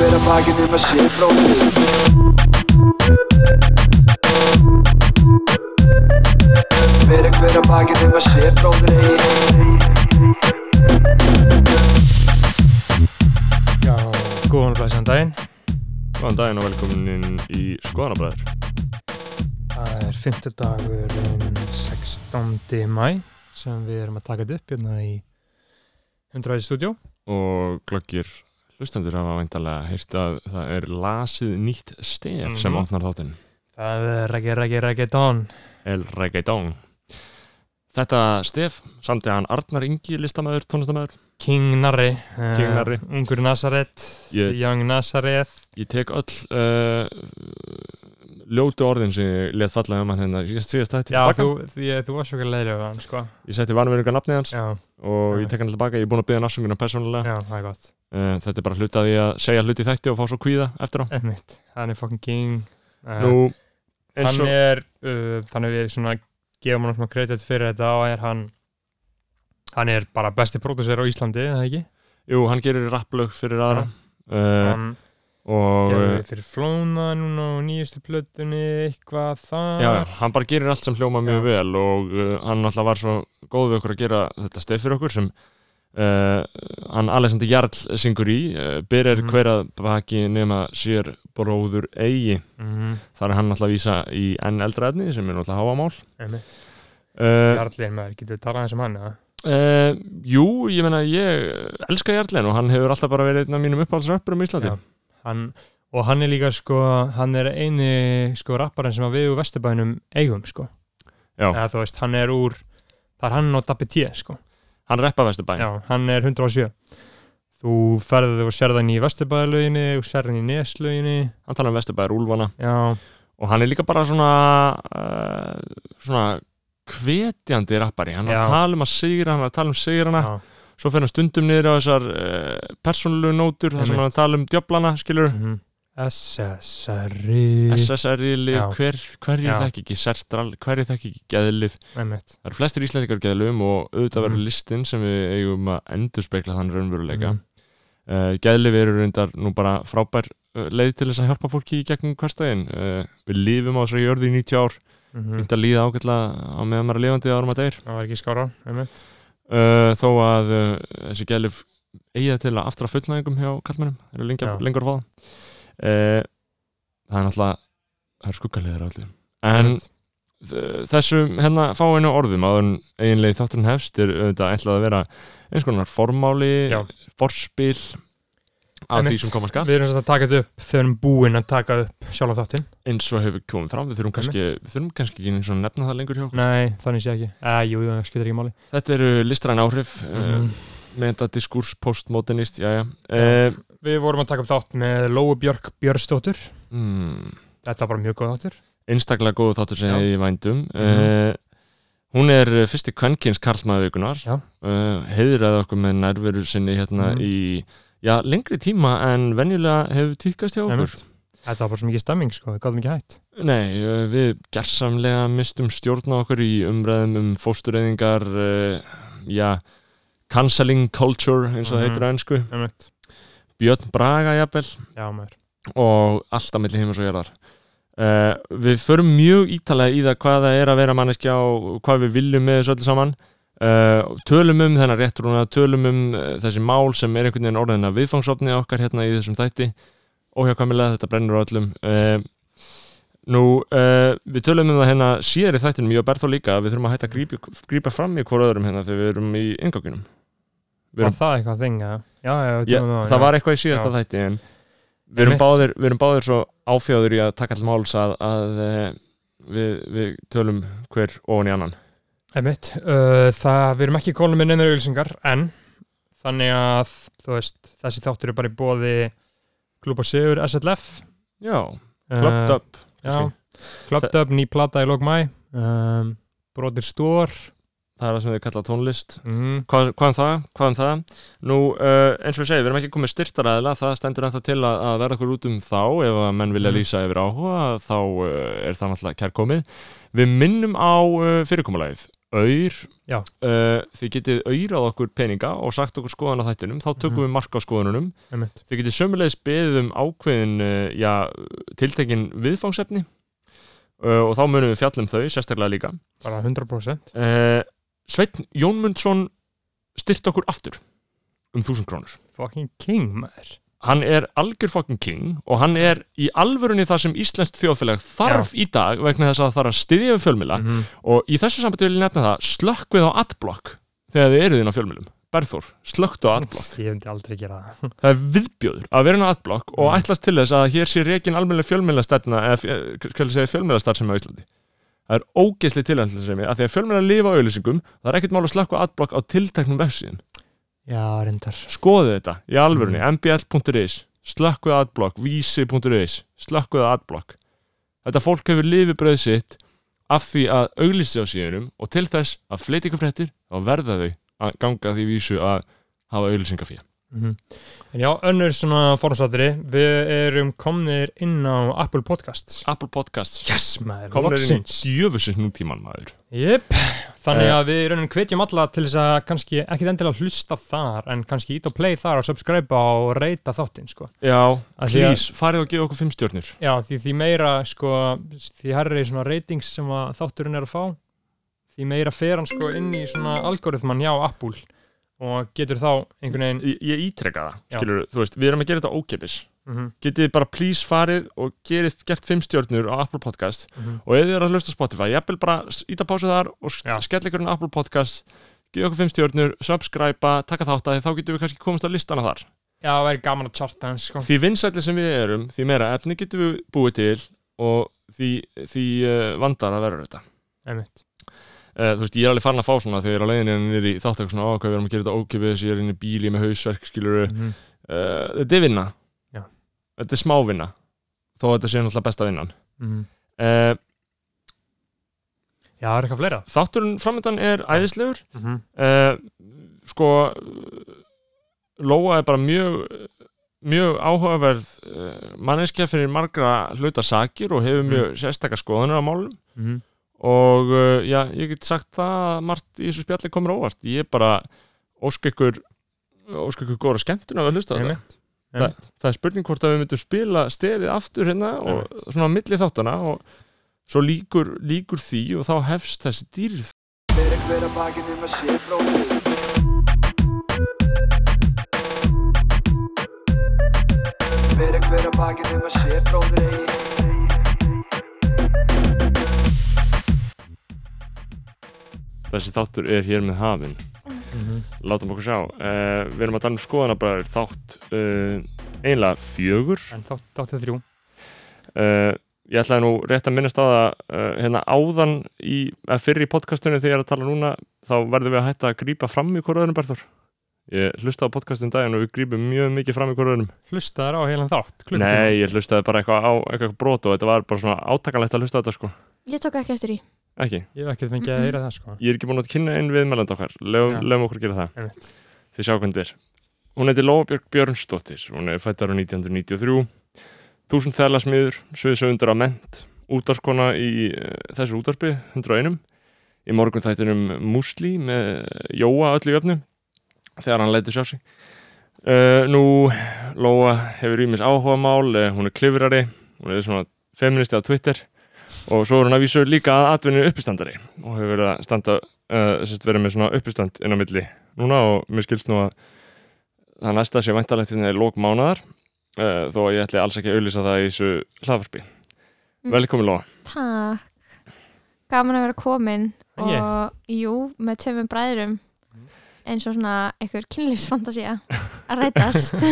vera vakið nema sé fróðið Vera hver að bakið nema sé bróðir eigi Já, góðan og blæsaðan daginn Góðan daginn og velkomin í Skoðanabræður Það er 50 dagur 16. mæ sem við erum að taka þetta upp hérna í 100 aðeins stúdjó og glöggir hlustendur hafa væntalega heyrt að það er lasið nýtt stef sem Mhm. opnar þáttinn Það er reggae, reggae, reggaeton El Reggaeton Þetta stef samt hann Arnar Ingi listamæður, tónlistamæður King Narri King Narri. uh, Ungur Nazareth Ég- Young Nazareth Ég tek öll uh, ljótu orðin sem ég let falla um hann hérna síðast síðast þetta Já, tilbaka þú, því, þú varst svo ekki leiðið af hann, sko Ég setti vanverðingar nafnið hans Já, Já. og ég tek hann tilbaka, ég er búin að byggja nafsunguna persónulega já, það er gott uh, Þetta er bara hluta því að segja hluti í þætti og fá svo kvíða eftir á Einmitt, hann er fucking king uh, Nú, eins hann og er uh, þannig við svona gefum hann smá kredit fyrir þetta og er hann hann er bara besti pródusser á Íslandi er það ekki? Jú, hann gerir rapplög fyrir aðra uh, hann og gerði uh, fyrir Flóna núna og nýjustu plötunni eitthvað þar já, já, hann bara gerir allt sem hljóma mjög Já. vel og uh, hann alltaf var svo góð við okkur að gera þetta stef fyrir okkur sem uh, hann Alexander Jarl syngur í uh, byrjar Mhm. hver að baki nema sér bróður eigi Mhm, þar er hann alltaf að vísa í enn eldra efni sem er náttúrulega háamál einmitt. uh, Jarlir maður, getur við talað eins um hann eða? uh, Jú, ég meina ég elska Jarlin og hann hefur alltaf bara verið einn af mínum uppáhaldsröppur um Íslandi Já. hann og hann er líka sko hann er eini sko rapparinn sem að við úr Vesturbænum eigum sko Já. eða þú veist, hann er úr það er hann og Dabbi T sko Hann reppa Vesturbæn Já, hann er 107 Þú ferðið og sérði hann í Vesturbæðalöginni og sérði hann í Neslöginni Hann talar um Vesturbæn Úlfana Já, og hann er líka bara svona uh, svona hvetjandi rappari, hann er Já. að tala um að sigra hann er að tala um sigrana, já, svo fer hann stundum niður á þessar uh, persónulegu nótur þar sem Einmitt. hann er að tala um djöflana, skilur mhm. SSRI SSR-lif, Já. hver, hverju Já. þekk ekki sertral, hverju þekk ekki geðlif Einmitt. það eru flestir íslendingar geðlum og auðvitað verður Mhm. listin sem við eigum að endurspegla þann raunveruleika Mhm. Uh, geðlif eru reyndar nú bara frábær uh, leið til þess að hjálpa fólki í gegnum hverstæðin uh, við lifum á þessari jörði í 90 ár Mhm. fínt að líða ágætlega á meðan maður er lifandi árum að deyr Það var ekki skára einmitt. uh, þó að uh, þessi gælif eiga til að aftra fullnæðingum hjá kallmennum eru Já. lengja, lengur fóða uh, það er náttúrulega það er skuggaliðar allir en þ- þessum hérna fáinu orðum áður en eiginlega þátturinn hefst er auðvitað ætlað að vera eins konar formáli Já. forspil af því Einmitt. sem koma skal Við erum svolítið að taka þetta upp þegar við erum búin að taka upp sjálf þáttinn eins og hefur komið fram við þurfum kannski, Einmitt. við þurfum kannski ekki eins og að nefna það lengur hjá okkur Nei, þannig sé ekki eh, Jú, jú, það skiptir ekki máli þetta eru listræn áhrif Mhm. mm. metadiskurs, postmodernist jæja Já. uh, Við vorum að taka upp þátt með Lóu Björk Björnsdóttur mm, Þetta var bara mjög góð þáttur einstaklega góðu þáttur sem Já. ég vændum mm Mhm. hún er eh, fyrsti kvenkins karlmaðvikunar Já. uh, heiðraði okkur með nærveru sinni hérna Mhm. í já, lengri tíma en venjulega hefur týðkast hjá okkur Einmitt. Þetta var bara svo mikið stemming, sko, við gáðum ekki hægt Nei, eh, við gersamlega mistum stjórna okkur í umræðum um fóstureyðingar uh, já, cancelling culture eins og það Mhm. heitir á ennsku Einmitt. Björn Braga jafnvel Já, maður og allt á milli heimur og jörðar uh, við förum mjög ítalega í það hvað það er að vera manneskja og hvað við viljum með þessu öllu saman uh, tölum um þennan réttrúna tölum um uh, þessi mál sem er einhvern veginn orðin að viðfangsopni okkar hérna í þessum þætti óhjákvæmilega þetta brennur á öllum uh, Nú, uh, við tölum um það hérna síðar í þættinum, ég og Berþó líka að við þurfum að hætta að grípa, grípa fram í hvora öðrum hérna þegar við erum í yngangunum Við Var erum- það eitthvað þing, eða? Já, já, við Já, tölum um það já. var eitthvað í síðasta Já. þætti en við erum, Einmitt. báðir, við erum báðir svo áfjáður í að taka all máls að, að eh, við, við tölum hver ofan í annan Einmitt, uh, það, við erum ekki konum með neinar auglýsingar, en þannig að, þú veist, þessi þáttur er bara í bóði Klúpa Sigur, SLF Já, klöpt upp Eh, já, kannski. Klöpt upp, ný plata í lok mæ um, Brotir Stór það er það sem þau kalla tónlist mm, Hvað, hvað um það? Hvað um það? Nú, uh, eins og ég segi, við erum ekki komið styrtaræðilega, það stendur ennþá til að, að verða okkur út um þá, ef að menn vilja Mm. lýsa yfir áhuga, þá uh, er það náttúrulega kærkomið. Við minnum á uh, fyrirkomulagið. auður Já. uh, þið getið auðrað okkur peninga og sagt okkur skoðan á þættinum þá tökum Mhm. við mark á skoðanunum einmitt. Þið getið sömulegis beðið um ákveðin uh, já, tiltekin viðfangsefni uh, og þá munum við fjallum þau sérstaklega líka. bara 100% Uh, Sveinn Jónmundsson styrt okkur aftur um 1000 krónur. fucking king maður Hann er algjör fucking king og hann er í alvörunni það sem Íslenskt þjóðfélag þarf í dag vegna þess að það þarf að styðja við fjölmila Mhm. og í þessu sambandi vil ég nefna það slökkvið á adblock þegar þið eruð inn á fjölmilum. Berþór, slökktu á adblock. ég myndi aldrei gera það það er viðbjóður að vera inn á adblock og Mm. ætlast til þess að hér sé reikin almennileg fjölmiðlastefna eða fj- skal ég segja fjölmiðlastarfsemi á Íslandi það er ógeðsli tilhæmsemi að því að fjölmiðlar lifa á auðlýsingum það er ekkert mál að slakka adblock á tilteknum vefsíðum já, reyndar skoðu þetta í alvörunni, mbl.is slakkuð adblock, vísi.is slakkuð adblock þetta fólk hefur lifibröð sitt af því að auglýsa á síðunum og til þess að fleiti ykkur fréttir þá verða þau að ganga að því vísu að hafa auglýsingafé Mhm. En já, önnur svona formsatri, við erum komnir inn á Apple Podcasts. Apple Podcasts Yes, maður, komnir inn í loksins. djöfusins nútíman maður Jep, þannig Eh. að við raunin hvetjum alla til þess að kannski, ekkit endilega hlusta þar, en kannski ít og play þar og subscribe og reyta þáttinn, sko. já, Að því að- please, farið og gefa okkur fimm stjórnir Já, því, því meira, sko, því herri svona ratings sem að þátturinn er að fá, því meira fer hann, sko, inn í svona algoritman hjá Apple og getur þá einhvern veginn, ég, ég ítreka það, Já. skilur þú veist við erum að gera þetta ókipis mhm, getið þið bara please farið og gerið gert fimm stjórnir á Apple Podcast mhm, og ef þið eru að hlusta á Spotify, ég vil bara s- íta pásu þar og Já. s- skell ykkur inn á Apple Podcast gefa okkur fimm stjórnir, subscribe taka þátt að því þá getum við kannski komast á listana þar já, það væri gaman að charta hans, sko. því vinsætli sem við erum, því meira efni getum við búið til og því, því uh, vandar að vera þetta Einmitt. uh, þú veist, ég er alveg farin að fá svona þegar ég er á leiðinni niður í þáttöku svona ákveð við erum að gera þetta ókjöfis, ég er inn í bíli með hausverk skilur, uh, Mhm. þetta er vinna Já. þetta er smá vinna þó að þetta sé náttúrulega besta vinnan Mhm. uh, Já, það er eitthvað fleira. þátturinn framöndan er æðislegur Mm -hmm. uh, sko eh, Lóa er bara mjög mjög áhugaverð uh, manneskja fyrir margra hluta sakir og hefur mjög sérstakar skoðanur á málum mhm. og uh, já, ég get sagt það að margt í þessu spjalli komur óvart ég bara ósk ykkur ósk ykkur góra skemmtun að við hlusta á þetta Einmitt. Einmitt. það er spurning hvort að við myndum spila stefið aftur hérna og Einmitt. svona á milli þáttana og svo líkur, líkur því og þá hefst þessi dýrð Fyrir hver að bakinu með sé bróðir Fyrir hver að bakinu með sé bróðir eigi þessi þáttur er hér með hafin Mhm. látum okkur sjá uh, við erum að tala um skoðanabræður þátt uh, einlega fjögur En þátt, þáttu þrjú. uh, ég ætlaði nú rétt að minnast á það uh, hérna áðan í, að fyrir í podcastunni þegar ég er að tala núna þá verðum við að hætta að grípa fram í hvoraðurum Berþór ég hlustaði á podcastum daginn og við grípum mjög mikið fram í hvoraðurum Hlustaðar á heilan þátt, klukkutíma. nei, ég hlustaði bara eitthvað á eitthvað brot og þetta var bara svona átakalegt að hlusta á þetta sko Ég tók ekki eftir því. ekki, Ég hef ekkert fengið að heyra það, sko. ég er ekki búin að kynna einn viðmælanda okkar Já. lögum, lögum okkur að gera það Einmitt. þið sjá hvernig þetta er hún heiti Lóabjörg Björnsdóttir hún er fættar á 1993 þúsund þælasmiður, sviðsöfundur á ment útarskona í uh, þessu útarpi 101 í morgun þættinum Musli með Jóa öllu jöfnum þegar hann lætur sjá sig uh, nú Lóa hefur ímis áhuga mál uh, hún er klifrari, hún er svona feministi á Twitter og svo er hún að vísu líka að atvinni uppistandari og hefur verið að standa uh, sérst verið með svona uppistand inn á milli núna og mér skilst nú að það næsta sé væntalegt hérna í lók mánaðar uh, þó að ég ætli alls ekki að auðlýsa það í þessu hlaðvarpi. Mm. Velkomin Lóa. Takk. Gaman að vera komin og Ég. jú, með tveimum bræðurum eins og svona einhver kynlífsfantasía að rætast.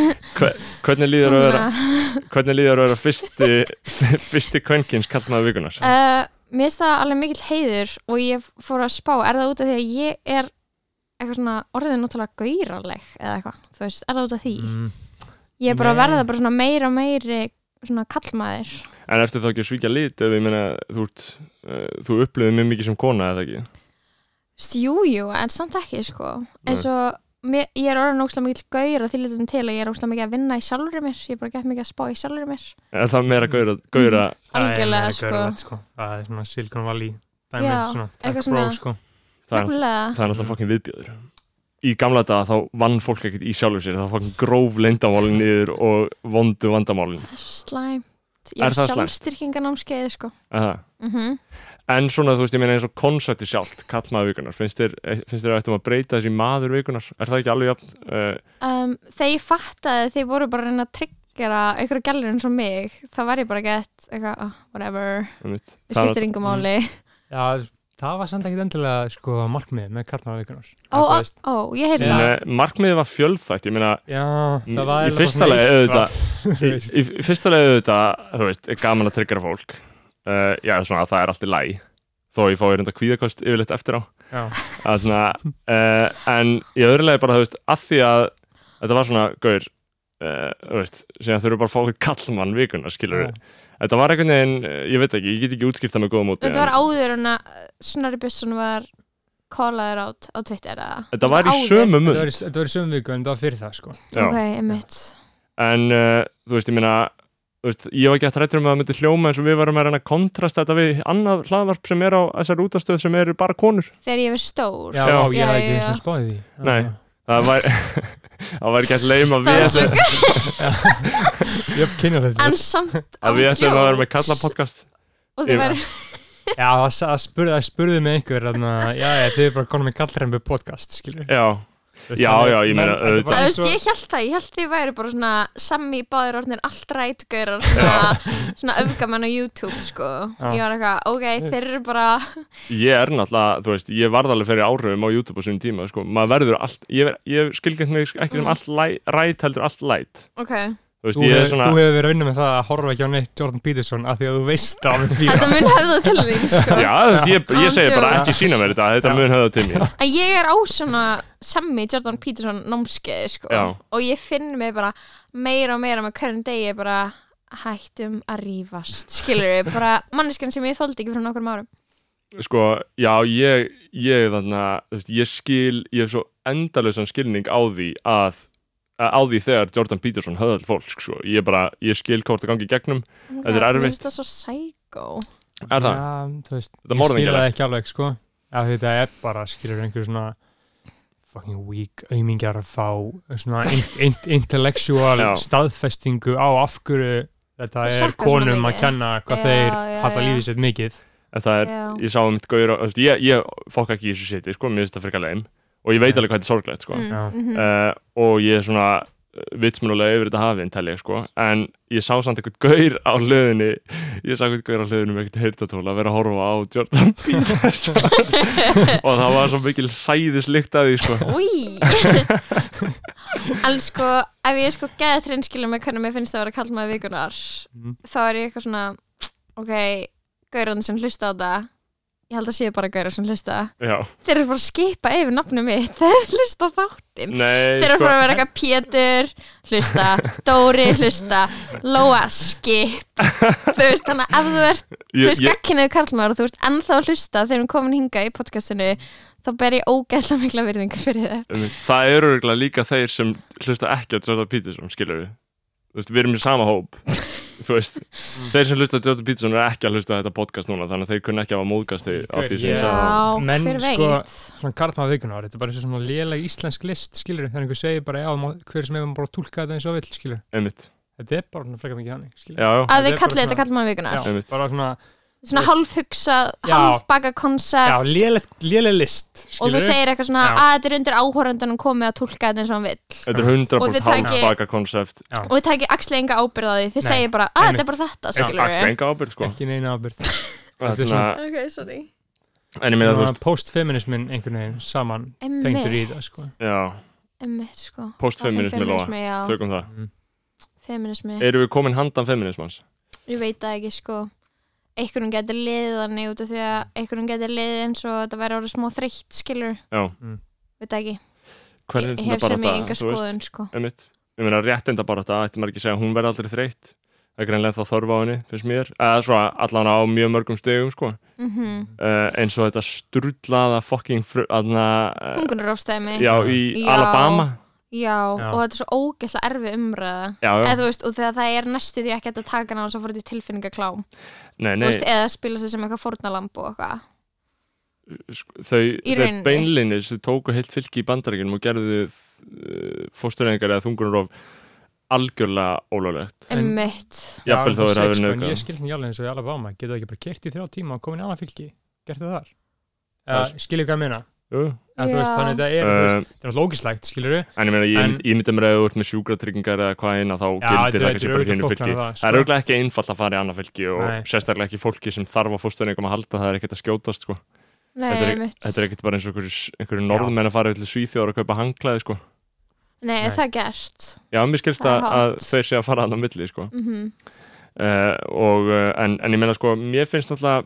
Hvernig líður að vera, Svona, hvernig líður að vera fyrsti, fyrsti kvenkins kallnaði vikunar? uh, mér finnst það alveg mikill heiður og ég fór að spá, er það út af því að ég er eitthvað svona orðin náttúrulega gauraleg eða eitthvað, þú veist, er það út af því? Mm. Ég er bara að nei. verða bara svona meira og meiri svona kallmaður. En eftir þá ekki að svíkja lit ef ég meina þú, ert, uh, þú upplifið mjög mikið sem kona eða ekki? Jújú, en samt ekki sko eins og mér, ég er orðin ógstlega mikil gaur að þýlítum til að ég er ógstlega mikið að vinna í sjálfri mér ég er bara gett mikið að spá í sjálfri mér Er það meira gauðra, gauðra Mm. Það er algjörlega meira sko gaurulegt, sko. Það er svona Silicon Valley dæmi, Já, svona eitthvað tech bro, svona- sko. það er, nefnilega það er alltaf fokkin viðbjöður í gamla daga þá vann fólk ekkert í sjálfu sér það fokkin gróf leyndamálin niður og vondu vandamálin það er svo slæmt ég Er er það slæmt? sjálfstyrkinganámskeið sko Aha. mm en svona þú veist ég meina eins og konsepti sjálft kallmaður vikunar, finnst þér, eh, finnst þér að ættum að breyta þessi maður vikunar, er það ekki alveg jafn uh, um, þegar ég fattaði þeir voru bara að reyna að tryggjara einhverju gælur eins og mig þá var ég bara gett eitthvað, oh, whatever, einmitt? það, við Mm. skiptir yngum máli Já, það var samt ekkit endilega sko markmið með karlmaravíkunar. ó, ó, ó, ég heyrði en, það uh, markmiðið var fjölþætt, ég meina Já, það var í eiginlega fyrsta bara svona lagi eitt auðvitað straff, þú í, veist. í í fyrsta leiðu þetta þú veist, er gaman að tryggra fólk uh, já, svona, það er allt í læg þó ég fái reynda kvíðakost yfirleitt eftir á Já, Þarna, uh, en í öðru leiði bara, þú veist, að því að þetta var svona, gaur uh, þú veist, sem þau eru bara að fá okkur kallmann vikuna, skilur Já. þetta var einhvern veginn, uh, ég veit ekki, ég get ekki útskýrt það með góða móti þetta var en áður en að uh, Snorri Björnsson var callaður át á Twitter eða þetta var í áður. sömu þetta mun var í- þetta var í sömu viku en það var fyrir það sko. ok, einmitt en uh, þú veist, ég meina þú veist, ég var ekki að trættur um að það myndi hljóma eins og við varum að reyna að kontrasta þetta við annað hlaðvarp sem er á þessar útastöð sem eru bara konur þegar ég var stór Já, Já. ég hef ekki Já, já, eins og já. spáði því. Nei. það var, það var ekki að leima Það við var svo- Ég hef kynnað þetta. en samt að við ætlum að vera með kalla og podcast þið var Já, það, sa- það spurði, það spurði mig einhver þarna, já, já, þið er bara konum með kallrembu podcast, skilur. já, Já, já, ég meina, auðvitað. Það veist, ég held það, ég held þið væri bara svona sami báðir orðnir allt rætgörar svona, svona öfgamenn á YouTube sko, Já. ég var eitthvað, ok, þeir eru bara ég er náttúrulega, þú veist, ég varð alveg fyrir áhrifum á YouTube á svona tíma, sko, maður verður allt, ég, ver- ég skilgjast mig ekki sem Mhm. allt læ- ræt heldur allt læt, ok, þú veist, Þú ég er hefur, svona þú hefur verið raunin með það að horfa ekki á neitt Jordan Peterson af því að þú veist að hann fyrir þetta mun höfða til þín sko. já, þú veist, ég, ég segi bara Andjú. ekki sína mér þetta, þetta Já. mun höfða til mér að ég er á svona sami Jordan Peterson námskeið sko, Já. og ég finn mig bara meira og meira með hverjum degi bara hættum að rífast skilur við, bara manneskan sem ég þóldi ekki fyrir nokkrum árum sko, já, ég ég þannig þú veist, ég skil ég hef svo endalösan skilning á því að að- á því þegar Jordan Peterson höðal fólk, sko, ég bara, ég skil hvort það gangi í gegnum, Þetta er erfitt. Mér finnst það svo sækó er það? Já, þú veist, Þetta ég skilja morðingjalegt. það ekki alveg, sko. Já, þetta er bara, skilur einhver svona fucking weak aumingjar að fá svona in, in, intellectual Já. staðfestingu á af hverju þetta Ég er sakna svona konum mikið. að kenna hvað Já, já, þeir hafa já. lífið sér mikið. en það er, Já. ég sá um mitt gauður á- þú veist, ég, ég fokka ekki í þessu seti, sko, mér finnst þetta frekar leim og ég veit alveg hvað þetta er sorglegt, sko mm, Já. mhm. uh, og ég er svona vitsmunulega yfir þetta hafinn, tel ég sko en ég sá samt eitthvað gaur á hlöðinni ég sá eitthvað gaur á hlöðinni með eitthvað heyrtatól að vera að horfa á Jordan Peterson og það var svo mikil sæðislykt að því sko Új En sko, ef ég er sko geðið trinskilum með hvernig mér finnst það að vera kall með vikunar Mhm. þá er ég eitthvað svona ok, gaurðan sem hlusta á það ég held að séu bara gaurðan sem hlusta já, þeir eru bara að skipa yfir nafnum mitt þeir hlusta á þáttinn nei þeir eru sko, bara að vera eitthvað Pétur hlusta, Dóri hlusta Lóa skip þú veist, þannig að ef þú ert þú ég, veist, ég, gagkinuðu karlmaður og þú veist ennþá að hlusta þegar við komin hinga í podcastinu þá ber ég ógæsla mikla virðingu fyrir það um, það eru örugglega líka þeir sem hlusta ekki á Jordan Peterson skilur við, þú veist, við erum í sama hóp þú veist, þeir sem hlusta á Jordan Peterson eru ekki að hlusta á þetta podcast núna þannig að þeir kunna ekki hafa móðgast þau á því sem Já, ég sagði Já, menn, hver veit sko, Svona karlmaður vikunar, þetta er bara eins og svona léleg íslensk list, skilur, þegar einhver segir bara, já, má- hver sem hefur bara tólkað þetta eins og vill, skilur. einmitt, Þetta er bara svona frekar mikið hannig, skilur. já, já að þetta er þið kallið bara þetta svona- karlmaður vikunar já einmitt. bara svona, svona hálf hugsað, Já. hálf baka já, konsept léleg, léleg list, og skilur. þú segir eitthvað svona Já. að þetta er undir áhórandunum komið að tólka þetta eins og hann vill Þetta er 100% Og þið taki- hálfbaka konsept og þið takið axli enga ábyrða því þið Nei, segir bara að þetta einmitt. er bara þetta skilur Axla enga ábyrð sko Ekki neina ábyrð. þetta er Þarna, svona- ok, sorry En ég meina þú Svona veist post-feminismin einhvern veginn saman tengdur í emmitt, það sko. Já, sko Postfeminismi, Lóa. Feminismi, já, tökum það feminismi Erum við komin handan feminismans? ég veit það ekki sko einhverjum getur liðið þannig út af því að einhverjum getur liðið eins og þetta væri orðið smá þreytt skilur, Já veit það ekki Hvernig ég hef sem ég enga skoðun sko Einmitt Ég meina réttinda bara þetta Ætti maður ekki að segja að hún verði aldrei þreytt Það er greinlega það þorfa á henni, finnst mér Eða svo allan á mjög mörgum stegum sko mm -hmm. uh, Eins og þetta strullaða fucking fru, aðna, uh, þungunarofstæmi Já, í Já. Alabama Já. og þetta er svo ógeðslega erfið umræða Já, eða já, þú veist, og þegar það er næstu því ekki hægt að taka hana og svo fór þetta í tilfinningaklám nei, Þú nei veist, eða spila sig sem eitthvað fórnalamb og eitthvað sk- þau, Í þau rauninni. beinlinis þau tóku heilt fylki í bandaríkjum og gerðu uh, fóstureyðingar eða þungunarof algjörlega ólálegt En- Emmitt jafnvel þá er það verið sko, En ég nöðgæð skilði alveg eins og í Alabama Getur það ekki bara kert í þrjá tíma og komin í annað fylki Gert það þar Það er- Eða, Skilur hvað ég meina En þú Já. veist, Þannig að það er, þú uh, veist, það er lókislegt Skilur við en ég meina, ég, En- mynd- ég myndi mér að ef þú ert með sjúkratryggingar eða hvað eina þá gildir það kannski bara í hinu fylki það það er auðvitað ekki einfalt að fara í annað fylki og Nei. sérstaklega ekki fólki sem þarf á fóstureyðingum að halda það er ekkert að skjótast sko. Nei, Þetta er- einmitt þetta er ekkert bara eins og einhverju, einhverju norðmenn að fara til Svíþjóðar að kaupa hangklæði sko. Nei, Nei. er það gert já, mér skilst Það er að, að hot. þau sé að fara hann á milli sko. mm uh, og, uh, en, en ég meina sko mér finnst náttúrulega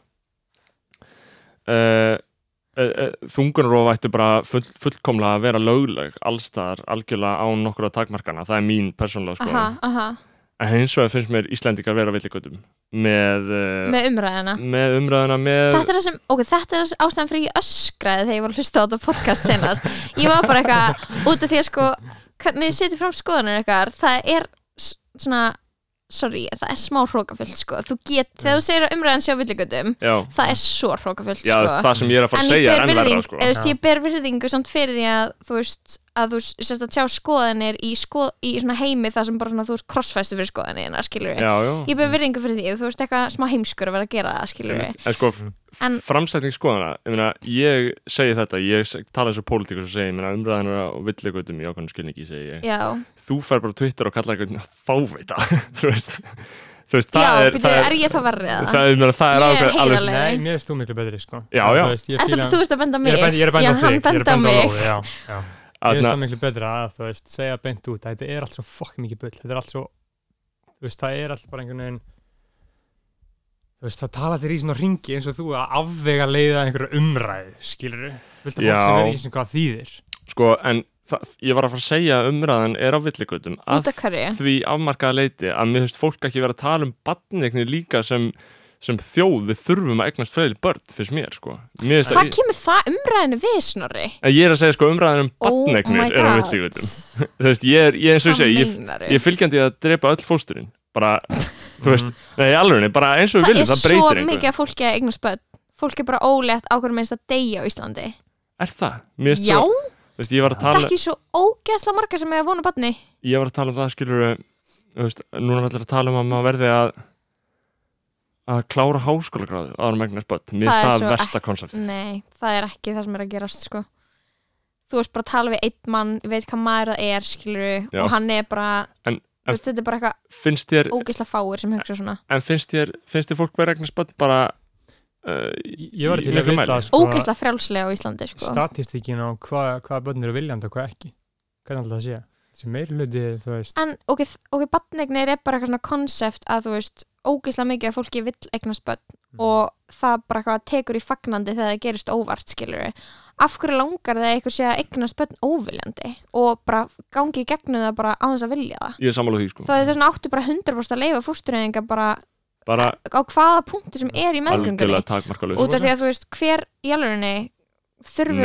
uh, uh, þungunrof ættu bara full, fullkomlega að vera lögleg allstaðar algjörlega án nokkura takmarkana það er mín persónulega sko Aha, aha en hins vegar finnst mér Íslendingar vera villigötum með, uh, Með umræðina með umræðuna með Þetta er það sem, ok, þetta er ástæðan fyrir ég öskraði þegar ég var að hlusta á þetta podcast senast Ég var bara eitthvað, út af því að sko hvernig ég seti fram skoðanir eitthvað það er s- svona sorry, það er smá hrókafullt sko þú get, Mm. þegar þú segir að umræðan sé á villigötum já, það er svo hrókafullt já, sko það sem ég er að fara en að ég segja er ber enn verra virðing, sko. eða, þú veist, Já. ég ber virðingu samt fyrir því að þú veist að þú sérst að tjá skoðanir í, skoð, í svona heimi þar sem bara svona þú veist krossfæstu fyrir skoðanina, skilur við já, já ég ber virðingu fyrir því, þú veist eitthvað smá heimskur að vera að gera það, skilur við en sko, Mm. En- en, framsetning skoðana ég, meina, ég segi þetta, ég se- tala eins og pólitíkur sem segi, ég meina, umræðan er á villigötum í ákvæmum skilningi, segi ég já, þú fær bara á Twitter og kallar einhvern fávita þú veist, þú veist já, það er byrju, það er ég það verrið það, að er, ég meina, það er Ég er ákveð heiðarleg. alveg, Nei, mér finnst þú miklu betri sko Já, En já. Þú veist, ég það? fíla þú veist að benda Ég mig er bend- ég er að já, benda á hann þig, ég er að benda á benda á mig Lóu, já, já. Ég finnst það alveg miklu betra að þú veist, segja beint út að þetta er allt svo fokk mikið bull þetta er allt svo, þú veist, það er allt bara einhvern veginn þú veist, það tala þér í svona ringi eins og þú að afvega leiða einhverju umræðu skilur þú, vilt að Já. fólk sem veit ekki svona hvað það þýðir sko, en það, ég var að fara að segja að umræðan er á villigötum út af hverju því afmarkaða leiti að mér finnst fólk ekki vera að tala um barneignir líka sem, sem þjóð við þurfum að eignast fleiri börn, finnst mér sko mér finnst hvað að, kemur það umræðinu við snorri? að ég er að segja sko umræðan um Oh barneignir my er á god. villigötum þú veist, ég er, ég, eins og ég Hvað segi, ég, meinar ég er fylgjandi í að drepa öll fósturinn bara, þú veist, nei, alveg bara eins og við það viljum, er það svo breytir einhverju. mikið að fólki að eignast börn fólk er bara ólétt á hverju minnst að deyja á Íslandi Er það? Mér finnst já, svo, þú veist, ég var að tala, þekki svo ógeðslega marga sem hefur vonu barni ég var að tala um það, skilur, þú veist, núna er allir að tala um að maður verði að að klára háskóla gráðu áður megnar spött, mér Það er finnst það svo versta konseptið. nei, það er ekki það sem er að gerast sko. þú veist bara að tala við einn mann ég veit hvað maður það er, skilur Já. og hann er bara, En- þú veist, þetta er bara eitthvað Finnst þér, ógeðslega fáir sem hugsa svona en finnst þér, finnst þér fólk verið egnar spött bara uh, ég var í til að miklu vita mæli? sko, ógeðslega frjálslega á Íslandi sko. statistíkin á hvað, hvað börn eru viljandi og hvað ekki hvernig alltaf það sé þessi meiri hluti, þú veist en ok, ok barnegnir er bara eitthvað svona konsept að þú veist, ógeðslega mikið að fólki vill eignast börn Mm. og það bara eitthvað tekur í fagnandi þegar það gerist óvart skilur af hverju langar það eitthvað sé að eignast börn óviljandi og bara gangi í gegnum það bara á þess að vilja það Ég er sammála því, sko. það er þess að áttu bara 100% að leifa fóstureyðinga bara Bara á hvaða punkti sem er í meðgöngunni algjörlega takmarkalöð. út af því að þú veist hver í alvegni þurfum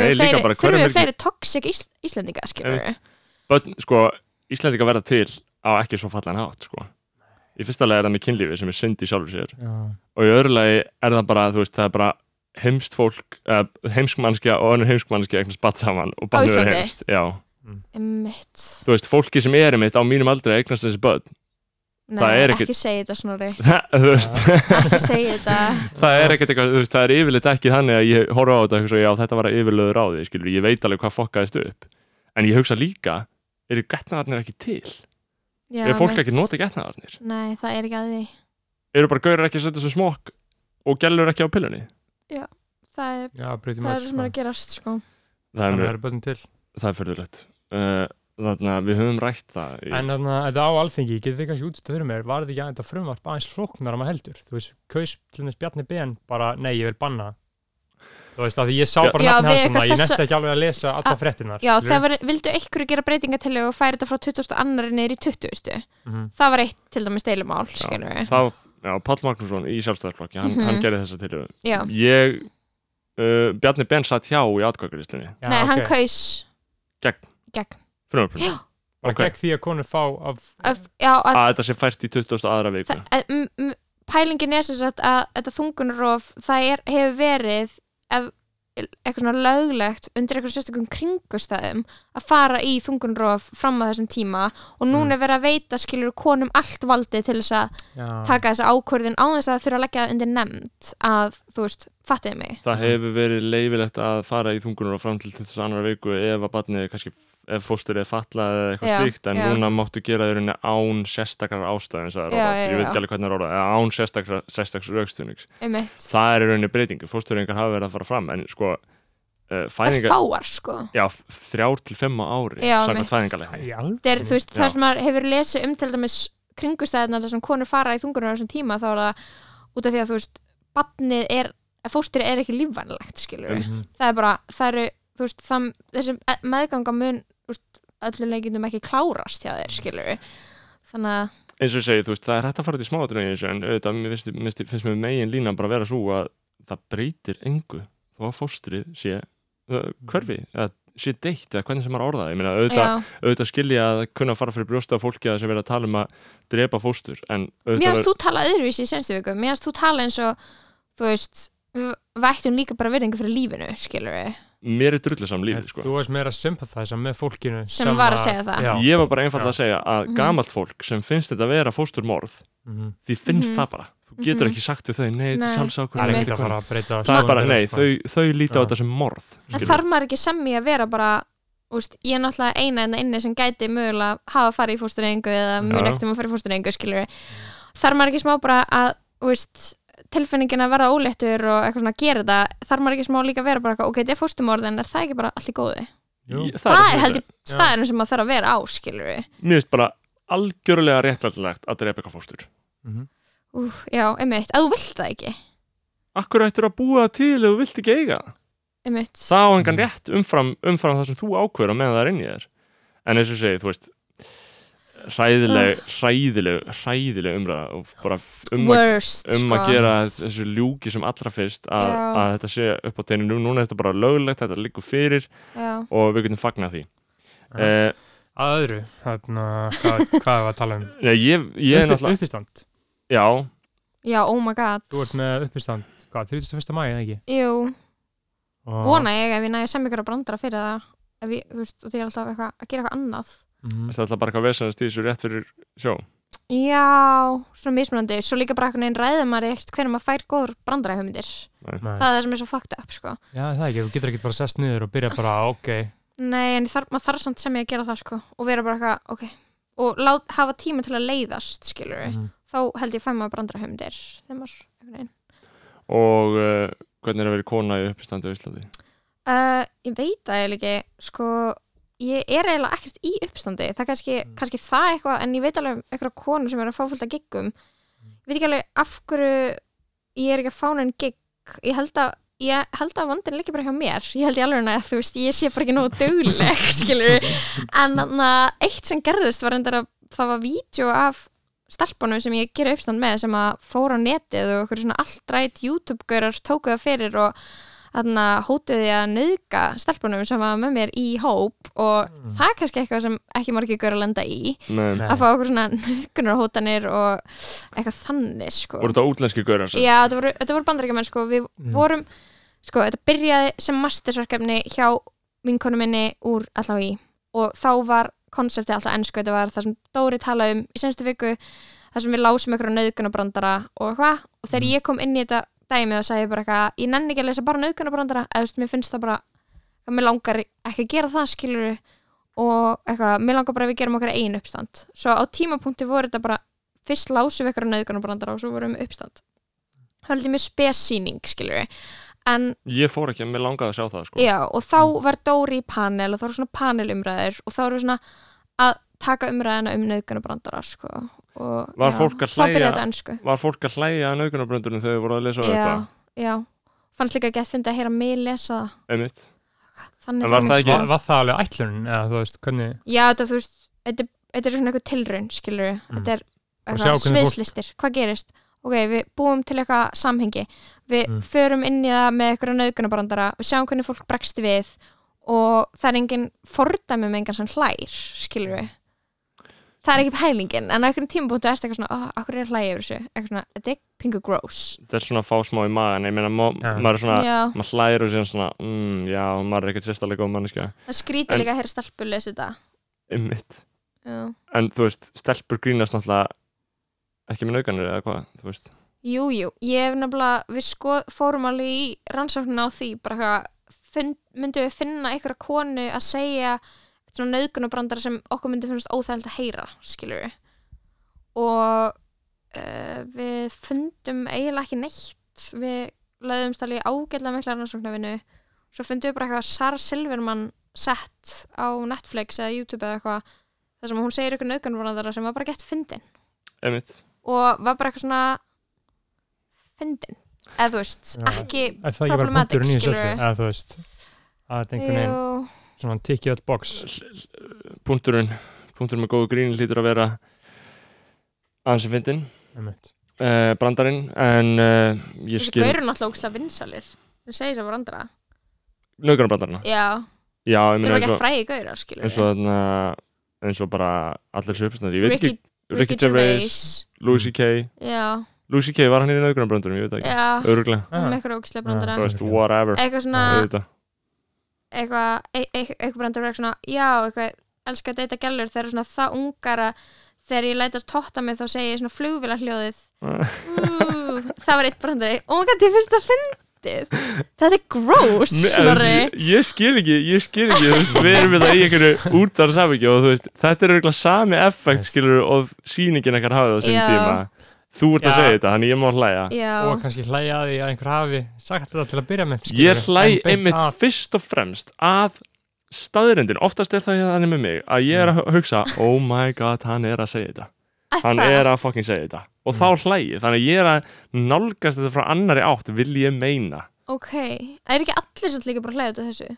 Nei, við líka fleiri, bara, þurfum hverjum er við ekki- fleiri toxic ís, íslendinga skilur Bönn, sko, Íslendinga verða til á ekki svo fallan hátt, sko. Í fyrsta lega er það með kynlífi sem er syndi sjálfur sér. já, og í öðru lagi er það bara, þú veist, það er bara heimst fólk, uh, heimskmannskja og önnur heimskmannskja eignast batt saman og bannur Íslandi? er heimst, já, mitt, þú veist, fólki sem er mitt á mínum aldrei að eignast þessi börn, nei, Það er ekki, ekki- segja þetta snorri þú veist ekki segja þetta það er ekkert eitthvað, þú veist, það er yfirleitt ekki þannig að ég horfa á þetta og hugsa, já, þetta var að yfirlöður á því, skilur, ég veit alveg hvað fokkaðist upp en ég hugsa líka, eru getnaðarnir ekki til, Já, eru fólk mitt. ekki að nota getnaðarnir, nei, það er ekki að því eru bara gaurar ekki að setja svo smokk og gælur ekki á pillunni það er, já, breytum öll það er sem sko. er að gerast sko. það er, þannig mjög- er börn til það er fyrirlegt uh, þannig að við höfum rætt það í- En þannig að þetta á alþingi, getið þið kannski útstætt fyrir mér, var þetta ekki að þetta frumvarp aðeins flóknar að maður heldur? Þú veist, kaus til þess Bjarni Ben bara, nei, ég vil banna. Þú veist, að því ég sá bara Já, nafni við hans svona, eitthvað ég þessa- nefndi ekki alveg að lesa alla fréttinar. já, það var, vildu ykkur gera breytingatilegu og færi þetta frá 2002 niður í 20. Mhm. það var eitt til dæmis deilumál skilur við það, já, Páll Magnússon í sjálfstæðarflokki hann, Mhm. hann gerði þessa tilhjóðu já. ég, uh, Bjarni Ben satt hjá í atkvækjuristinni, nei, hann kaus Gegn. gegn frumöfnum Bara ok. gegn því að konur fá af, Öf, já, að, að þetta sé fært í 20. aðra viku það, að, m, m, pælingin er sem sagt að þetta þungunrof það er, hefur verið ef, eitthvað svona löglegt undir eitthvað sérstökum kringustæðum að fara í þungunróf fram að þessum tíma og núna er verið að veita skilur konum allt valdið til þess Ah. að já, taka þessa ákvörðin á þess að þurfa að leggja það undir nefnd að þú veist, fattiði mig Það hefur verið leifilegt að fara í þungunur og fram til 22. viku ef að barnið, kannski ef fóstur er fallað eða eitthvað Já, slíkt, en já. núna máttu gera þér unni án sérstakar ástæðum, sagði Já, Róðar, já, ég veit já. ekki alveg hvernig er Róðar, eða án sérstakar, sérstakars raukstunings. um Það er í rauninni breytingu, fóstureyingar hafa verið að fara fram, en sko, uh, er fæðingar, fáar sko já, þrjár til fimm á ári, Já, samkvæmt mitt. fæðingarleikni. í alveg Þeir, þú veist, Mhm, Já. þar sem maður hefur lesið um til dæmis kringustæðina þar sem konur fara í þungunum á þessum tíma þá er það út af því að þú veist batnið er, fóstri er ekki lífvænlegt skilur við, Mhm. það er bara það eru, þú veist, það, þessi meðganga mun, þú veist, öllum leikindum ekki klárast hjá þeir skilur við þannig að, eins og ég segi, þú veist, það er hægt að fara til smáatröðin eins og en auðvitað, mér finnst, finnst, finnst mér megin lína bara að vera svo að það breytir engu þó að fóstrið sé uh, hverfi, eða sé deitt eða hvernig sem maður orða það, ég meina auðvitað, já, auðvitað skilja að kunna fara fyrir brjósta á fólki að sem vera að tala um að drepa fóstur, en mér auðvitað finnst þú tala öðruvísi í senstu viku, mér finnst þú tala eins og þú veist, við vættum líka bara virðingu fyrir lífinu, skilur við mér er drullusam En lífið, sko þú varst meira að sympathize með fólkinu Sem var að segja það. já, ég var bara einfalda Já. að segja að Mhm. gamalt fólk sem finnst þetta vera fósturmorð, mhm. því finnst Mhm. það bara þú getur Mhm. ekki sagt við þau, nei, þetta Nei. er sjálfsákvörðun, það er Einmitt. ekki að fara að breyta það er bara, skoðun nei, þeirra, sko. þau, þau líta á Já. þetta sem morð en skilurðu. þarf maður ekki semmi að vera bara úst, ég er náttúrulega eina en inni sem gæti mögulega hafa farið í fóstureyingu Já, eða mun já. ekkert um að fara í fóstureyingu skilur þarf maður ekki smá bara að úst, tilfinningin að verða óléttur og eitthvað svona að gera þetta þarf maður ekki smá líka að vera bara eitthvað, ok, þetta er fóstumorð en er það ekki bara allt í góðu Jú. Ég- það, það er sem ég- heldur staðinu sem maður þarf að vera á skilur mér finnst bara algjörlega réttlætilegt að drepa eitthvað fóstur Mhm. Úf, já, einmitt, að þú vilt það ekki Akkur ættir að búa það til ef þú vilt ekki eiga það? einmitt, það á Mm. engan rétt umfram, umfram það sem þú ákveður að meðan það er inn í þér en eins og ég segi, þú veist hræðileg, hræðileg hræðileg umræða og bara um að, Ah. worst um að sko. gera þessu ljúki sem allra fyrst að, Já. að þetta sé upp á teginu nú, núna er þetta bara löglegt, þetta liggur fyrir já, og við getum fagnað því Ah. Já. eh, að öðru, þarna hvað, hvað var að tala um nei, ég, ég er Uppi- náttúrulega uppistand, já, já, oh my god þú ert með uppistand hvað, 31. mæ eða ekki jú, Og- vona ég ef ég næði sem ykkur að brandara fyrir það ef ég, þú veist, og því er alltaf eitthvað að gera eitthvað annað Mhm. þetta er alltaf bara eitthvað vesenast í þessu rétt fyrir sjó Já, svona mismunandi Svo líka bara einhvern veginn ræðum maður ekkert hvernig maður fær góður brandaræðhugmyndir Nei. Það er það sem er svo fucked up, sko já, það er ekki, þú getur ekki bara sest niður og byrja bara, ok Nei, en þar, maður þarf samt sem ég að gera það, sko Og vera bara eitthvað, ok Og lát, hafa tíma til að leiðast, skilur við mhm. Þá held ég fæ maður brandaræðhugmyndir Þegar maður, einhvern veginn og uh, hvernig er að vera kona í uppstandi á Íslandi uh, Ég veit það eiginlega ekki, sko Ég er eiginlega ekkert í uppstandi Það er kannski, kannski það eitthvað En ég veit alveg um einhverja konu sem er að fá fullt að giggum Ég veit ekki alveg af hverju Ég er ekki að fá neinn gigg Ég held að Ég held að vandinn liggi bara hjá mér Ég held í alveg að þú veist Ég sé bara ekki nógu döguleg skilur En þarna eitt sem gerðist var endara Það var vídeo af stelpunum sem ég gera uppstand með sem að fór á netið og okkur svona alltrætt YouTube-görar tóku það fyrir og þarna hótuði að nauðka stelpunum sem var með mér í hóp og það er kannski eitthvað sem ekki margir görar lenda í Mm. Nei. Nei. að fá okkur svona nöðkunarhótanir og eitthvað þannig sko. voru þetta útlenski gaurar sem- Já, þetta voru, þetta voru bandaríkjumenn sko. við Mm. Mm. vorum, sko, þetta byrjaði sem mastersverkefni hjá vinkonu minni úr allá í og þá var konseptið alltaf ennsku þetta var það sem Dóri talaði um í senstu viku það sem við lásum ykkur á nöðkunabrandara og hvað, og þegar ég kom inn í þetta dæmið og sagði ég bara eitthvað, ég nenni ekki að lesa bara nöðkunabrandara, eða þú veist, mér finnst það bara að mér langar ekki að gera það skilur og eitthvað, mér langar bara að við gerum okkar einu uppstand svo á tímapunkti voru þetta bara fyrst lásum við eitthvað nöðkunabrandara og svo vorum við uppstand það var lítið mjög spesýning skilur en ég fór ekki en mér langaði að sjá það sko. Já, og þá var Dóri í panel og þá var svona panelumræður og þá erum við svona að taka umræðina um nöðgunabrandara sko. og, Var já, fólk að þá byrjaði hlæja? þetta ensku var fólk að hlæja að naukunabröndunum þegar þau voru að lesa um já, eitthvað já, fannst líka ekki að finna að heyra mig lesa það. einmitt En þannig var það ekki- var, var það alveg ætlun eða þú veist, hvernig Já, þetta, þú veist, þetta, þetta er svona eitthvað tilraun skilur við, Mm. þetta er Og eitthvað sjá hvernig fólk- sviðslistir, hvað gerist ok, við búum til eitthvað samhengi við Mm. förum inn í það með eitthvað nöðgunabrandara við sjáum hvernig fólk bregst við um og það er engin fordæmi með engan sem hlær skilur við það er ekki pælingin en á einhverjum tímapunktu ertu eitthvað svona oh, akkur er hlægi yfir þessu, eitthvað svona þetta er pingu gross þetta er svona að fá smá í magan ég meina, ma Já. maður er svona já, maður hlæðir og síðan svona mm, já, maður er ekkert sérstaklega góð manneskja það skrýti En- líka að heyra stelpur lesa þetta einmitt, já. en þú veist, stelpur grínast náttúrulega ekki með naukanir eða hvað, þú veist jú, jú, ég hef nefnilega við sko, fórum alveg í rannsóknina á því bara hvað finn- myndum við finna einhverja konu að segja svona nöðgunabrandara sem okkur myndi finnast óþægild að heyra skilur við og uh, við fundum eiginlega ekki neitt við lögðumst alveg í ágætlega mikla rannsóknarvinu svo fundum við bara eitthvað Sara Silverman sett á Netflix eða YouTube eða eitthvað þar sem hún segir eitthvað nöðgunabrandara sem var bara gett fyndin einmitt, og var bara eitthvað svona fyndin eða þú veist, Já. ekki Er það ekki bara Problematic, punkturinn í þessu öllu? skilurðu. Eða þú veist, að þetta einhvern veginn Jú. svona tikkið all box punkturinn punkturinn með góðu grín hlýtur að vera aðeins að fyndin einmitt. uh, brandarinn en uh, ég þessi skil gaurur náttúrulega ógislega vinsalir þú segir þess að brandara naukanir brandarina já, já, ég þú er meina ekki eins að og fræði gaurar skilur eins og þarna eins og bara allir sér uppstæðar ég veit Ricky, ekki, Ricky Gervais, Louis C.K. já, Louis C.K. var hann í naukanir brandarinn, ég veit það ekki já, öruglega, með Ah, eitthvað ógislega Já. brandara þú veist, whatever eitthvað svona auðvitað eitthvað, e- e- eitthvað brandar verið svona, já, eitthvað elska að deyta gælur, þeir eru svona það ungara þegar ég lætast totta mig þá segi ég svona flugvila hljóðið það var eitt brandari, oh my god, ég finnst það fyndið, þetta er gross Nei, þú veist, snorri, ég, ég skil ekki, ég skil ekki þú veist, við erum við það í einhverju útar samvikið og þú veist, þetta er auðvitað sami effekt Veist. skilur og sýningin ekkert hafið á Já. þessum tíma þú ert Já. að segja þetta, þannig ég má hlæja og já kannski hlæja að því að einhver hafi sagt þetta til að byrja með skilurðu, ég hlæ en beint einmitt að- fyrst og fremst að staðurindin, oftast er það þannig með mig að ég er að hugsa, oh my god hann er að segja þetta, Æ, hann það. er að fucking segja þetta og þá hlæ ég, þannig að ég er að nálgast þetta frá annari átt, vil ég meina ok, er ekki allir svolítið líka bara hlæðið út af þessu,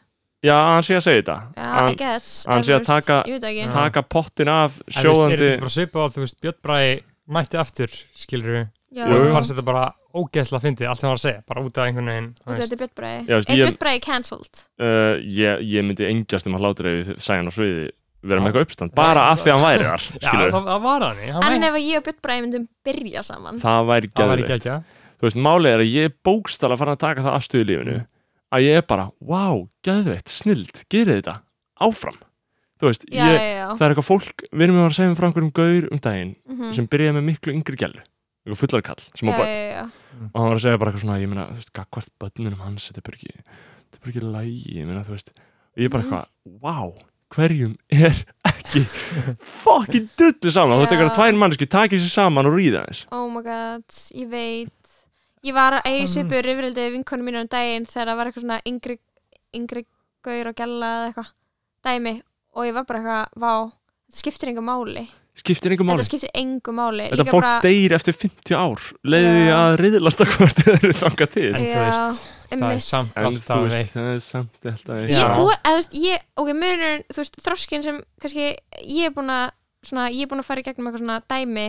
já, að hann sé að segja þetta já, I hann, guess hann en sé þú að veist, taka- ég veit það Já. ekki, taka pottin af En þú veist, er þetta sjóðandi ekki bara svipa á þú veist Björn Bræði mætti aftur skilur við já, og Jú, þú jú. fannst þetta bara ógeðslega fyndið allt sem hann var að segja, bara út af einhvern veginn þú út af veist. þetta er bjöttbræði, Já, er veist, ég- bjöttbræði cancelled, uh, ég, ég myndi engjast um að hlátur ef ég sæði hann á sviði vera Já. með eitthvað uppstand, bara af því að hann væri þar Já, skilur, það, það var hann í, hann en mætti ef að ég og bjöttbræði myndum byrja saman, það væri það var ekki geðvikt ekki þú veist, málið er að ég er bókstala farin að taka það afstöðu í lífinu að ég er bara, wow, geðvikt, snild gerið þetta, áfram þú veist, já, ég, já, já það er eitthvað fólk við erum að segja frá einhverjum gaur um daginn mhm. sem byrjaði með miklu yngri gælu eitthvað fullar kall, sem já, á já, börn já, já. og hann var að segja bara eitthvað svona, ég meina, þú veist, gagvart börnunum hans, þetta er bara ekki, þetta er bara ekki lægi, ég meina, þú veist, og ég bara Mhm. eitthvað, wow, hverjum er ekki fucking drullu saman, þú veist, Já. eitthvað tvær manneski takir sér saman og ríða þess. Oh my god, ég veit Ég var að eigi Mm. svipu rifrildi við vinkonu mínu um daginn þegar það var eitthvað svona yngri, yngri gaur og gælla eða eitthvað dæmi og ég var bara eitthvað, vá þetta skiptir engu máli, Skiptir einhver máli. þetta skiptir engu máli Þetta fólk deyr eftir 50 ár, leiði Já. að riðlast að hvort þið eru þangað en til. þú Já, veist, það er einmitt. samt En þú alltaf veist, veitt það er samt alltaf ég, Já. þú, eða, þú veist, ég, ok, munurinn, þú veist, þroskin sem kannski ég er búin að svona, ég er búin að fara í gegnum eitthvað svona dæmi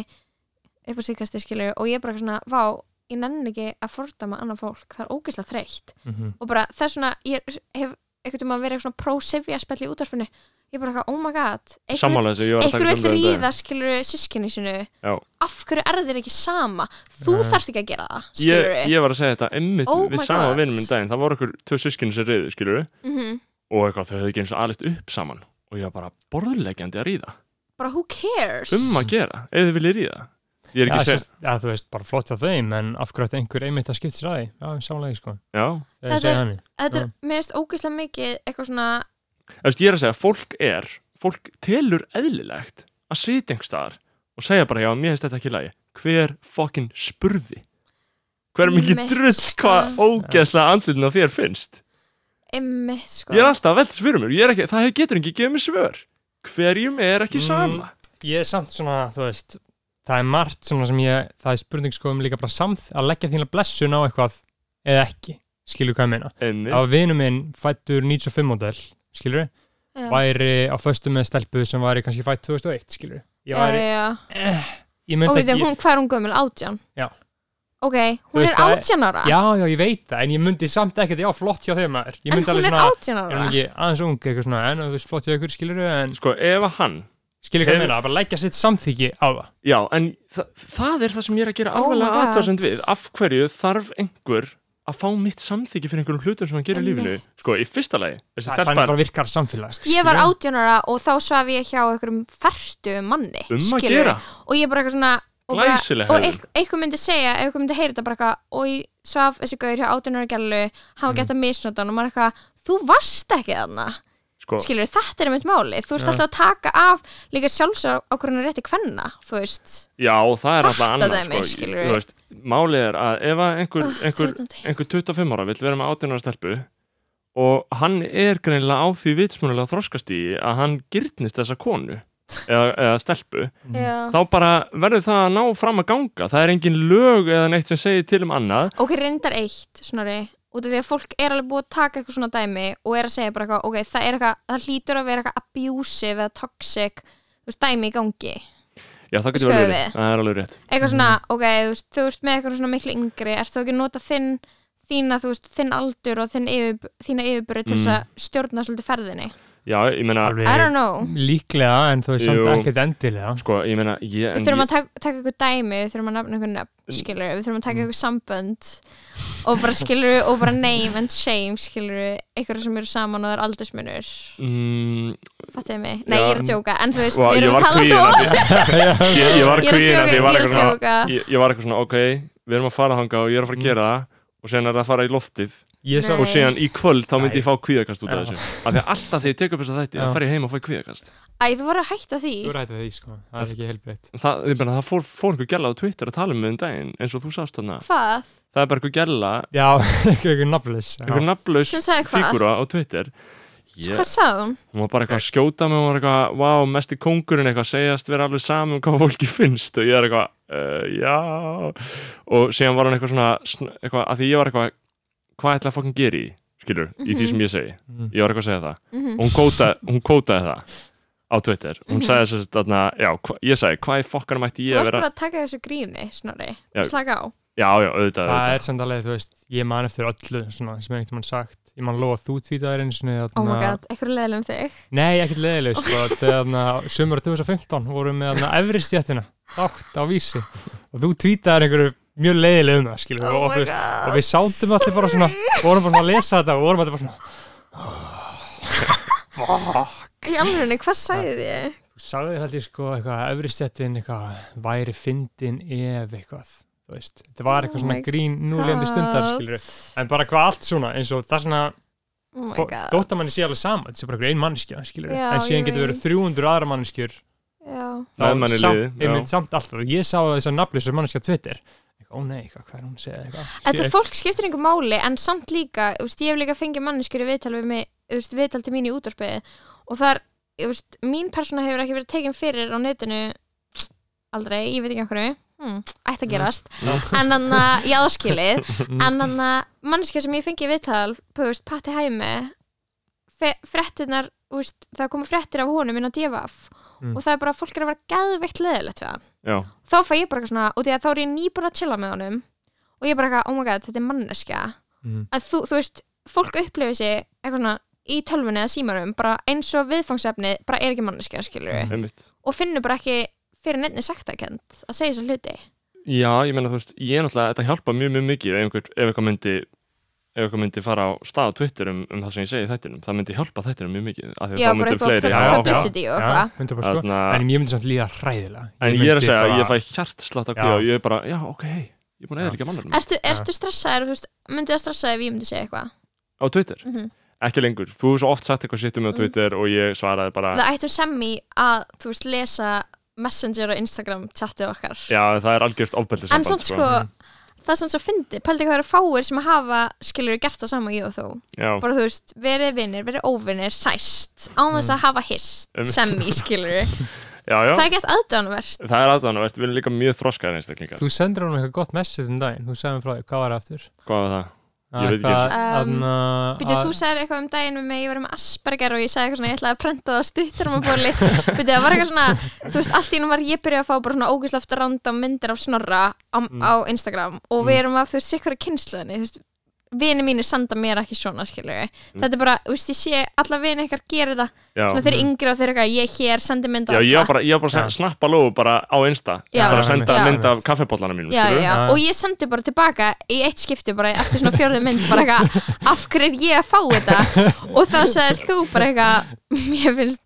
upp á síðkasti skilur og ég er bara eitthvað svona, vá, ég nenni ekki að fordama annað fólk, það er ógeðslega þreytt Mhm. og bara þess vegna, ég hef einhvern veginn að vera svona pro-sivja spell í útvarpinu ég er bara eitthvað, oh my god einhver- sammála þessu, ég var að taka einhver vill um daginn. ríða skilur sískinni sinu Já. af hverju er þeir ekki sama þú Já. þarft ekki að gera það, skilur Ég, ég var að segja þetta, emmitt, Oh við my sama God. vinnum um daginn, það voru okkur tvö sískinu sem riðu, skilur Mhm. og eitthvað þau hefðu ekki eins og alist upp saman og ég var bara borðleggjandi að ríða bara who cares um að gera, ef þið viljið ríða ég er Já, ekki að segja, sérst- já, þú veist, bara flott á þeim en af hverju ætti einhver einmitt að skipta sér að því já, samlega, sko, já, þegar ég Það segja er- hann þetta er, Já. mér finnst ógeðslega mikið eitthvað svona, eftir ég er að segja fólk er, fólk telur eðlilegt að sitja einhver staðar og segja bara já, mér finnst þetta ekki í lagi hver fokkin spurði hver mikið Mitt, drull hvað sko. ógeðslega andlutin á þér finnst emmi, sko ég er alltaf að veltast fyrir mér, ég er ekki, það getur ekki gefið mér svör hverjum er ekki Mm. sama ég er samt svona, þú veist það er margt svona sem ég, það er spurning sko um líka bara samð að leggja þína blessun á eitthvað eða ekki, skilur hvað ég meina Einmitt. að vinu minn fættur 95 model skilur, Já. væri á föstu með stelpu sem væri kannski fætt 2001 skilur, ég já, væri já, já. ég myndi ok, ekki, þegar Eh, hún, hvað er hún gömul, átján Já. ok, Þú hún veist, er það er- átján ára já, já, ég veit það en ég myndi samt ekkert, já, flott hjá þeim maður ég en myndi hún alveg er svona, átján er hún ára ekki aðeins ung eitthvað svona, en þú veist, flott hjá ykkur skilur en, sko, ef að hann skilur hvað Hefur- ég meina, að bara leggja sitt samþyggi á það Já, en þa það er það sem ég er að gera Oh my alvarlega God. aðtöðsend við. Af hverju þarf einhver að fá mitt samþyggi fyrir einhverjum hlutum sem hann gerir í lífinu? Einmitt. Sko, í fyrsta lagi, þessi það þannig stelpa bara virkar samfélagast ég var átjónara og þá svaf ég hjá einhverjum færtu manni um að skilurðu. gera og ég bara eitthvað svona og, bara, Glæsileg og hegðun. eitth- eitthvað myndi segja, ef eitthvað myndi heyra þetta bara eitthvað og ég svaf þessi gaur hjá átjónara gælu Mm. hafa gett að misnota hann og maður eitthvað þú varst ekki þarna, sko, skilur þetta er mitt máli, þú ert Já. alltaf að taka af líka sjálfsög okkur hann rétti kvenna þú veist, já, og það er alltaf Fatta annað dæmi, sko, skilur ég- við. Ah, þú veist, málið er að ef að einhver, Ugh, einhver, þreytandi. einhver 25 ára vill vera með 18 ára stelpu og hann er greinilega á því vitsmunulega þroskastíi að hann gyrnist þessa konu eða, eða stelpu já þá bara verður það að ná fram að ganga það er engin lög eða neitt sem segir til um annað ok, reyndar eitt, snorri út af því að fólk er alveg búið að taka eitthvað svona dæmi og er að segja bara eitthvað, ok, það er eitthvað það hlýtur að vera eitthvað abusive eða toxic þú veist, dæmi í gangi já það getur Skoðum verið við. rétt. það er alveg rétt eitthvað svona, Mhm. ok, þú veist, þú veist með eitthvað svona miklu yngri, ert þú ekki að nota þinn þína, þú veist, þinn aldur og þinn yfir, þína yfirburði til þess Mm. að stjórna svolítið ferðinni, já ég meina I don't know líklega en þú veist samt Jú. ekkert endilega sko ég meina ég, en við þurfum ég, að taka, taka eitthvað dæmi, við þurfum að nafna eitthvað nöfn skilur, við þurfum Mhm. að taka eitthvað sambönd og bara skilur, og bara name and shame, skilur, eitthvað sem eru saman og það er aldursmunur, mm, fattuðu mig nei, Já. ég er að djóka, en þú veist, Vá, við ég erum var að tala kvíðin að um því ég, ég var Ég er að kvíðin að djóka, því ég var ég er eitthvað að svona djóka. ég, ég var eitthvað svona ok við erum að fara þanga og ég er að fara að gera það og síðan er það að fara í loftið ég sá Nei. og síðan í kvöld þá myndi ég fá kvíðakast út af Já. þessu af því að alltaf þegar ég tek upp þess að þætti Já. þá fara ég heim og fæ kvíðakast æ, þú voru að hætta því þú rætið því sko, það er ekki helbreytt það, ég meina, það fór, fór einhver gæla á Twitter að tala um mig um daginn eins og þú sást þarna hvað, það er bara einhver gæla já, eitthvað nafnlis einhver nafnlaus Sem sagði hvað? fígúra á Twitter ég, hvað sagði hún hún var bara eitthvað að skjóta mig hún var eitthvað, vá, mest í kongurinn eitthvað segjast vera alveg saman um hvað fólki finnst og ég er eitthvað, uh, já og síðan var hann eitthvað svona sn- eitthvað, að því ég var eitthvað, hvað ætla að fokkin gera í skilur, í því sem ég segi Mhm. ég var eitthvað að segja það og hún kótaði, hún kótaði það á Twitter, hún Mhm. sagði þess að já, hva, ég sagði, hvað í fokkar mætti þú ég að varst vera, bara að taka þessu gríni, snorri, Já. slaka á já, já, auðvitað, það auðvitað. er samt alveg, þú veist, ég man eftir öllu svona, sem ég eitthvað sagt, ég man lofa að þú tvítaðir eins og Oh my god, eitthvað leðilega um þig Nei, ekkert leiðileg sko, þegar sömur 2015 vorum við þarna efri stjættina átt á vísi og þú tweetaðir einhverju mjög leiðileg um það skilur, Oh og, my og, god. og við sátum allir bara svona vorum bara svona að lesa þetta og vorum allir bara svona Í alveg, hvað sagði þið? þú sagði þetta allir sko eitthvað efri stjættin eitthvað væri fyndin ef eitthvað þú veist, þetta var Oh eitthvað svona my grín núlegandi stundar skilur, en bara hvað allt svona eins og það svona Oh my god þótt að manni sé alveg saman, þetta sé bara einhver ein manneskja skilur, Já, en ég síðan getur veit. verið 300 aðra manneskjur Já, þá Með manni í samt, liði, já. einmitt samt alltaf ég sá þessar nafnlisur manneskja á Twitter Eitthvað, ó nei, hvað, hvað er hún að segja eitthvað Þetta Shit. fólk skiptir einhver máli en samt líka, þú veist, ég hef líka fengið manneskjur í viðtal við mig, þú veist, viðtal til mín í útvarpiði og það er, þú veist, mín persóna hefur ekki verið tekin fyrir á netinu aldrei, ég veit ekki okkur hmm, ætti Mm. að gerast, en þannig að ég aðskilið, en þannig að manneskja sem ég fengi í viðtal, þú veist, Patti Hæmi fe- fréttirnar, þú veist, það komu fréttir af honum inn á divaf Mm. og það er bara, fólk er að vera geðveikt leðilegt við hann já, þá fæ ég bara eitthvað svona, út í að þá er ég nýbúin að chilla með honum og ég bara eitthvað, oh my god, þetta er manneskja Mhm. að þú, þú veist, fólk upplifir sig eitthvað svona í tölvunni eða símanum bara eins og viðfangsefni, bara er ekki manneskja skilur við, einmitt og finnur bara ekki fyrir nefni sektakend að segja þessar hluti Já, ég meina þú veist, ég er náttúrulega, þetta hjálpa mjög, mjög mikið ef einhver, ef einhver myndi ef einhver myndi fara á stað á Twitter um, um það sem ég segi í þættinum, það myndi hjálpa þættinum mjög mikið, af því að Já, þá bara myndi upp á fleiri pub- hafa áhuga. publicity og Já, eitthvað. 100% sko. Þarna- en ég myndi samt líða hræðilega En ég er að myndi segja, bara- ég fæ hjartslátt Já. af kvíða og ég er bara, já, ok, hei ég er búin að eða ekki mannum Ertu, ertu stressaður, þú veist, myndi það stressa ef ég myndi segja eitthvað á Twitter, Mhm. Mm. ekki lengur þú hefur svo oft sagt eitthvað sittum á Twitter og ég svaraði bara, Það ættum semmi að, þú veist, lesa Messenger og Instagram chatið okkar já, það er algjört ofbeldi En samt sko, það sem svo fyndi, pældi hvað eru fáir sem hafa, skilur við gert það sama ég og þú Já, bara þú veist, verið vinnir, verið óvinnir sæst, án þess að hafa hist Mm. Einmitt. sem í skilur já, já, það er gett aðdánverst það er aðdánavert við erum líka mjög þroskaðar einstaklingar þú sendur hún eitthvað gott message um daginn þú segir mér frá því, hvað var það aftur hvað var það? Ég veit ekki. Um, Býtu, þú ekki sagðir eitthvað um daginn með mig, ég var með Asperger og ég sagði eitthvað svona, ég ætlaði að prenta það á stuttarmabóli Býtu, það var eitthvað svona, þú veist, allt í nú var ég byrjuð að fá bara svona ógislaft Mm. random myndir af snorra á, á Instagram og við erum af, þú veist, sikkur að kynsluðinni, þú veist, vini mínu sanda mér ekki svona skilur þetta er bara, þú veist, ég sé alla vini ykkar gera þetta, Mm. já. svona þeir eru yngri og þeir eru eitthvað ég er hér, sendi mynd á Já, ég var alla. bara, ég var bara Já. að senda- snappa lógu bara á Insta Já. bara að senda Já. mynd af kaffebóllarna mínum já, já, skilurðu? já. Já. og ég sendi bara tilbaka í eitt skipti bara eftir svona fjörðu mynd bara eitthvað, af hverju er ég að fá þetta og þá sagðir þú bara eitthvað mér finnst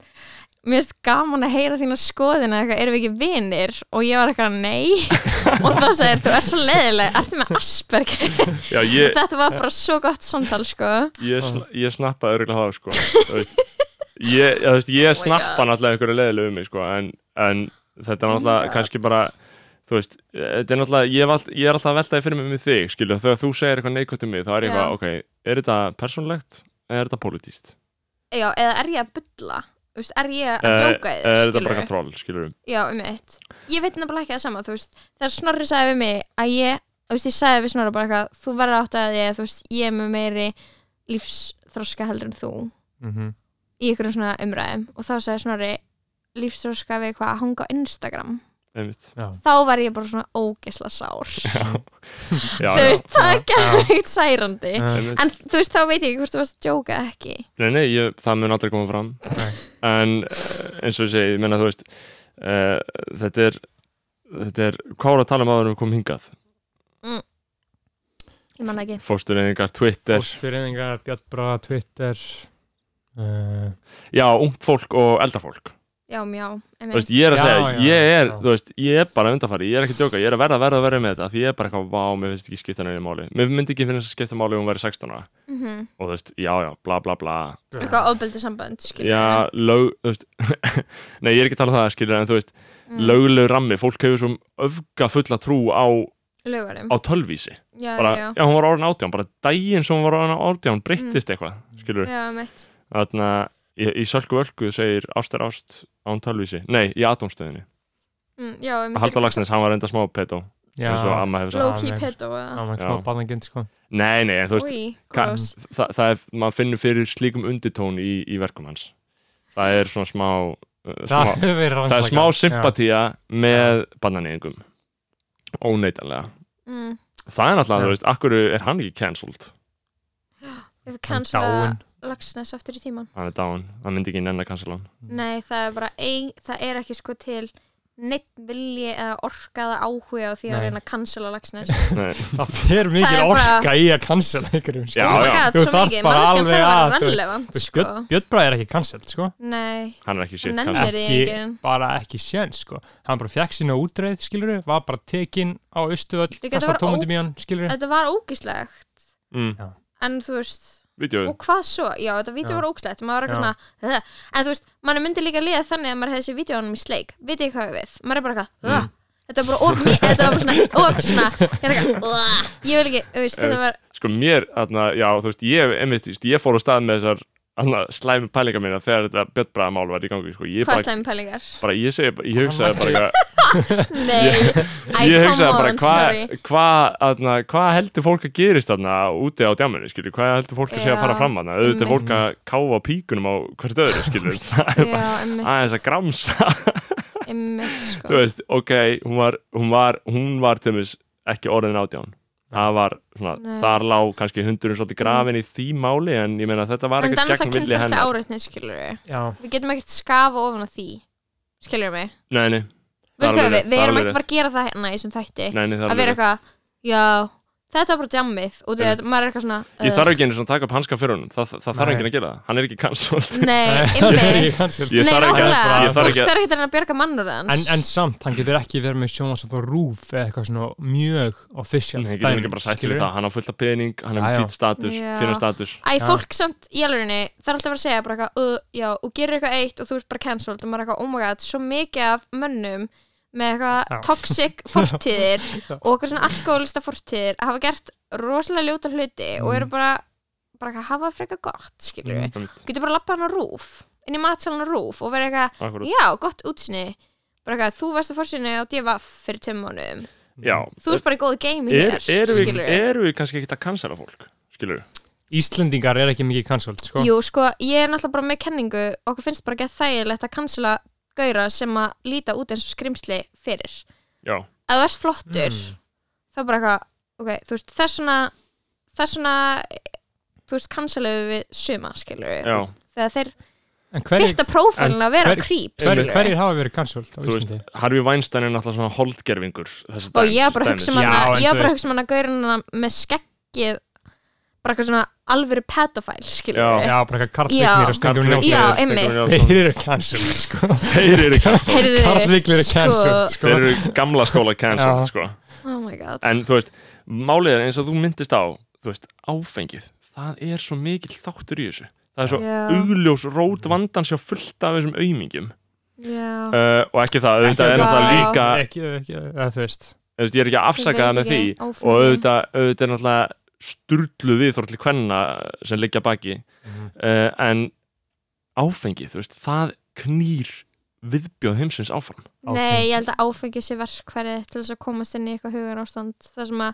Mér finnst gaman að heyra þína skoðina eitthvað, erum við ekki vinir? Og ég var eitthvað, nei. og þá sagðir, þú ert svo leiðileg, ertu með Asperger? já ég, Þetta var bara svo gott samtal, sko. ég, sn- ég snappa örgulega það sko Þú veist, ég, já, þú veist, Oh ég snappa náttúrulega einhverju leiðilegu um mig sko en, en þetta er Oh náttúrulega kannski bara þú veist, þetta er náttúrulega ég, vald, ég er alltaf að veltaði fyrir mig með þig skilju, þegar þú segir eitthvað neikvæmt um mig þá er ég Já. eitthvað, ok, er þetta persónlegt eða er þetta pólitíst? Já, eða er ég að bylla? Þú veist, er ég að Eða djóka í eða er þér, Eh, þetta bara skilurðu? eitthvað troll, skilju Já, um eitt. Ég veit nefnilega ekki það sama, þú veist, þegar Snorri sagði við mig að ég, þú veist, ég sagði við Snorri bara eitthvað, þú verður átt að ég, þú veist, ég er með meiri lífsþroska heldur en þú Mhm. í ykkur svona umræðum og þá sagði Snorri lífsþroska við hvað að hanga á Instagram. einmitt Þá var ég bara svona ógesla sár. já, þú já, veist, það er gæðveikt særandi. Já. einmitt. En þú veist, þá veit ég ekki hvort þú varst að djóka eða ekki. Nei, nei, ég, það mun aldrei koma fram Nei. En eh, eins og ég segi, ég meina þú veist uh, Þetta er Þetta er, hvað voru að tala um áður en við komum hingað? Ég man það ekki. Fóstureyðingar, Twitter Póstureyðingar, Björn Braga, Twitter uh, Já, ungt fólk og eldafólk Já, mjá, um Þú veist, ég er að Já, segja, já, ég er, já. þú veist Ég er bara undanfari, ég er ekki að djóka, ég er að verða, verða, verða með þetta Því ég er bara eitthvað, vá, mér finnst ekki skipta henni máli Mér myndi ekki finnast að skipta máli ef hún væri 16 ára Og þú veist, já, já, bla, bla, bla Mhm. eitthvað ofbeldi sambönd skilur Já, lög, þú veist Nei, ég er ekki að tala um það, skilur, en þú veist Mm. Lögleg rammi, fólk hefur svo öfga fulla trú á lögurum á tölvísi já, bara, já. Mm. já, hún var orðin átján, bara daginn sem hún var orðin átján breyttist eitthvað, skilur já, um mitt þannig að í, í sölku völku segir ást er ást án tölvísi nei, í atómstöðinni, mm, já, mitt Haldur Lagsnes, hann var enda smá pedo Já, eins og amma hefur sagt, Ló- low-key Já, pedo hann var Já. smá barnagind sko nei, nei, en þú veist úi, ka- gross það, það er, maður finnur fyrir slíkum undirtón í, í verkum hans það er svona smá, uh, Það smá hefur verið það er rannsakað. smá sympatía með bannanýðingum óneitanlega mm, það er náttúrulega, Já. þú veist, akkur er hann ekki cancelled við Já. Hann cancela dáinn. lagsnes aftur í tíman hann er dáin, hann myndi ekki nenn að cancella hann Mm. nei, það er bara ein, það er ekki sko til neitt vilji eða orkaða áhuga á því að Nei. reyna að cancela lagsnes nei Það fer Það mikil er bara- orka í að cancela einhverjum sko. Já, oh my já. god, Þú svo þarft mikið, bara alveg manneskjan þarf að að, vera þú veist, relevant Sko. sko Björn Braga er ekki cancelled sko nei, hann er ekki shit hann cancelled. nennir því Ekki- ekki bara ekki sjens sko hann bara fekk sína útreið skiluru var bara tekinn á austuöll Líka þetta kastar var tómundum í hann skiluru þetta var ógislegt mm. en þú veist Vídeóið, og hvað svo, já þetta vídeo Já. var ógslætt Já. maður var eitthvað svona, "Ugh." en þú veist mann myndi líka liða þannig að maður hefði sér vídeoanum í sleik vitið þið hvað ég við, maður er bara eitthvað Mm. "Ugh." þetta var bara of mér, þetta var bara svona of svona, ég er eitthvað, "Ugh." ég vil ekki þú veist, þetta var, sko mér, þarna, já þú veist ég, einmitt, þú veist, ég fór á stað með þessar þarna, slæmi pælingar mína þegar þetta bjöttbræðamál var í gangi, sko, ég hvað bara, slæmi pælingar bara ég segi, bara- ég hugsaði bara eitthvað- nei, Æ, ég come hugsaði bara on, hvað sorry. hva, hva, hva heldur fólk að gerist þarna úti á djáminu, skilju, hvað heldur fólk að sé að Já, fara fram þarna, auðvitað er einmitt. fólk að káfa píkunum á hvert öðru, skilju það er bara já, emmitt, aðeins að gramsa emmitt þú sko. veist, ok, hún var hún var, hún var til mér ekki orðin átján það var svona, Nei. þar lá kannski hundurinn svolítið grafin í því máli en ég meina þetta var en ekkert þannig að gegn villi kynfærslega hennar áreitni skilur við já, við getum ekkert skafa ofan á því skilur mig, nei, nei, við Það er sko alveg við, rétt, við það er erum alveg ekkert að fara að gera það hérna í þessum þætti nei, nei það að er alveg vera eitthvað, já þetta var bara djammið og Einmitt. þetta, maður er eitthvað svona uh, rétt. ég "Ugh." þarf ekki einu svona að taka upp hanska fyrir honum það, það, það þarf Nei. ekki að gera það, hann er ekki kannsvöld Nei, það er ymmið ekki cancelled Ég Nei, þarf ekki að- nákvæmlega, ég þarf ekki að- fólk þarf ekki að reyna að bjarga mannur en, hans en samt, hann getur ekki verið með sjónvarsand og rúf eða eitthvað svona mjög official hann getur ekki bara sætt við skilurðu? það, hann á fullt af pening hann Já, hefur já. fýtt status, Já. fínan status Æ, Já. fólk samt í alvegni Það er alltaf að vera að segja bara eitthvað uh, já, og gerir eitthvað eitt og þú ert bara cancelled og maður er eitthvað, oh my god, svo mikið af mönnum með Já. eitthvað toxic fortíðir og eitthvað svona alkoholista fortíðir hafa gert rosalega ljóta hluti og Mm. eru bara, bara eitthvað, hafa frekar gott, skilur við Einmitt, Getur bara labbað hann á rúf, inn í matsalan á rúf og verið eitthvað, akkúrat. já, gott útsinni bara eitthvað, þú varst að fórsynni á divaf fyrir tömmunum, já, þú ert bara í góðu game er, hér, eru við, skilurðu. erum við kannski ekki að cancela fólk skilur við, Íslendingar er ekki mikið cancelled sko Jú, sko, ég er náttúrulega bara með kenningu okkur finnst bara ekki þægilegt að cancela gauðra sem að líta út eins og skrimsli fyrir. já, Mm. Ef þú ert flottur þá bara eitthvað, ok, þú veist, þess vegna þess vegna þú veist, canceluðu við suma, skilur við já, þegar þeir En hverjir, fyrta prófælun að vera hver- creep, hverjir, skilur hverjir hafa verið cancelled á þú veist, Íslandi? Harvey Weinstein er náttúrulega svona holdgerfingur þessa og dæmis- ég bara dæmis. hugsa um Já, hana en ég þú bara veist- hugsa um hana gaurina með skeggið bara eitthvað svona alvöru pedofæl skilur Já. við Já, bara eitthvað Já. karlvignir og Karl Steingrímur Vignis Já, Njálsson. er- einmitt. Steingrímur Njálsson. Þeir eru cancelled, sko. Þeir eru cancelled. Heyrðu, Karlvignir eru sko, cancelled, sko. Þeir eru gamla skóla cancelled Já. sko. oh my god en þú veist, málið er eins og þú myndist á þú veist, áfengið það er svo mikill þáttur í þessu það er svo um- Já. augljós rót vandans hjá fullt af þessum aumingjum Já. uh, og ekki það, Ekki auðvitað er það. náttúrulega Já. líka Ekki, ekki, eh, eða þú veist. þú veist, ég er ekki að Ég afsaka veit það með því ekki, Mm. áfengi. og auðvitað, auðvitað er náttúrulega sturlu viðþór til kvenna sem liggja að baki Mhm. uh, en áfengi, þú veist, það knýr viðbjóð heimsins áfram Nei, ég held að áfengi sé verkfæri til þess að komast inn í eitthvað hugan ástand þar sem að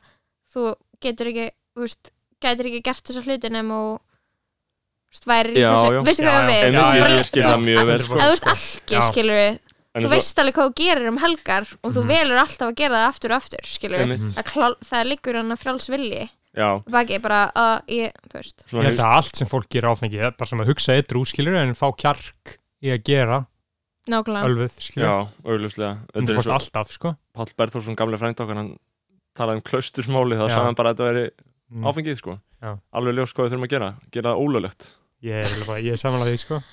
þú getur ekki þú veist, getur ekki gert þessa hluti nema og þú veist, væri í Já, þessu, já. veistu Já, já. hvað ég á við en já, ég, bara- ég skil þú það veist, mjög vel að- sko. Ef þú ert sko. alki, Já. skilur við, En eins þú og- veist alveg hvað þú gerir um helgar og þú Mhm. velur alltaf að gera það aftur og aftur, skilur við. einmitt, Mm. Það, klá- það liggur hann að fráls vilji, já, baki bara að ég, þú veist, Ég svona held að allt sem fólk gerir áfengi er bara sem að hugsa eitthvað útskilur en fá kjark í að gera nákvæmlega. ölfuð, skilur. já, augljóslega En Mm, þetta þú er veist svo alltaf, sko. Pall Berþórsson, gamlega frænd okkar hann talaði um klaustursmáli, Já. það sagði hann bara að þetta veri Mm. áfengið sko Já. alveg ljós hvað við þurfum að gera, gera það ólöglegt Ég er, eiginlega bara- ég er samanlega því, sko.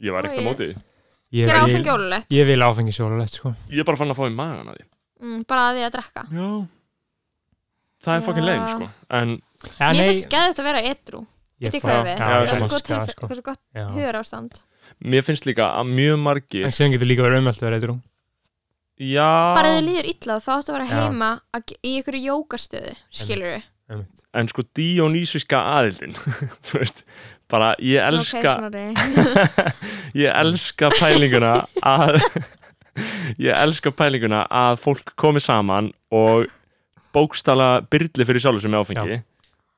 ég var ekkert á Oj. móti því. Ég, Gera ég, áfengi ólulegt, ég vil áfengi sjólulegt, sko. ég er bara fann að fá í magan að því Mm, bara að því að drekka. já það er fokkin Já. leiðin sko en En Mér finnst geðvægt að vera edru. ég Veit ég bara- hvað við? Já, Já, Það ég er svo sammála. gott, elska það, tilfi- sko. hversu gott Já. hugur ástand. mér finnst líka að mjög En margir síðan getur líka verið umhaldið að vera eitthvað. Bara ef já, þið líður illa þá áttu að vera Já. heima að, ge- í einhverju jókastöðu, skilur við. en sko dionýsiska aðildin þú veist, bara ég elska ég elska pælinguna að ég elska pælinguna að fólk komi saman og bókstala byrli fyrir sjálfu sem er áfengi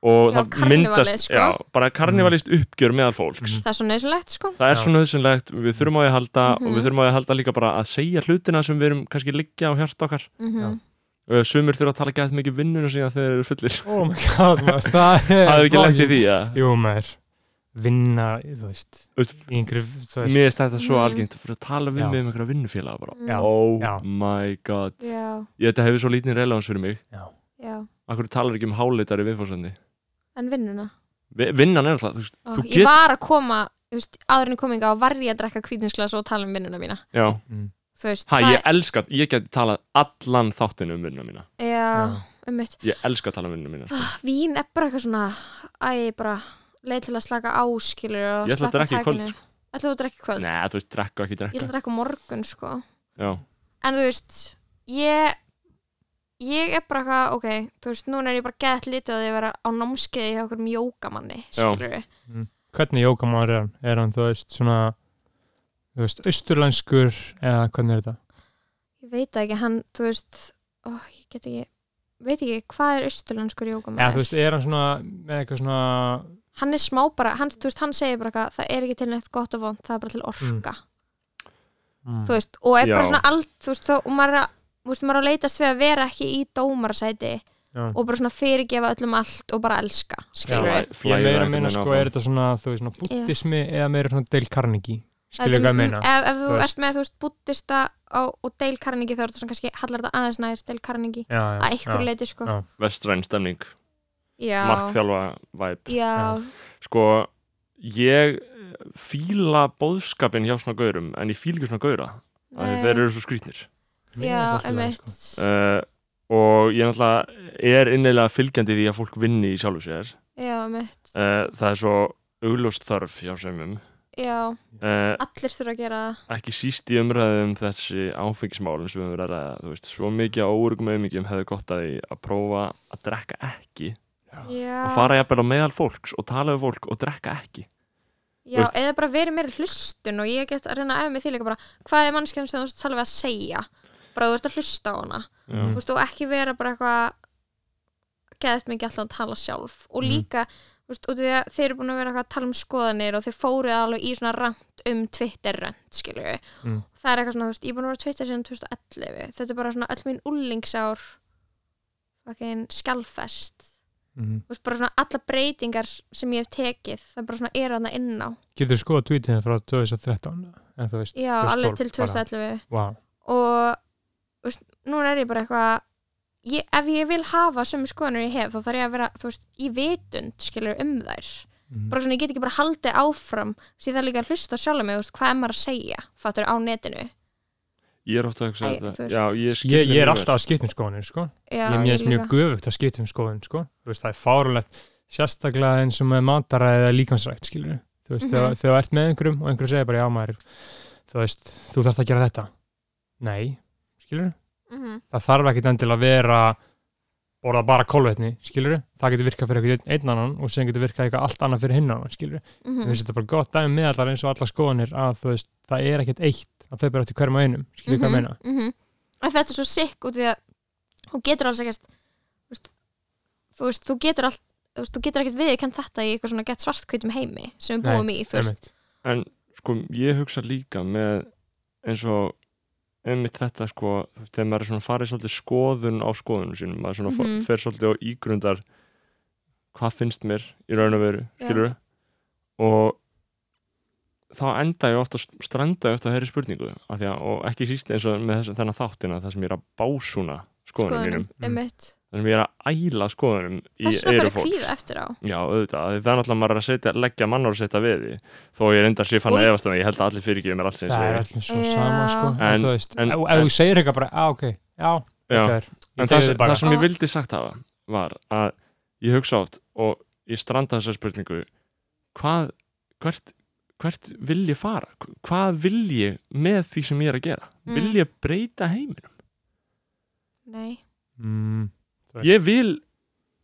og Já, það myndast karnivalið, sko. já, bara karnivalist uppgjör meðal fólks Mhm. Það er svo neysulegt, sko. það er Já. svo nöðsynlegt, við þurfum á því að halda og Mhm. við þurfum á því að halda líka bara að segja hlutina sem við erum kannski liggja á hjart okkar Mhm. Uh, sumir þurfa að tala gæt mikið vinnuna síðan þegar þeir eru fullir Oh my god, maður, það er... það er ekki lengt í því að Jú, maður, vinna, þú veist, Þú veist, í einhverju, þú veist, mér er þetta svo Mhm. algengt að fyrir að tala við Já. mig um einhverja vinnufélaga bara Já. oh Já. my god Já, ég, þetta hefur svo lítinn relevans fyrir mig já. Akkur talar ekki um háleitari viðfórsandi En vinnuna. Vi, Vinnan er alltaf, þú veist, Ó, þú ég get var að koma, þú veist, áður en ég kom inga og var ég að drekka kvítinsglas og tala um vinnuna mína. Já, Þú veist, hæ, það ég elska, ég geti talað allan þáttinu um vinnuna mína er, já, um mitt. Ég elska að tala um vinnuna mína sko. Vín er bara eitthvað svona, æ, bara leið til að slaka á, skilur, og Ég ætla að sleppa drekka í kvöld, takinu. sko. Ætla þú að drekka í kvöld? Nei, þú veist, drekka og ekki Ég ætla drekka að drekka á morgun, sko. Já, en þú veist ég ég er bara eitthvað, ok, þú veist núna er ég bara gett lítið að ég vera á námskeiði hjá okkur jókamanni, Já. skilur við hvernig jókamaður er hann? Er hann, þú veist, svona, þú veist, austurlænskur eða hvernig er þetta? ég veit það ekki, hann, þú veist ó, ég get ekki, veit ekki hvað er austurlandskur Eða, þú jókamaður veist, er hann svona, með eitthvað svona, hann er smá bara, hann, þú veist, hann segir bara eitthvað það er ekki til neitt gott og vond, það er bara til orka Mm. Mm. þú veist, og er bara Já. svona allt þú veist, þó, og maður er að Þú veist, maður er að leitast við að vera ekki í dómarasæti Já. og bara svona fyrirgefa öllum allt og bara elska, skilur flæ- við. Ég flæðir er meira einhvern að meina, veginn sko, áfram. er þetta svona, þú veist, svona búttismi eða meira svona Dale Carnegie? Þetta Skilur er um e- hvað ég m- meina? ef, ef Þú þú veist. ert með, þú veist, búttista og, og Dale Carnegie þá er þetta svona kannski hallar þetta aðeins nær Dale Carnegie Já, já, að einhverju já. leiti sko já. Vestræn stemning, já, markþjálfa væp já, Sko, ég eh, fíla bóðskapin hjá svona gaurum en ég fíla ekki svona gaura af því Nei. Þeir eru svo skrýtnir Mér já, finnst alltaf leið, emitt sko. uh, Og ég náttúrulega er innilega fylgjandi því að fólk vinni í sjálfu sér já, emitt Eh, það er svo augljóst þörf hjá semum já, uh, allir þurfa að gera það. ekki síst í umræðum þessi áfengismálum sem við höfum verið að ræða þú veist, svo mikið á óörgum auðmyggjum hefðu gott að því að prófa að drekka ekki já, og fara jafnvel á meðal fólks og tala við fólk og drekka ekki já, veist- eða bara verið meira hlustun og ég get að reyna að efa mig því líka bara hvað er mannskjæm sem þú ert að tala við að segja bara þú ert að hlusta á hana Já. þú veist, og ekki vera bara eitthvað geðast mikið alltaf að tala sjálf og Mhm. líka, þú veist, út af því að þeir eru búin að vera eitthvað að tala um skoðanir og þeir fóruð alveg í svona rant um Twitter rant skilju, Mm. það er eitthvað svona þú veist, ég er búin að vera á Twitter síðan 2011 þetta er bara svona öll mín ullingsár fucking skjálfest Mhm. þú veist, bara svona alla breytingar sem ég hef tekið, það bara svona er hana inn á Getur þú skoða tweetinu frá 2013 en þú veist, já, 2012 alveg til bara. 2011 wow og þú veist, núna er ég bara eitthvað ég, ef ég vil hafa sömu skoðanur ég hef þá þarf ég að vera, þú veist, í vitund skilur um þær Mhm. bara svona, ég get ekki bara haldið áfram því það er líka að hlusta á sjálfum mig, þú veist, hvað er maður að segja fattur á netinu Ég er ofta að hugsa Æ, þú þetta veist. Já, ég, skil ég, ég er mjög alltaf að skiptum skoðanir sko. já, ég er mjög, mjög líka. göfugt að skiptum skoðun sko. Þú veist, það er fárulegt sérstaklega eins og með matara eða líkansrækt skilur þú veist, Mhm. þegar, þegar þú ert með einhverjum og einhverjum segir bara já maður þú veist, þú þarft að gera þetta nei, skilur Mhm. það þarf ekkit endilega að vera borða bara kólvetni, skilur það getur virkað fyrir einhvern einn annan og sem getur virkað eitthvað allt annað fyrir hinn annan, skilur Mhm. mm. veist, þetta er bara gott dæmi með allar eins og allar skoðanir að þú veist, það er ekkit eitt að þau bara eftir hverjum og einum, skilur hvað ég meina mm að þetta er svo sikk út í að þú getur alls ekkert þú veist, þú, veist, þú getur allt þú veist, þú getur ekkert viðkjönd þetta í eitthvað svona gett svartkvítum heimi sem við Nei, búum í, þú veist Einmitt. en sko ég hugsa líka með eins og einmitt þetta sko þú veist, þegar maður er svona farið svolítið skoðun á skoðunum sínum maður svona mm Mhm. fer svolítið og ígrundar hvað finnst mér í raun og veru Já. skilur og þá enda ég ofta stranda ég ofta að heyri spurningu af því að, og ekki síst eins og með þess, þennan þáttina það sem ég er að básúna skoðunum mínum Mm. einmitt, það sem ég er að æla skoðunum í þess eyru vegna farið fólks. kvíða eftir á Já, auðvitað, af því það er náttúrulega maður er að setja, leggja mannar og setja við því þó ég reyndar sér fann að Og- efast um það, ég held að allir fyrirgefið mér allt sem það er ég allir svo Já. sama sko. En- en, þú veist, en- en, ef þú segir eitthvað bara, á ok já, segja þetta er, En ég tegi það, sem- þig bara það sem ég Og- vildi sagt hafa var að ég hugsa oft og ég stranda þessar spurningu hvað, hvert, hvert vil ég fara? Hvað vil ég með því sem ég er að gera? Mm. Vil ég breyta heiminum? nei, mm, Veist. Ég vil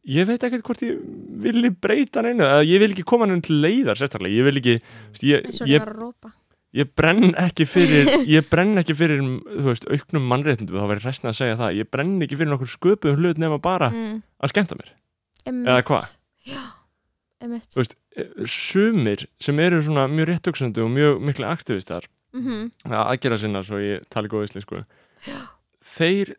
ég veit ekkert hvort ég vil breyta neinu, eða ég vil ekki koma neinu til leiðar sérstaklega, ég vil ekki ég, eins og ég ég var að rópa ég brenn ekki fyrir ég brenn ekki fyrir þú veist, auknum mannréttindu, þá væri restin að segja það ég brenn ekki fyrir nokkur sköpuðum hlut nema bara mm, að skemmta mér einmitt. Ah. Eða hvað? já, einmitt Þú veist, E, sumir sem eru svona mjög réttugsöndu og mjög miklu aktivistar mm -hmm. að aðgera sinna svo ég tali góð ísli sko. þeir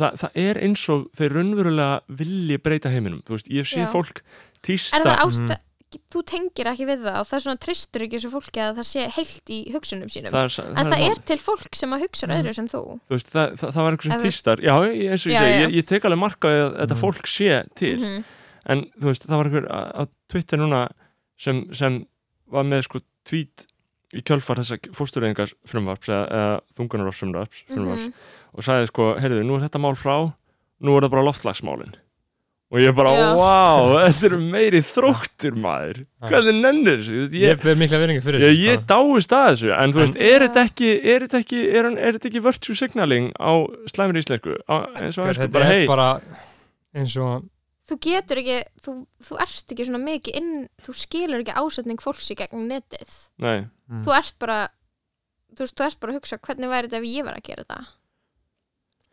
það, það er eins og þeir raunverulega vilji breyta heiminum, þú veist, ég sé Já. fólk er það týsta, ástæð Mm. þú tengir ekki við það og það er svona tristur ekki þessu fólki að það sé heilt í hugsunum sínum það er, það en það mál. Mm. er til fólk sem að hugsa öðru sem þú þú veist, það, það, það var einhver sem Eða- týstar já, ég- eins og ég Já, segi, já. ég, ég tek alveg markaði að þetta Mhm. fólk sé til Mhm. en þú veist, það var einhver á á Twitter núna sem, sem var með sko tweet í kjölfar þessa fóstureyðingar frumvarps eða, eða þungunarofsumraps frumvarps Mhm. og sagði sko, heyrðu, nú er þetta mál frá nú er það bara loftlagsmálin og ég bara, Já. wow, þetta eru meiri þróttur maður hvernig nennir þessu, Þú veist, ég ég, ber mikla veringar fyrir ég, þessu, sko. ég dáist að þessu en þú En- veist, er Já. þetta ekki er þetta ekki, er, hann- er þetta ekki virtue signaling á slæmri íslensku á, eins sko. og hann sko, þetta bara, er hei, bara eins og þú getur ekki, þú, þú ert ekki svona mikið inn, þú skilur ekki ásetning fólks í gegnum netið nei Mm. þú ert bara þú veist, þú ert bara að hugsa hvernig væri þetta ef ég var að gera þetta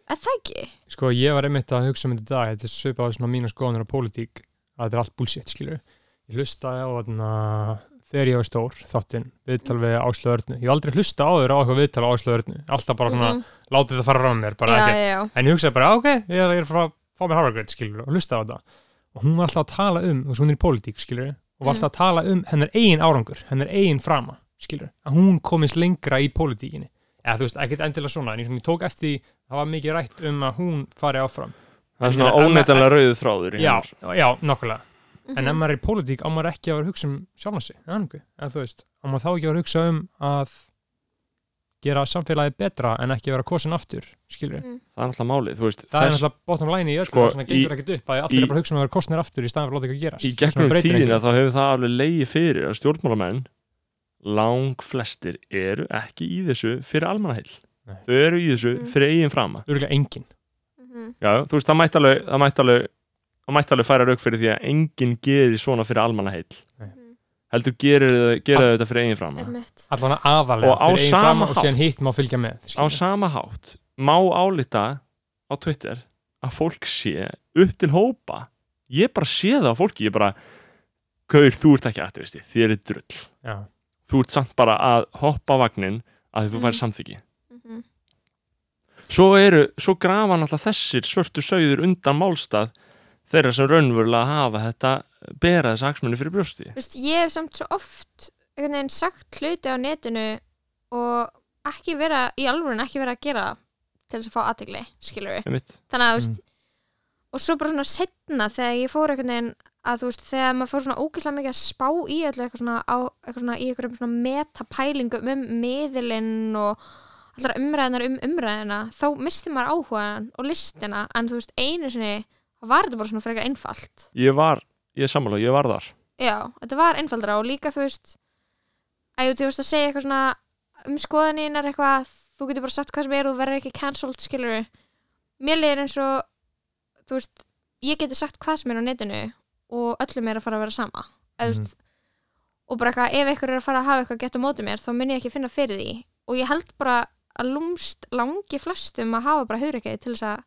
er það ekki? sko ég var einmitt að hugsa um þetta í dag þetta er svipað á svona mína skoðanir á pólitík að þetta er allt bullshit skilur ég hlustaði á þarna þegar ég var stór þáttinn viðtal við Áslu Örnu ég hef aldrei hlusta áður á eitthvað viðtal á Áslu Örnu alltaf bara svona, Mhm. látið það fara frá mér bara já, ekki, já, já, en ég hugsaði bara, "Ah, ok, ég er að fara að fá mér Harvard, skilur, og hlusta á það og hún var alltaf að tala um, þú veist, hún er í pólitík, skilur og var alltaf að tala um hennar eigin árangur hennar eigin frama, skilur að hún komist lengra í pólitíkinni eða þú veist, ekkert endilega svona, en ég, svona, ég tók eftir því það var mikið rætt um að hún fari áfram það er svona En- en- óneitanlega rauðu þráður í sko. já, hennar. já, nokkulega Mhm. en ef maður er í pólitík á maður ekki að vera að hugsa um sjálfan sig, eða einhver, eða þú veist á maður þá ekki að vera að hugsa um að gera samfélagi betra en ekki að vera kosin aftur, skilur Mhm. það er alltaf málið, þú veist það er þess- náttúrulega bottom line í öllu Sko, sko, það gengur ekkert upp að allir í- er bara að hugsa um að vera kostnir aftur í staðan fyrir að láta eitthvað gerast í Svona gegnum breytir tíðina einhverju. þá hefur það alveg leiði fyrir að stjórnmálamenn lang flestir eru ekki í þessu fyrir almannaheil Nei. þau eru í þessu Mm. fyrir eigin frama Örugglega enginn. Mhm. já, þú veist, það mætti alveg það mætti alveg, það mætti alveg færa rauk fyrir því að enginn gerir svona fyrir almannaheil Nei. Mm. heldur gerir, þau- gera þetta fyrir eigin frama einmitt allan að aðalega Og á fyrir eigin sama fram og hátt. síðan hitt má fylgja með á sama hátt má álita á Twitter að fólk sé upp til hópa ég bara sé það á fólki, ég bara Gaur, þú ert ekki aktivisti, þér er drull já, þú ert samt bara að hoppa á vagnin að því þú Mm. fær samþyggi Mhm. svo eru, svo grafa náttúrulega þessir svörtu sögður undan málstað þeirra sem raunverulega hafa þetta bera þess aksmunni fyrir brjósti Þú veist, ég hef samt svo oft einhvern veginn sagt hluti á netinu og ekki vera í alvörun ekki vera að gera það til þess að fá aðtegli, skilur við einmitt, þannig að, þú veist, og svo bara svona setna þegar ég fór einhvern veginn að þú veist, þegar maður fór svona ógeðslega mikið að spá í öllu eitthvað svona, á, eitthvað svona í einhverjum svona metapælingum um miðilinn og allar umræðinar um umræðina þá misti maður áhugaðan og listina en þú veist, einu sinni var þetta bara svona frekar einfalt ég var, ég er sammála, ég var þar Já, þetta var einfaldra og líka þú veist að þú veist að segja eitthvað svona um skoðaninnar eitthvað þú getur bara sagt hvað sem er og þú verður ekki cancelled skilur mér leiðir eins og þú veist, ég geti sagt hvað sem er á netinu og öllum er að fara að vera sama eða þú veist og bara eitthvað, ef eitthvað er að fara að hafa eitthvað gett á móti mér þá mun ég ekki finna fyrir því og ég held bara að lúmst langi flestum að hafa bara haurakeiði til þess að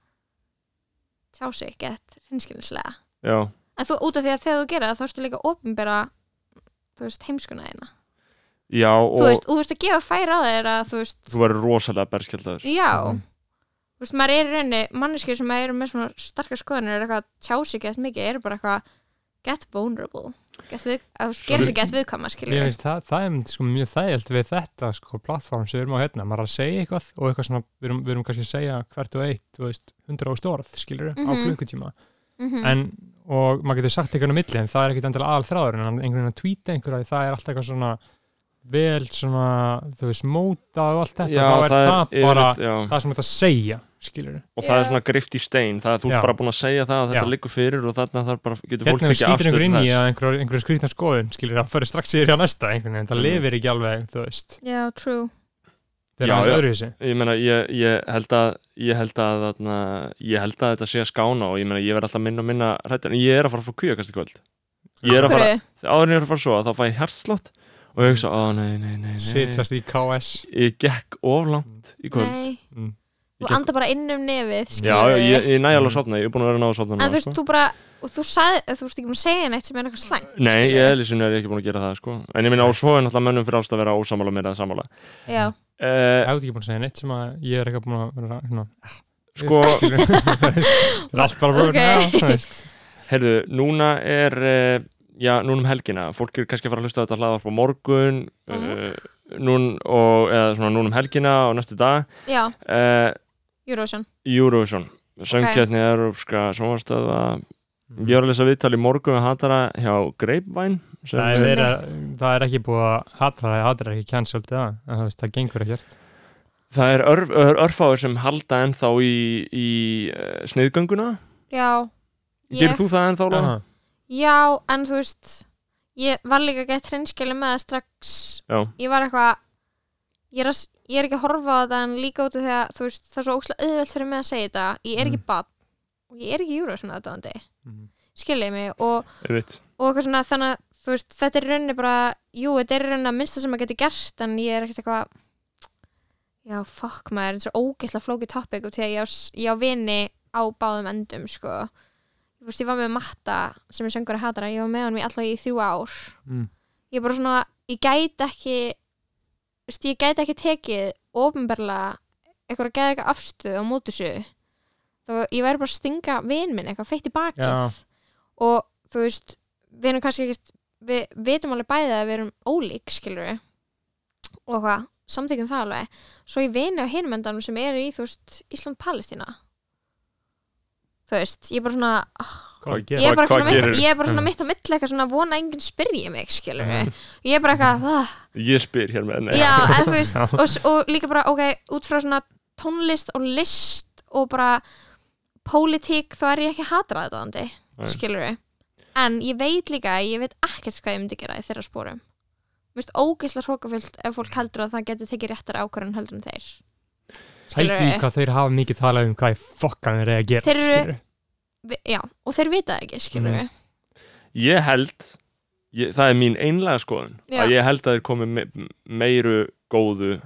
tjá sig gett hinskilislega já, En þú, út af því að þegar þú gerir það, þá ertu líka opinbera, þú veist, heimskuna eina. já og Þú veist, þú veist að gefa færa á þeir að, þú veist, þú verður rosalega berskjöldaður já. Þú veist, maður er í rauninni, manneskir sem eru með svona starka skoðanir er eitthvað að tjá sig gett mikið, eru bara eitthvað get vulnerable, get við, að þú veist, gerir sig get viðkama, skilur Mér finnst það, það er einmitt, sko, mjög þægjald við þetta sko, plattform sem við erum á hérna, maður er að segja eitthvað og eitthvað svona, við erum, við erum kannski að segja hvert og eitt, þú veist, hundra á stórað skilur á Mhm. klukkutíma Mm en, og maður getur sagt eitthvað á milli en það er ekkit endilega aðal þráður en hann- einhvern veginn að tweeta einhverja, það er alltaf eitthvað svona vel svona, þú veist, mótað og allt þetta, þá er það, bara yfirleitt- já. það sem þetta segja, skilur og það Já. er svona grift í stein það er þú Já. ert bara búin að segja það að þetta Já. liggur fyrir og þarna þarf bara, getur hérna fólk þú ekki skýtir afstöð einhver til inn í þess að einhver, einhver skrýtna skoðun skilur það fyrir strax yfir hjá næsta einhvern veginn, það Mm. lifir ekki alveg þú veist, Já, true. það er Já, aðeins já. öðruvísi ég meina, ég, ég held að ég held að, þarna, ég held að þetta sé að skána og ég meina, ég verð alltaf minna og minna hrættur, en ég er að fara að fá kvíakast í kvöld ég er að fara, Akkurru, áður en ég er að fara svo þá fæ ég hjartslátt og ég hugsa, ó nei, nei, nei, nei sittast í KS ég gekk of langt í kvöld nei, Mm. Ég þú gekk- andar bara inn um nefið, já, skilur ég, ég, ég næ alveg að sofna, ég er búin að vera að ná að sofna En þú núna, sko. veist, þú bara, og þú sagði, þú veist ekki búin að segja neitt sem er eitthvað slæmt. nei, skilurðu. ég er lýsinu er ég ekki búin að gera það sko. en ég meina, á svo er náttúrulega mönnum fyrir ást að vera ósamála meira að samála Já, uh, Ég hef ekki búin að segja neitt sem að ég er eitthvað búin að vera svona sko, Það er allt bara búin Ok. já, hérna, þú veist. heyrðu, núna er uh, já, núna um helgina fólk er kannski að fara að hlusta á þetta hlaðvarp á morgun Á morgun. uh, núna og, eða svona núna um helgina og næstu dag já, uh, Eurovision. Eurovision söngkjarni okay. Európska sjónvarstöða ég var að lesa viðtal í morgun við hatara hjá Grapevine sem Það er, er, meira, það er ekki búið að hatra það, það er ekki cancelled það, en það, veist, það gengur ekkert það er örf, ör, örfáður sem halda ennþá í, í uh, sniðgönguna Já, gerir ég, þú það ennþá? Lóa? Aha. já, en þú veist ég var líka gett hreinskjölu með það strax Já. ég var eitthvað ég er, að, s- ég er ekki að horfa á þetta en líka út af því að þú veist, það er svo ókslega auðvelt fyrir mig að segja þetta ég er ekki Mm. mm. og ég er ekki júra svona aðdóðandi Mm. Mhm. skiljiði mig og, einmitt. og eitthvað svona þannig að þú veist, þetta er í rauninni bara jú, þetta er í rauninni að minnsta sem maður getur gert en ég er ekkert eitthvað já, fuck maður, þetta er svo ógeðslega flókið topic og því að ég á, s- ég á vini á báðum endum, sko þú veist, ég var með Matta sem er söngur að hatara, ég var með hann í alltaf í þrjú ár Mm. ég bara svona, ég gæti ekki þú veist, ég gæti ekki tekið ofinberlega eitthvað að geða eitthvað afstöð á móti þessu þá ég væri bara að stinga vin minn eitthvað feitt í bakið Já. og þú veist, við erum kannski ekkert við vitum alveg bæði að við erum ólík skilur við og hvað, samtíkum það alveg svo ég vini á hinmendanum sem eru í þú veist Ísland-Palestína þú veist, ég er bara svona Hvað Mm. að ég gera? er bara, hvað svona mitt, gerirðu? ég er bara svona Einmitt. mitt á milli eitthvað svona vona að enginn spyrji mig skilur við, ég er bara eitthvað "Ah, ég spyr hér með já, eða þú veist Mm. Já. og, s- og líka bara, ok, út frá svona tónlist og list og bara pólitík, þá er ég ekki hatraðandi, Nei. skilur við en ég veit líka, að ég veit ekkert hvað ég myndi gera í þeirra spórum Mér finnst ógeðslega hrókafyllt ef fólk heldur að það getur tekið réttar ákvörðun heldur en þeir Pældu í skilurðu. hvað þeir hafa mikið talað um hvað ég fokkan þeir eru að gera Þeir eru- skilurðu. Vi, Já, og þeir vita það ekki, skilur Mm. við ég held ég, það er mín einlega skoðun Já. að ég held að þeir komi me, meiru góðu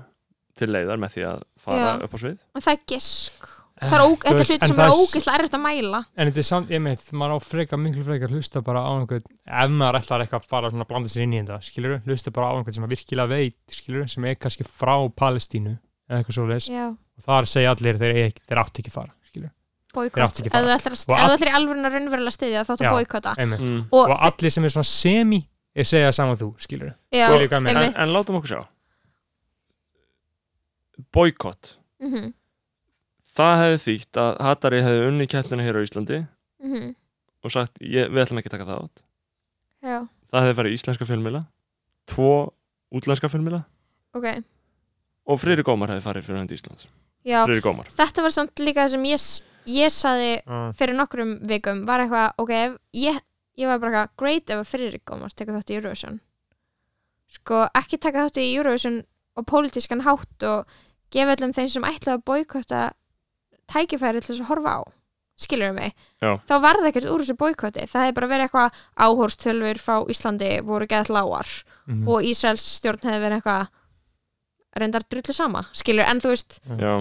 til leiðar með því að fara Já. upp á svið En það er gisk Það er Eh, ó, þú þetta er veist, hluti en sem það er er s- ógeðslega erfitt að mæla En þetta er samt, ég meitt, maður á frekar, miklu frekar að hlusta bara á einhvern, ef maður ætlar eitthvað að fara svona að blanda sér inn í þetta, skilur hlusta bara á einhvern sem að virkilega veit, skilur sem er kannski frá Palestínu, eða eitthvað svo Já, og þar segja allir þeir, ekki, þeir átti ekki að fara, skilur Ég boykott átti ekki að ef fara. þú ætlar, að- Og ef þú all- ætlar í alvörun að raunverulega styðja þá áttu Já. að boykotta einmitt Mm. og, og allir sem er svona semi ég segja það saman þú, skilur já, Skilur hvað ég meina. en, einmitt en látum okkur sjá boykott Mhm, það hefði þýtt að Hatari hefði unni keppnina hér á Íslandi mhm, og sagt ég, við ætlum ekki að taka það átt já, það hefði farið í íslenska fjölmiðla tvo útlenska fjölmiðla ok og Friðri Gómar hefði farið fyrir hönd Íslands já, Friðri Gómar þetta var samt líka það sem ég, s- ég saði uh, fyrir nokkrum vikum var eitthvað, ok, ef- ég, ég var bara eitthvað great ef að Friðrik Gómars tekur þátt í Eurovision sko, ekki taka þátt í Eurovision og pólitískan hátt og gefa allum þeim sem ætlaði að boykotta tækifæri til þess að horfa á skilur mig, Já. þá varði ekkert úr þessu boykotti, það hefði bara verið eitthvað áhorstölfur frá Íslandi voru geðað lágar mm. og Ísraels stjórn hefði verið eitthvað reyndar drullu sama, skilur, en þú veist Já.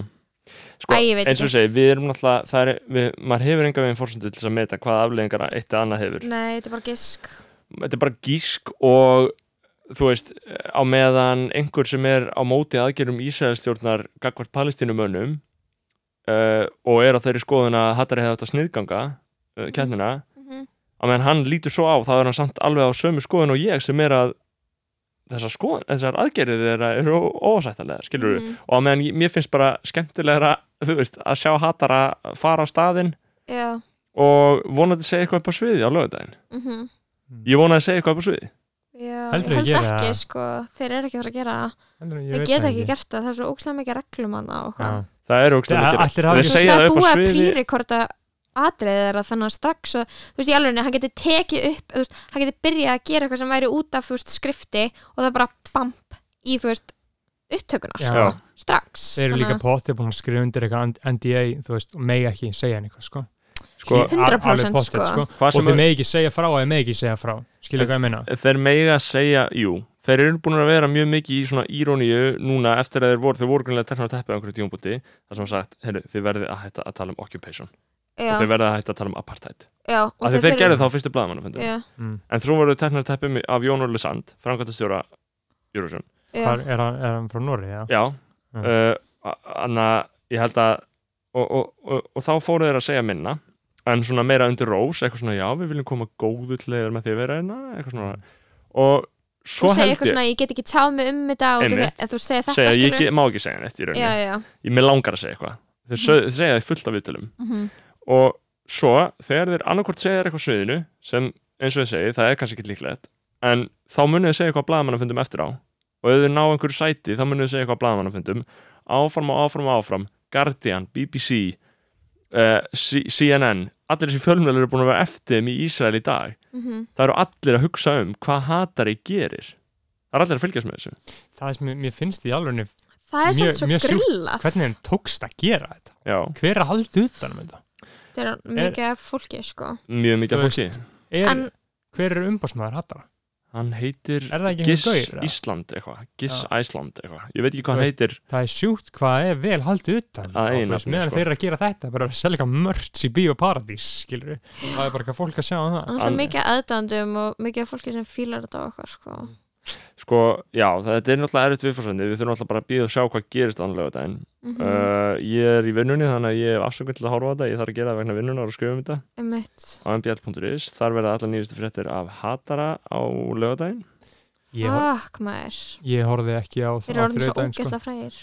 Sko, Æ, ég veit eins og ekki. segi, við erum náttúrulega það er, við, maður hefur enga veginn fórsundu til þess að meta hvaða afleggingar eitt eða annað hefur nei, þetta er bara gisk þetta er bara gísk og þú veist, á meðan einhver sem er á móti aðgerum Ísraelstjórnar gagvart palestínumönnum uh, og er á þeirri skoðun að Hattari hefði átt að sniðganga uh, kjarnina, mm á meðan hann lítur svo á þá er hann samt alveg á sömu skoðun og ég sem er að þessar, skoðun, þessar aðgerið þeirra eru ósættalega skilur við, Mhm. og á meðan ég- mér finnst bara skemmtilegra, þú veist, að sjá Hattara fara á staðinn já, og vonandi segja eitthvað upp á sviði á lögudaginn, mhm ég vonaði að segja eitthvað upp á sviði Já, Heldur ég þau held gera ekki það? sko, þeir eru ekki að fara að gera það ég Þeir veit geta ekki gert það, það er svo ókslega mikið reglum hana og hvað Já. Það er Það- ógstæðan að gera. allir hafa Þeir ekki- Það segja er það upp á búið að sviði prírekorda atriðið þeirra þannig að strax og, þú veist, í alveg, hann geti tekið upp þú veist, hann geti byrjað að gera eitthvað sem væri út af þú veist, skrifti og það bara bamp í, þú veist, upptökuna Já. sko, strax þeir eru Þannig líka að- potið búin að skrifa undir eitthvað and- NDA þú veist, og megi ekki segja henni eitthvað sko. sko, Al- alveg 100% pottet, sko. Hvað og sem þeir er- megi ekki segja frá eða megi ekki segja frá skilur hvað ég meina Þeir mega að segja, jú Þeir eru búin að vera mjög mikið í svona íróníu núna eftir að þeir voru, þeir voru grunlega teknar að teppa einhverju tíumbúti, þar sem að sagt heyrðu, þið verðið að hætta að tala um occupation og já, þið verðið að hætta að tala um apartheid já, og af því þeir gerðu þá fyrstu blaðamann já, mm. en þú voru teknar að teppa af Jón Orli Sand framkvæmtastjóra Eurovision já, Hvar, er, hann, er hann frá Norri? Já? Já, Já. uh, anna, ég held að og, og, og, og þá fóru þeir að segja minna en svona meira undir rós, eitthvað svona já, við viljum koma góðu til þeir með því að vera hérna, eitthvað svona og þú svo segir held eitthvað ég svona, ég get ekki tjáð mig um þetta og Einmitt. þú- þú segir þetta segja, ég skilur. get, má ekki segja neitt í rauninni já, já, ég með langar að segja eitthvað þeir, sög, þeir segja það í fullt af viðtölum mhm, og svo þegar þeir annarkvort segja þér eitthvað á sviðinu sem eins og þeir segi, það er kannski ekki líklegt en þá munið þeir segja eitthvað blaðamannafundum eftir á og ef þeir ná einhverju sæti þá munið þeir segja eitthvað blaðamannafundum áfram og áfram og áfram Guardian, BBC uh, C CNN allir þessi fjölmjölar eru búin að vera eftir þeim í Ísrael í dag mhm, það eru allir að hugsa um hvað hatari gerir það eru allir að fylgjast með þessu það er sem mér- mér finnst í alveg það er Mjög- samt svo mjög sjúkt. grillað hvernig hann tókst að gera þetta Já, hver er að halda utanum þetta Þetta er mikið af fólki sko mjög mikið af Þú fólki er, En- hver er umbásmaður hattara? hann heitir Er það ekki Giss einhver gaur, eða? Ísland eitthvað Giss Já. Æsland eitthvað, ég veit ekki Þú hvað hann veist- heitir það er sjúkt hvað er vel haldið utan Að og eigin þú veist, nafni, meðan sko. þeir eru að gera þetta bara að selja eitthvað mörts í bíóparadís skilur við, það er bara eitthvað fólk að sjá um það Þannig Al- að mikið aðdöndum og mikið af fólki sem fílar þetta á okkar sko sko, já, þetta er náttúrulega erfitt viðfórsöndi við þurfum náttúrulega bara að býða og sjá hvað gerist annarlega þetta en Mm. Mhm, uh, ég er í vinnunni þannig að ég hef afsökun til að horfa á þetta ég þarf að gera það vegna vinnunar og skrifa um þetta Einmitt á mbl.is, þar verða allar nýjustu fréttir af hatara á lögadaginn ég, hor- Akk maður ég horfið ekki á Ah. Þeir eru orðin svo þriðjudaginn, sko. ógeðslega frægir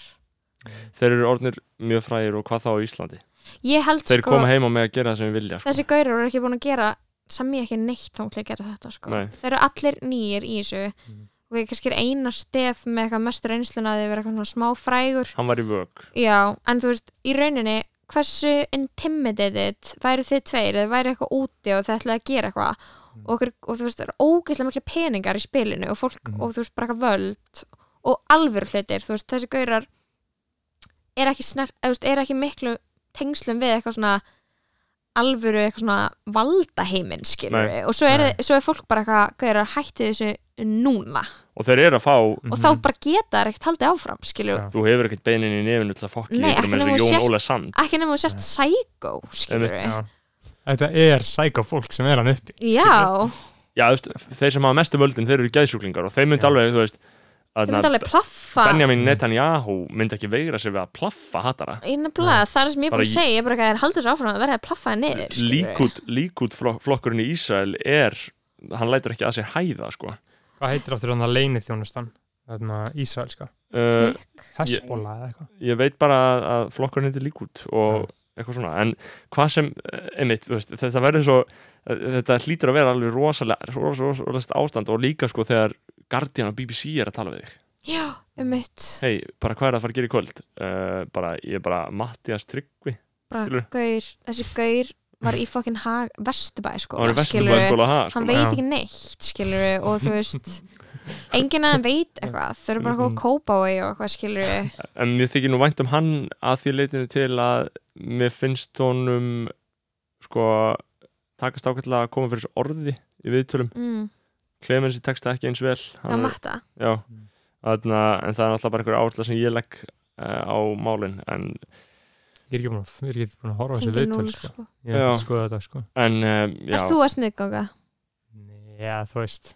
þeir eru orðnir mjög frægir og hvað þá á Íslandi Ég held þeir sko koma heim og með að gera það sem við vilja sko. Þessi gaurar eru ekki búin að gera sem ég ekki neitt þá að gera þetta sko Nei. Þeir eru allir nýjir í þessu Mhm. og ég kannski er einar stef með eitthvað mestur einsluna að þið vera eitthvað svona smá frægur hann var í vög Já, en þú veist, í rauninni hversu intimidated væru þið tveir, þið væri eitthvað úti og þið ætlaði að gera eitthvað Mm. og, okkur, og þú veist, það eru ógeðslega mikla peningar í spilinu og fólk, Mhm. og þú veist, bara eitthvað völd og alvöru hlutir, þú veist, þessi gaurar er ekki snert, eða, þú veist, er ekki miklu tengslum við eitthvað svona alvöru eitthvað svona valdaheimin skilur við, og svo er, Nei. svo er fólk bara eitthvað, gaurar hætti þessu núna og þeir eru að fá, Mhm. og þá bara geta það ekkert haldið áfram skilur Já. þú hefur ekkert beinin í nefinu til að fokki Nei, ykkur ekki með nema þessu Jón þú sért- Óla Sand ekki nema þú sért sækó skilur við Já. þetta er sækó fólk sem er hann uppi já, já, þú veist, þeir sem hafa mestu völdin, þeir eru geðsjúklingar og þeir myndi Já. alveg, þú veist Þau myndi alveg plaffa Benjamin Netanyahu myndi ekki veigra sér við að plaffa hattara Ég nefnilega, það er það sem ég er Bara búin að í- segja, ég er bara ekki að haldur þessu áfram að verða að plaffa það niður. skilurðu. Líkút, líkút flokkurinn í Ísrael er hann lætur ekki að sér hæða sko. Hvað heitir aftur þannig að leini þjónustan? Þarna ísraelska. uh, Hm. Hesbóla eða eitthvað. ég veit bara að, að flokkurinn heitir líkút og eitthvað svona en hvað sem, eh, einmitt, þú veist, þetta verður svo eh, þetta hlýtur að vera alveg rosalega rosalega, rosalega, rosalega ástand og líka sko þegar Guardian og BBC er að tala við þig Já, um mitt. hei, bara hvað er að fara að gera í kvöld uh, bara, ég er bara Mattias Tryggvi Bara skilurðu. gaur, þessi gaur var í fokkin hag, vesturbæ sko. og hann er vesturbæðskóla ha, sko. Hann veit já. ekki neitt, skilur við, og þú veist, enginn að hann veit eitthvað. Þau eru bara eitthvað að kópa á og eitthvað, skilur við. en mér þykir nú vænt um hann að því leitinu til að mér finnst honum sko takast ákveðlega að koma fyrir þessu orði í viðtölum, Mm, Clemensi teksta ekki eins vel það hann, matta. já, þarna, en það er alltaf bara einhver áhersla sem ég legg uh, á málin en, Ég er ekki búin að, ég er ekki búin að horfa á þessi Engin viðtöl, núl, sko. sko. Ég er ekki Já. að skoða þetta, sko. en um, já, Erst þú að sniðganga? Já, þú veist.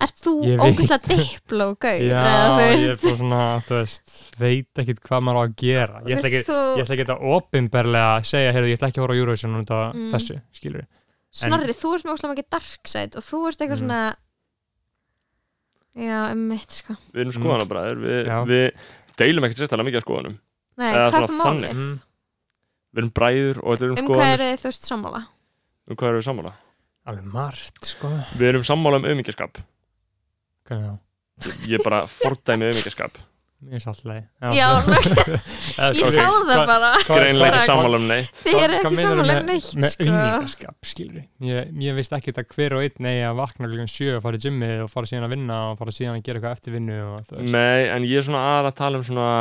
Erst þú Ég veit. ógæslega dipló, gaur? Já, eða þú ég er veist, bara svona, þú veist, veit ekkit hvað maður á að gera. Ég ætla ekki, þú- ég ætla ekki að opinberlega segja, heyrðu, ég ætla ekki að horfa á Eurovision út af Mm. þessu, skilur við. Snorri, þú ert með óslega mikið dark side og þú ert eitthvað Mm. svona já, um mitt sko við erum skoðanabræður við, Já. við deilum ekkert sérstaklega mikið af skoðanum Nei, Eða hvað er svona það þannig. málið? Mm. við erum bræður og þetta erum Um hvað skoðanir eru þið, þú veist sammála? um hvað erum við sammála? Alveg margt, sko. Við erum sammála um auðmyggjaskap Hvernig þá? ég bara fordæmi auðmyggjaskap Mér er alltaf leið. Já, Eða, ég sko, sá ok, það hvað- bara hvað er greinlega strax- ekki sammála um neitt Þið eru Hvað ekki meinarðu sammála með- um neitt með sko auðmingaskap, skilur ég, ég veist ekki að hver og einn eigi að vakna klukkan sjö og fara í gymmið og fara síðan að vinna og fara síðan að gera eitthvað eftir vinnu og þú veist Nei, en ég er svona aðra að tala um svona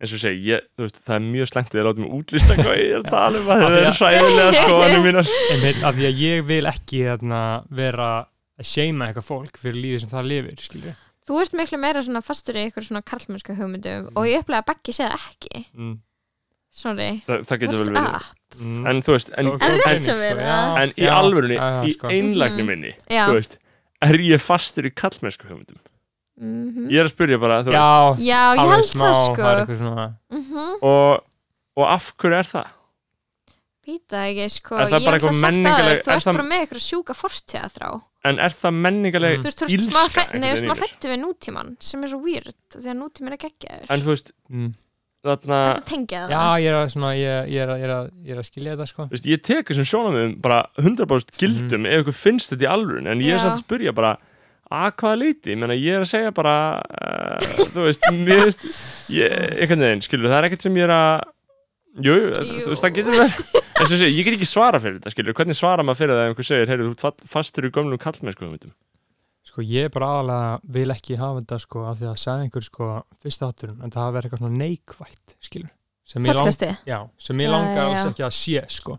eins og ég segi, ég, þú veist, það er mjög slengt þegar látum útlista hvað ég er að tala um að Af það því er að- sæðilega skoðanum mínar einmitt af því að ég vil ekki þarna, vera að seima eitthvað fólk fyrir lífið sem það lifir, skilur Þú ert miklu meira svona fastur í ykkur svona karlmennska hugmyndum og ég upplega að Beggi sé það ekki mm. Snorri, það, það getur vel what's verið up? Mm. En þú veist, en, Ok, En ok, rétt sem sko, er, já. eða? en í Já, alvörunni, já, já, sko. í einlægni minni Mhm. Já, þú veist, er ég fastur í kallmennsku hugmyndum? mhm. Ég er að spyrja bara, þú veist, Já, Já, ég alveg held smá, það það er sko eitthvað svona Mhm. og, og af hverju er það? Vita ekki sko, Er ég það bara ætla eitthvað að sagt að menningaleg- þér Þú er ert það- bara með ykkur sjúka fortíða þrá En er það menningaleg Mm. þú veist, þú veist, ílska? maður hrætt, einhvern nei, þú veginn veist, maður í mér? hrættu við nútíman sem er svo weird, því að nútíman er geggjaður En þú veist, mm. þarna Þetta tengja Já, það ég er að, svona, ég, ég er að, ég er að, ég er að skilja þetta, sko Þú veist, ég tek þessum sjónamöðum bara 100% gildum ef ykkur finnst þetta í alvörun en ég er Mhm. Já. samt að spyrja bara að hvaða leiti, ég meina ég er að segja bara uh, þú veist, mér veist ég, einhvern veginn, skilur, það er ekkert sem ég er að jú, jú, Jú. þú veist, það getur verið eins og segja, ég get ekki svara fyrir þetta, skilur hvernig svara maður fyrir það ef einhver segir, heyrðu, þú ert fa- fastur í gömlum kallmennsku hugmyndum Sko ég er bara aðalega vil ekki hafa þetta sko af því að sagði einhver sko fyrsta átturinn en það hafa verið eitthvað svona neikvætt skilur sem ég, lang, podcasti, já, sem ég Já, langar já, já. alls ekki að sé sko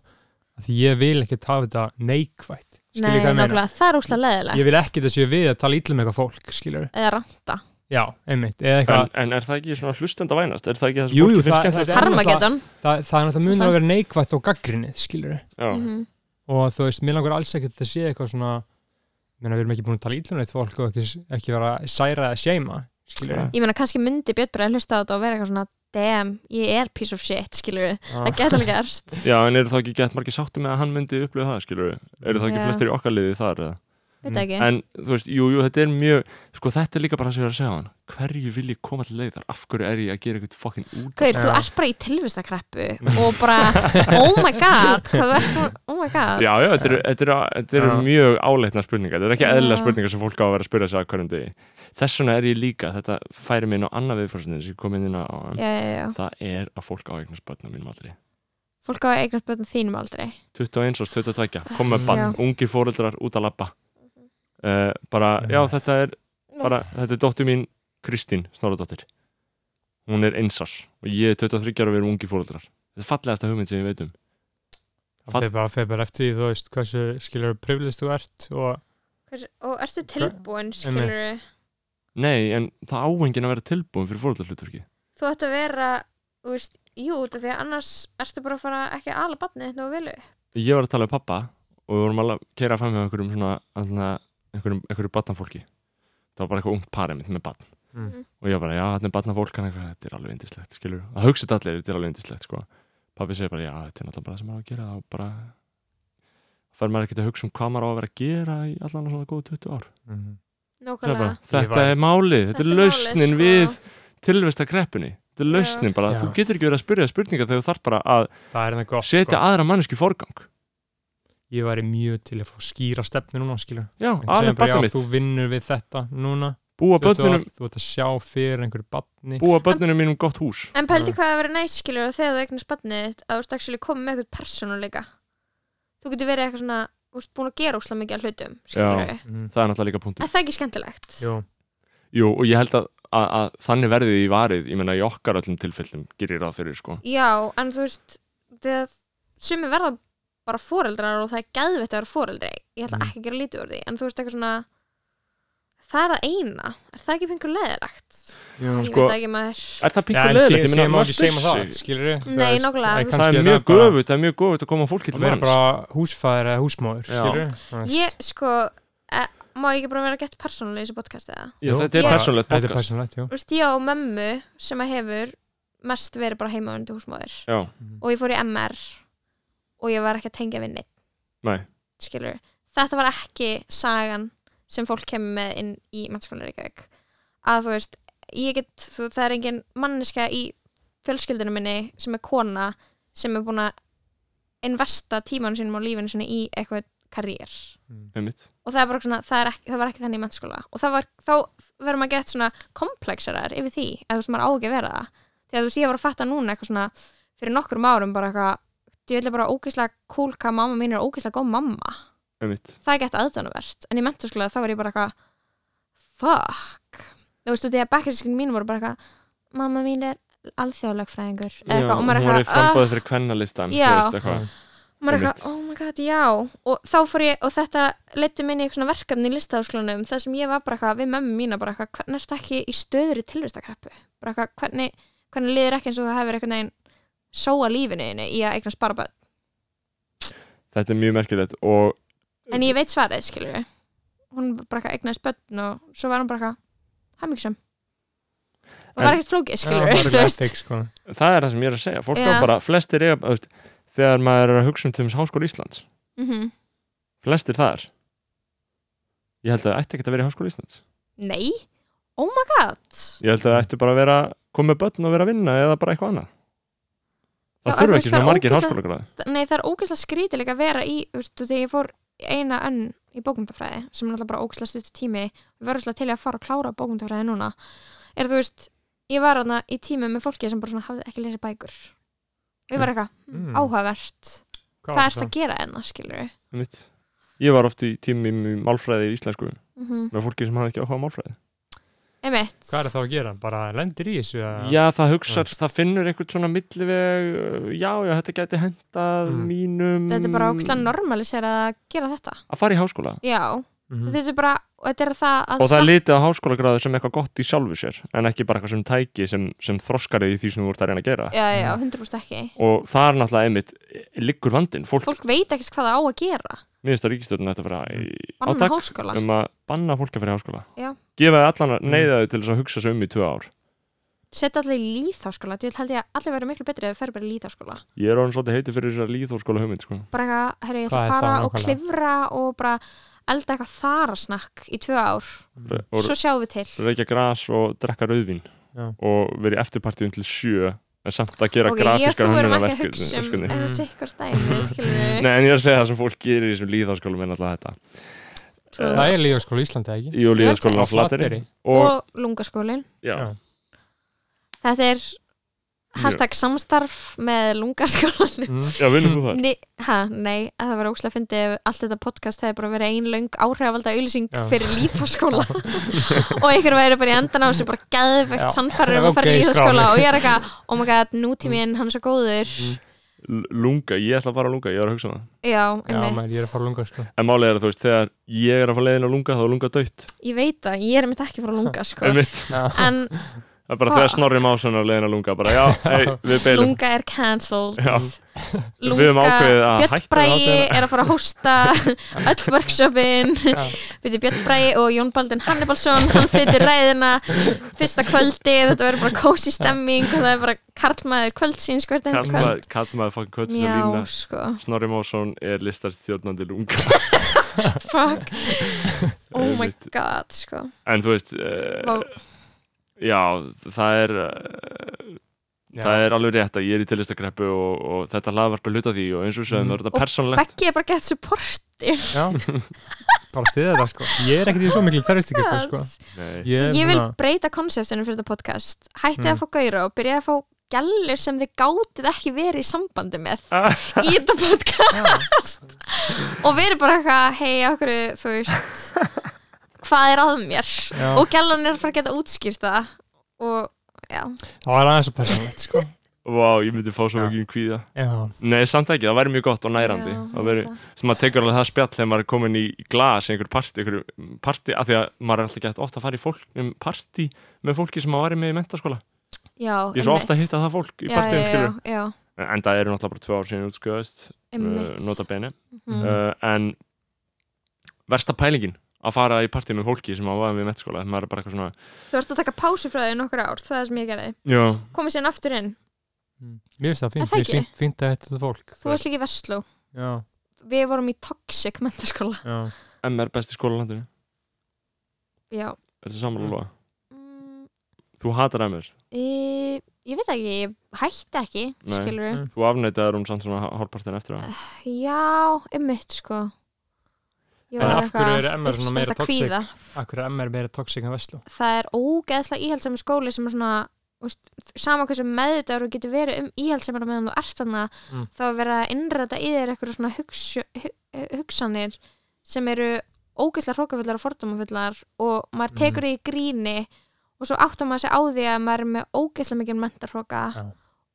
af því ég vil ekki hafa þetta neikvætt nei, skilur hvað ég meina nákvæmlega, það er úslega leðilegt ég vil ekki þessi við að tala ítlum eitthvað fólk skilur eða ranta, já, einmitt eða en, eitthvað en er það ekki svona hlustenda vænast, er það ekki það sem Jú, jú, fólki það- finnst skemmtilegt? það- harmageddon það, það er náttúrulega munur að vera neikvætt og gaggrinnið skilur Já. Mhm. og þú veist, mér langar alls ekki að þetta sé eitthvað svona menna, við erum ekki búin að tala ítlum neitt fólk og ekki, ekki vera að særa eða seima skilur ég meina kannski myndi Björn bara að hlusta á þetta og vera eitthvað svona damn, ég er piece of shit, skilur við Ah. það geta alveg gerst, Já, en eru þá ekki gett margir sáttum með að hann myndi upplöðu það, skilur eru þá ekki Já. flestir í okkar liði þar, eða? veit ekki Mm. en þú veist, jú, jú, þetta er mjög sko, þetta er líka bara það sem ég var að segja á hann hverju vil ég koma til leiðar, af hverju er ég að gera eitthvað fokkin út Gaur, þú Já. Mm. ert bara í tilvistakreppu og Ah, bara, oh my god hvað þú ert, nú- oh my god já, já, þetta eru, þetta eru, þetta eru Já. mjög áleitna spurningar þetta eru ekki Já. eðlilega spurningar sem fólk á að vera að spyrja sig að hverjum degi þess vegna er ég líka, þetta færi mig inn á annað viðfórsinni sem ég kom inn inn á áðan. já, já, já, það er að fólk á eignast börnum mínum aldrei fólk á eignast bötnum þínum aldrei 21 og 22, kom Mm. með bann, ungir fóreldrar út að labba uh, bara, Mhm. já, þetta er bara, þetta er dóttir mín Kristín Snoradóttir hún er einsás og ég er 23 ára og við erum ungi fóreldrar þetta er fallegasta hugmynd sem ég veit um Það fer bara, fer bara eftir því, þú veist, hversu skilur privilist þú ert og Hversu, og ertu tilbúin, skilur skilurðu? nei, en það áengin að vera tilbúin fyrir fóreldrarhlutverki þú ætti að vera þú veist, jú, út af því að annars ertu bara að fara ekki að ala batni þetta og vilju ég var að tala um pappa og við vorum alveg að keira fram með einhverjum svona, þarna, einhverjum, einhverjum batnafólki það var bara eitthvað ungt parið mitt með barn Mm. og ég var bara, já, þetta er barnafólk hann eitthvað, þetta er alveg indislegt, skilur það hugsaði allir, þetta er alveg indislegt, sko pappi segir bara, já, þetta er náttúrulega bara það sem maður á að gera og bara fer maður ekkert að hugsa um hvað maður á að vera að gera í allan svona góð 20 ár Mhm. Það er bara, Nákvæmlega. Ég þetta var- er málið, þetta er Þetta er lausnin málið, sko. við tilvistakreppunni þetta er Já. lausnin bara, Já. þú getur ekki verið að spyrja spurninga þegar þú þarf bara að Það er hérna gott setja sko. aðra mannesku forgang Ég væri mjög til að fá skýra stefnu núna skilur já, En segjum aðeins bara, já, barnið mitt, Þú vinnur við þetta núna búa 20 ár, börnunum Þú ert að sjá fyrir einhverju badni búa börnunum mínum gott hús En pældi hvað að vera næs skilur og þegar þú eignast barnið þitt að þú veist actually koma með eitthvað persónuleika Þú getur verið eitthvað svona þú veist, búin að gera óslega mikið af hlutum skilur við mm. það er náttúrulega líka punktur Er það ekki skemmtilegt? Jú, Jú, og ég held að, að, að þannig verðið í varið, ég meina í okkar öllum tilfellum gerir ráð fyrir, sko. Já, en þú veist þegar sumi verða bara foreldrar og það er gæðvett að vera foreldri ég ætla Mm. ekki að gera lítið úr því en þú veist eitthvað svona það er að eina, er það ekki fengur leðilegt? jú. Ég sko- veit ekki maður Er það Já, píkur en leðilegt? segjum Ég meina, segjum maður ekki segjum spyr það, sig. skilur við Nei, nákvæmlega, þú veist- Það er mjög göfut, það er mjög göfut að koma fólki til Það er manns. bara húsfæðir eða húsmóður Já. skilur við Ég, sko, e, má ég ekki bara vera gett persónuleg í þessu podcasti eða? Já, þetta er Ég- persónlegt Þetta er podcast. persónulegt, já Þú veist, ég á mömmu sem að hefur mest verið bara heimavundi húsmóður Já, og ég fór í MR og ég var ekki að tengja við neitt, nei, skilur þetta var ekki sagan sem fólk kemur með inn í mennskóla Reykjavík að þú veist, ég get þú, það er engin manneska í fjölskyldinu minni sem er kona sem er búin að investa tímanum sínum og lífinu sinni í eitthvað karriér einmitt. og það, er bara svona, það, er ekki, það var ekki þannig í mennskóla og það var, þá verður maður gett svona komplexarar yfir því, eða þú veist maður á ekki að vera það því að þú sé að bara að fatta núna eitthvað svona fyrir nokkrum árum bara eitthvað ég vil bara ógeðslega cool hvað mamma mín er ógeðslega góð mamma, Einmitt. það er gett aðdánuvert en í mennskóla þá var ég bara eitthvað fuck þú veist þú því að bekkinskin mín voru bara eitthvað mamma mín er alþjóðlegfræðingur eða Já, eitthvað og hún maður er í er eitthvað "Ah, framboðið fyrir kvennalistan, þú Já. veist eitthvað. Og maður er Einmitt. eitthvað, oh my god, já og þá fór ég, og þetta leiti minni eitthvað verkefni í listaháskólanum, það sem ég var bara eitthvað við mömmu mína, bara eitthvað, hvernig ertu ekki í stöðri tilvistakreppu, bara eitthvað hvernig, hvernig liður ekki eins og það hefur eitthvað neginn sóa lífinu þínu í að eignast bara börn, Þetta er mjög merkilegt og en ég veit svarið, skilur við hún bara eitthvað eignast börn og svo var hún bara eitthvað hemmingssöm og var En- ekkert flókið, Já, skilur það við, er eitthvað þú veist Mm. ethics, sko. það er það sem ég er að segja. Fólk Já. á bara, flestir eiga, þú veist, þegar maður er að hugsa um til þess háskóla Íslands, Mhm. flestir þar. Ég held að það ætti ekki að vera í háskóla Íslands. nei, oh my god Ég held að það ættu bara að vera komið börn og vera að vinna eða bara eitthvað annað Já, Það þú þurfa veist, ekki það svona er margir ógeðslega- háskóla gráði nei, það er ógeðslega skrítið líka að vera í, þú veist, þegar ég fór í eina önn í bókmyndafræði, sem er alltaf bara ógeðslega stuttur tími, við verðum svolítið til í að fara að klára bókmyndafræði núna, er þú veist ég var hana í tími með fólki sem bara svona hafði ekki lesið bækur og ég var eitthvað, mm. Mm. áhugavert Hvað hvað var er það að gera hérna, enna, skilur við Mitt. Ég var oft í tímum í málfræði í íslensku mm -hmm. með fólki sem hafði ekki áhuga á málfræði emitt, Hvað er það að gera? Bara lendir í þessu að- Já, það hugsar, það finnur einhvern svona milliveg, uh, já, já, þetta gæti hendað Mm. mínum þetta er bara ógeðslega normalisera að gera þetta að fara í háskóla já, Mhm. þetta er bara og þetta er það að og það er litið á háskóla gráði sem eitthvað gott í sjálfu sér en ekki bara eitthvað sem tæki sem, sem þroskar þig í því sem þú ert að reyna að gera já, já, 100% ekki og það er náttúrulega einmitt liggur vandinn, fólk, fólk veit ekkert hvað það á að gera mér finnst að ríkistöðun ætti að fara í banna átak háskóla um að banna fólk að fyrir háskóla Já. gefa þið allan að neyða þau til þess að hugsa sig um í tvö ár setja allir í líðháskóla ég held ég að allir verður miklu betri ef við ferum bara í líðháskóla ég er orðin svolítið heiti fyrir þess að líðhóskóla hugmynd sko. bara eitthvað, herru, ég ætla Hvað að er fara það og nákvæmlega? klifra og bara elda eitthvað þarasnakk í tvö ár Mm. og svo sjáum við til reykja gras og drekka rauðvín Já. og vera í eftirpartíðum til sjö en samt að gera ok, ég og grafískar þú erum ekki að hönnunarverk- hugsa um verkefni. sko. eða sikkur dæmi, skilur við Nei, en ég er að segja það sem fólk gerir í þessum líðháskólum en alltaf þetta True. Það er líðaskóla í Íslandi, ekki? í og líðháskólan Á á Flateri Flateyri. og, og lungaskólin já, Já. þetta er hashtag samstarf með lungaskólan Mm. já, vinnum þú það Ni, ha, nei, að það var óslega fyndið ef allt þetta podcast hefði bara verið ein löng áhrifalda auðlýsing Já. fyrir líðháskóla og ykkur væri bara í endan á þessu bara Já. geðvegt sannfærir um að fara Ok, í líðháskóla skráni. og ég er eitthvað, oh my god, nútíminn, hann er svo góður Mm. L- lunga, ég ætla að fara að lunga, ég var að hugsa um það já, Já, maður, einmitt, ég er að fara að lunga, sko. en málið er að þú veist, þegar ég er að fara leiðin að lunga þá er lunga dött ég veit það, ég er einmitt ekki frá að lunga sko. einmitt, en það er bara þegar snorri másun á leiðin að lunga bara já, hey, við beilum Lunga er cancelled Já. Við höfum Lunga, ákveðið að Björn hætta Bræi hátíðina. er að fara að hósta öll workshopin Byrju, Björn Bræi og Jón Baldin Hannibalsson hann flyttur ræðina fyrsta kvöldi, þetta verður bara kósi stemming og það er bara karlmaður kvöldsins hvert einnig kallmaður, kvöld kallmaður fokkin kvölds og Já, lína sko, Snorri Másson er listarstjórnandi lunga fuck Oh my Einmitt. god, sko en þú veist uh, Vá, já, það er uh, það er alveg rétt að ég er í tillistakreppu og, og þetta hlaðvarp er hluta af því og eins og sem mm. Mhm. það er Og þetta persónlegt Beggi er bara gett supportir Já, bara stiða þetta sko Ég er ekkert í svo miklu terroristikir sko. Nei. Ég, er Ég vil svona- breyta konseptinu fyrir þetta podcast Hættið Mm. að fá gæra og byrjaði að fá gælur sem þið gátið ekki verið í sambandi með Ah. í þetta podcast og verið bara eitthvað hei, okkur, þú veist hvað er að mér Já. og gælan er að fara að geta útskýrt það og já, Það var aðeins svo persónlegt sko Vá, ég myndi fá svo Já. mikið um kvíða Já, Nei, samt ekki, það væri mjög gott og nærandi Já, Það væri, þetta. sem maður tekur alveg það spjall þegar maður er komin í glas í einhver partí, einhver partí af því að maður er alltaf gett ofta að fara í fólk, um partí með fólki sem maður væri með í mentaskóla já Ég er svo ofta að einmitt. hitta það fólk í já, partíum, já, skilur já, já, En það eru náttúrulega bara tvö ár síðan útskjöðast uh, einmitt Nota bene Mhm. uh, En versta pælingin að fara í partí með fólki sem maður var með í mentaskóla maður er bara eitthvað svona Þú varst að taka pásu frá því í nokkur ár, það er sem ég gerði Já, komið síðan aftur inn, Mm. Mér finnst það Er fínt, það mér ekki? finnst fínt að þetta fólk þú varst líka í Vestló Já, við vorum í toxic mentaskóla já MR besti skóla á landinu já, Þetta er sammála Mm. Lóa. mm, Þú hatar MR, Í, ég veit ekki, ég hætti ekki, Nei. skilur við. Nei. þú afneitaður hún samt svona hálfpartin eftir Eh. það Já, einmitt, sko. Ég En var af hverju eitthvað eru MR svona uppspretta meira toxic? kvíða. Akkur er MR meira toxic en Vestló Það er ógeðslega íhaldsam skóli sem er svona, úst, sama hversu meðvitaður og getur verið um íhaldsamara meðan þú ert þarna, Mm. þá er verið að innræta í þér eitthvað svona hugsu, hu, hugsanir sem eru ógeðslega hrókafullar og fordómafullar og maður tekur Mhm. mm. í gríni og svo áttar maður sig á því að maður er með ógeðslega mikið mentarhróka Já.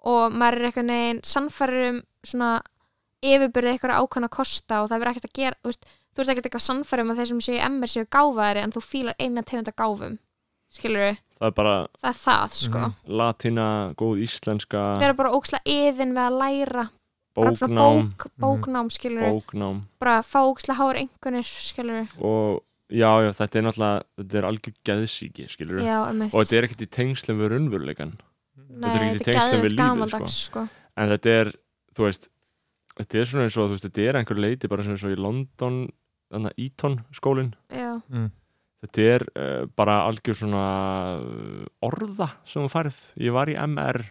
og maður er eitthvað neginn sannfærir um svona yfirbyrði eitthvað ákvæmna kosta og það verður ekkert að gera þú veist, þú veist ekkert eitthvað sannfærir um að þeir sem séu emmer séu gáfaðari en þú fílar eina tegunda gáfum skilur Það er bara það er það sko Mhm. latína, góð íslenska vera bara ókslega yðin við að læra bara svona Mhm. bóknám Mhm. bók, bóknám skilur bóknám bara fá ókslega háur engunir skilur og já, já, þetta er náttúrulega þetta er algjör geðsíki, skilur já, um og þetta er ekkert í tengslum við raunveruleikan Mhm. Nei, þetta er ekkert í þetta er tengslum við geðveikt lífið, gamaldags sko. en þetta er, þú veist þetta er svona eins og, þú veist, þetta er einhver leiti bara svona eins og í London, þannig að Eton skólin, já, Mm. þetta er uh, bara algjör svona uh, orða sem þú færð ég var í MR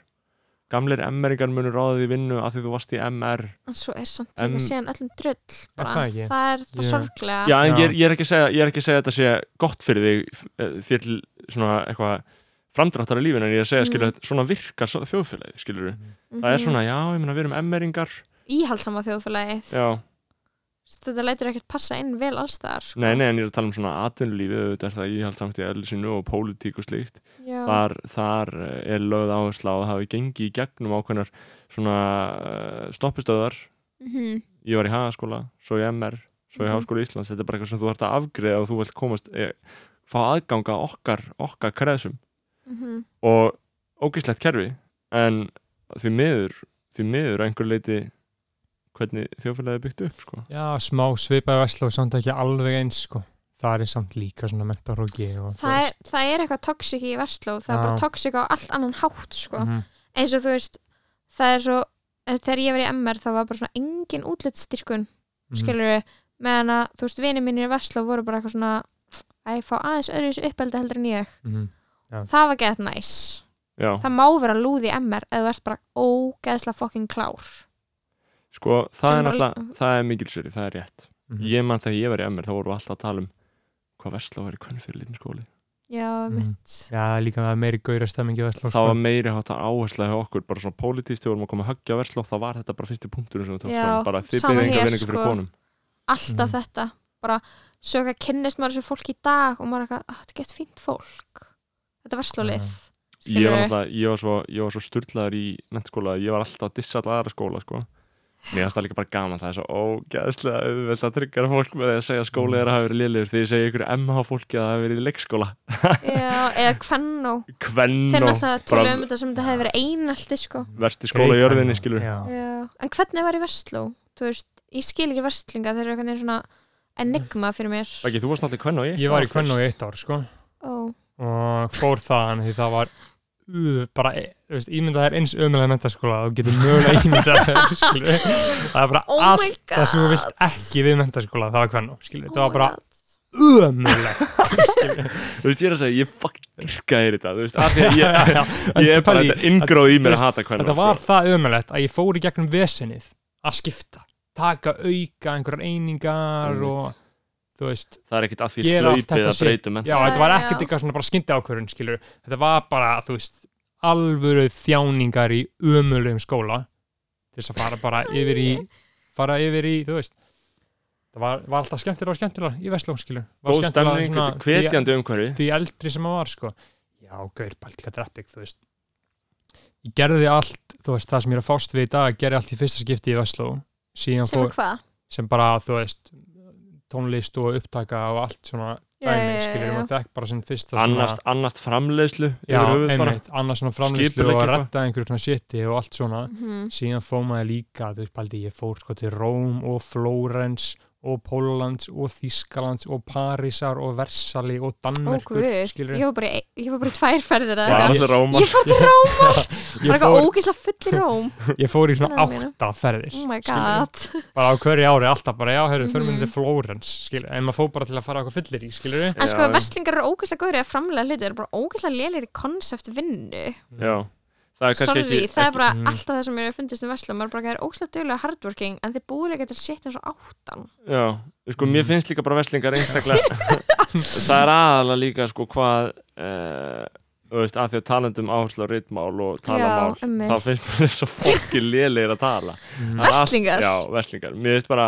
gamlir MR-ingar munu ráða því vinnu af því þú varst í MR en svo er samt En- líka síðan öllum drull bara. það ekki? það er það Já. sorglega Já, en Já. ég er, ég, er ekki að segja, ég er ekki að segja að þetta sé gott fyrir þig eh, þér til svona eitthvað framdráttar í lífinu en ég er að segja, Mm. skilur, mm. svona virkar svo- þjóðfélagið, skilur Það er Mhm. svona, já, ég meina, við erum emmeringar íhaldsama þjóðfélagið Já, þetta lætur ekkert passa inn vel allstaðar sko. nei, nei, en ég er að tala um svona atvinnulífið, auðvitað er það íhaldsamt í öllu sinu og pólitík og slíkt Já, þar, þar eh, er lögð áhersla á að hafi gengið í gegnum ákveðnar svona eh, stoppistöðar mhm, ég var í hagaskóla, svo í MR svo í Mhm. Háskóla Íslands, þetta er bara eitthvað sem þú ert að afgreða og þú vilt komast, e, fá aðganga okkar, okkar kreðsum mhm. og ógíslegt kerfi en því miður því miður að einhver leiti hvernig þjófélagi er byggt upp sko. Já, smá svipaði Vestló samt ekki alveg eins sko Það er samt líka svona mentarhóki og Það, er, það er eitthvað toksik í versló það er bara Já. toksik á allt annan hátt sko. Mhm. eins og þú veist það er svo, eh, þegar ég var í MR það var bara svona engin útlitsstyrkun Mhm. skilur við, meðan að þú veist vinir mínir í versló voru bara eitthvað svona að ég fá aðeins öðruvísu uppeldi heldur en ég Mhm. það var gett næs Já, það má vera lúði í MR eða þú ert bara ógeðslega fokkin klár sko, það er Sem Mhm. var- náttúrulega það er mikilsveri, það er rétt Mhm. ég mann þegar ég var í MR, þá voru við alltaf að tala um hvað versla var í hvernig fyrir litin skóli já, Mhm. mitt Já, það er líka með meiri gauðra stemmingi Vestló sko. það var meiri hátt að áhersla hjá okkur, bara svona pólitíst, við vorum að koma að höggja versla og það var þetta bara fyrsti punktur sem við tókum Já, fram, bara þið sama byrðið enga hér, vinningu fyrir sko. konum alltaf Mhm. þetta bara svo eitthvað kynnist maður þessu fólk í dag og maður er eitthvað, "Ah, þetta gett fínt fólk þetta verslólið Mhm. ég var, alltaf, ég var svo, ég var svo sturlaður í mennskóla, að ég var alltaf að dissa alltaf aðra skóla sko. mér finnst það líka bara gaman það er svo ógæðslega auðvelt að tryggja fólk með því að segja skóli er að hafa verið liðlegur því ég segi ykkur MH fólki að það hafa verið í leikskóla Já, eða kvennó Þeir kvenn og náttúrulega bara tölum um þetta sem þetta hefði verið einaldi sko. versti skóla í jörðinni skilur Já. Já. En hvernig var í Vestló? Þú veist, ég skil ekki Vestlinga þeir eru einhvern veginn svona enigma fyrir mér Baggi, þú varst náttúrulega kvenn og ég Ég var í kvennu í eitt ár sko Ó, og fór þaðan því það var uh, bara, eh, þú veist, ímyndað er eins ömulega mentaskóla og þú getur mögulega ímyndað þér, skilur það er bara Oh my allt það sem þú God. vilt ekki við mentaskóla það var hvernig, skilur, oh það var my bara God. ömulega Þú veist, ég er að segja, ég fuck dyrka þér í þetta Þú veist, af því að ég, ég er bara Pældi í- þetta inngróð í mér að hata sko. kvenn þetta var það ömulegt að ég fór í gegnum vesenið að skipta, taka auka einhverjar einingar Einmitt. og þú veist, það er ekkert að því Gera allt hlaupið þetta að shit. breytum en já, þetta var ekkert já. eitthvað svona bara skyndi ákvörun, skilur, þetta var bara þú veist, alvöru þjáningar í ömulegum skóla til þess að fara bara yfir í fara yfir í, þú veist það var, var alltaf skemmtilega og skemmtilega í Vestló, skilur Var góð skemmtilegra stemning, svona hvetjandi umhverfi því eldri sem maður var sko. já, gaur, baltika dreppig þú veist ég gerði allt, þú veist, það sem ég er að fást við í dag gerði allt í fyrsta skipti í Vestló síðan Sem fór, er hvað? sem bara, þú veist tónlist og upptaka og allt svona Já, já, dæmi, já, skilur, já. maður fekk bara sinn fyrsta annast, annast framleiðslu yfir já, höfuð bara. einmitt, annars svona framlýslu Skipuleggja og að eitthvað. redda einhverju svona shiti og allt svona Mhm. síðan fór maður líka, þú veist, baldi ég fór sko til Róm og Flórens og Pólands og Þískalands og Parísar og Versali og Ó, Danmerkur, guð, ég var bara í- e- ég var bara í tvær ferðir Það eða var eitthvað. alltaf róma Ég fór til Rómar Það Ég var eitthvað ógislega full í Róm ég fór í svona Fenómenu. átta ferðir Oh my skilurðu. god bara á hverju ári alltaf bara já, hörru, förum Mhm. við til Flórens skilur, en maður fór bara til að fara á eitthvað fyllir í skilur við En Já, sko, já. vestlingar eru ógæslega góður í að framlega hluti, þeir eru bara ógæslega lélir í konsept vinnu. Já, það er Sorry, kannski ekki það er bara Mm. alltaf það sem mér hefur fundist um vestlum, maður bara er ógæslega duglega hardworking, en þeir búið ekki til shit eins og áttan. Já, sko, Mm. mér finnst líka bara veslingar einstaklega Það er aðalega líka sko hvað eh, Þú veist, að því að talandum áherslu á ritmál og talamál Já, um mig. þá finnst mér svo fólki lélegir að tala Mm. Það er allt- Verslingar? Já, veslingar, mér finnst bara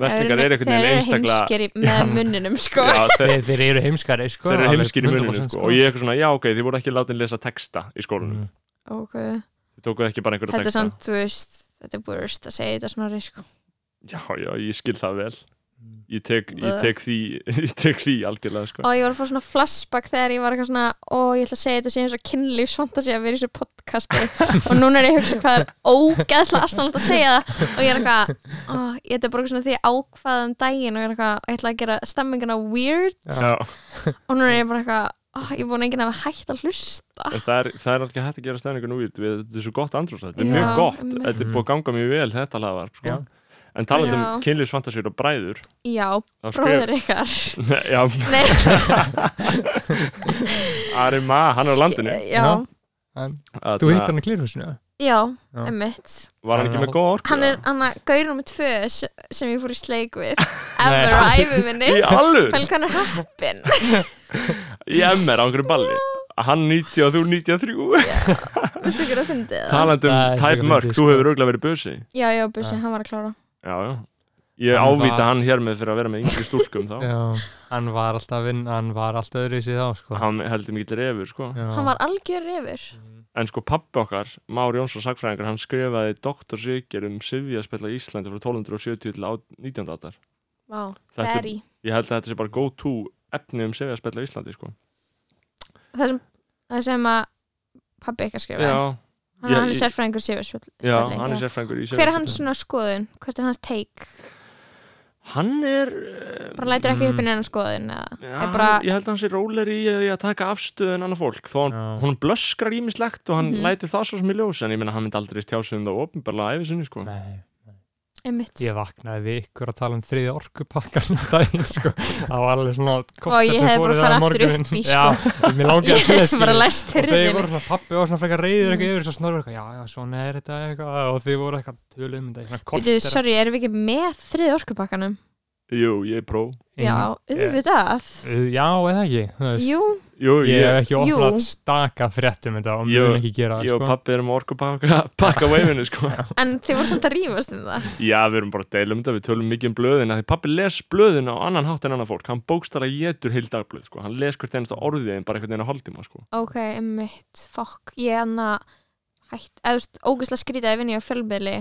veslingar er einhvern veginn einstaklega Þeir eru heimskeri með munninum, sko. Já, þeir, þeir, þeir eru heimskari sko, þeir eru alveg heimskir í muninu 100% sko. og ég er eitthvað svona, já ok, þið voru ekki látið að lesa texta í skólanum, Mm. Ok, þið tókuð ekki bara einhverja þetta er texta samt, þú veist, þetta er búist að segja þetta svona, sko. já, já, ég skil það vel ég tek, ég tek því ég tek því algjörlega sko. Og ég var að fá svona flashback þegar ég var eitthvað svona, ó, ég ætla að segja þetta síðan svo kynlífsfantasi að vera í þessu podcasti og núna er ég að hugsa hvað er ógeðslega astanlega að segja það og ég er eitthvað, ó, ég þetta er bara eitthvað svona því ég ákvað um daginn og ég er eitthvað, ég ætla að gera stemminguna weird já, og núna er ég bara eitthvað, ó, ég er búin enginn að hafa hægt að hlusta. en það er, það er alltaf hægt að gera stæningu nú við þetta er svo gott andrúst þetta er Já, mjög gott, einmitt. þetta er búið að ganga mjög vel þetta lagar, sko. Já. en talað um Já. kynlífsfantasíur og bræður Já, þá skrif, bróður ykkar. já, Nei, Ari Ma, hann er á landinu Já, Ná. En, þú hittar hann í klirhúsinu já, Já. emmitt. var hann ekki með góð orku Hann er anna, gaur nummer tvö sem sem ég fór í sleik við, ever á æfi minni. í alveg, Fælg hann er happin. í MR á einhverju balli hann 90 og þú 93 Vistu ekki að fyndi það? talað Það er um tæp frekar mörg, fyndið, þú sko. hefur auðvitað verið busi Já, já, Bussi, hann var að klára Já, já. Ég Hann ávita var- hann hér með fyrir að vera með yngri stúlkum þá. já, hann var alltaf vinn hann var alltaf öðru í sig þá sko. Hann heldur mikill refur, sko. Já. Hann var algjör yfir En sko pappi okkar, Már Jónsson sagfræðingur, hann skrifaði doktorsvíkjur um Sivjaspell á Íslandi frá 1270 til á- 19. áttar. Vá, Þetta er- very Ég held að þetta sé bara go-to efni um Sivjaspell á Íslandi, sko. Það sem, það sem að pabbi ekki að skrifa Já, Hann, ég- hann er ég- sérfræðingur sérfræðingur já, hann er sérfræðingur í Sivjaspell. Hver er hans svona skoðun? Hvert er hans take? Hann er... eh, Bara lætur Mm. ekki upp í neina skoðun eða Já, er bara- hann- ég held að hann sé róler í að, að taka afstöðu en annað fólk þó hann, Já. hún blöskrar ímislegt og hann Mhm. lætur það svo sem í ljós en ég meina hann myndi aldrei tjá sig um það ofinbarlega æfi sinni sko. Nei, Einmitt ég vaknaði við ykkur að tala um þriði orkupakkan um daginn, sko. það var alveg svona Og ég hefði bara farið aftur upp í, sko. já, mér langiði Ég til þess, hef bara Mm. skilurðu. læst og þeir voru hurðin svona pappi og svona frekar reyður eitthvað yfir svo snorður eitthvað, já, já, svona er þetta eitthvað og þeir voru eitthvað tölum þetta, svona kort Býtu, sorry, erum við ekki með þrið orkupakkanum? Jú, ég er pró Já, auðvitað Já, eða ekki, þú veist Jú, Jú, Ég hef ég, ekki Jú. opnað staka fréttum þetta og Jú, mun ekki gera ég það, og sko pappi erum að orkupakka pakka veifinu sko. en þið voru samt að rífast um það Já, við erum bara að deila um þetta, við tölum mikið um blöðin af Því pappi les blöðin á annan hátt en annað fólk Hann bókstara getur heil dagblöð sko. Hann les hvert einasta orðið en bara einhvern veginn á hálftíma sko. Ok, hérna einmitt, fokk Ég hann að hætt, eða þú veist, ógæslega skrítið að vinna á fjölmiðli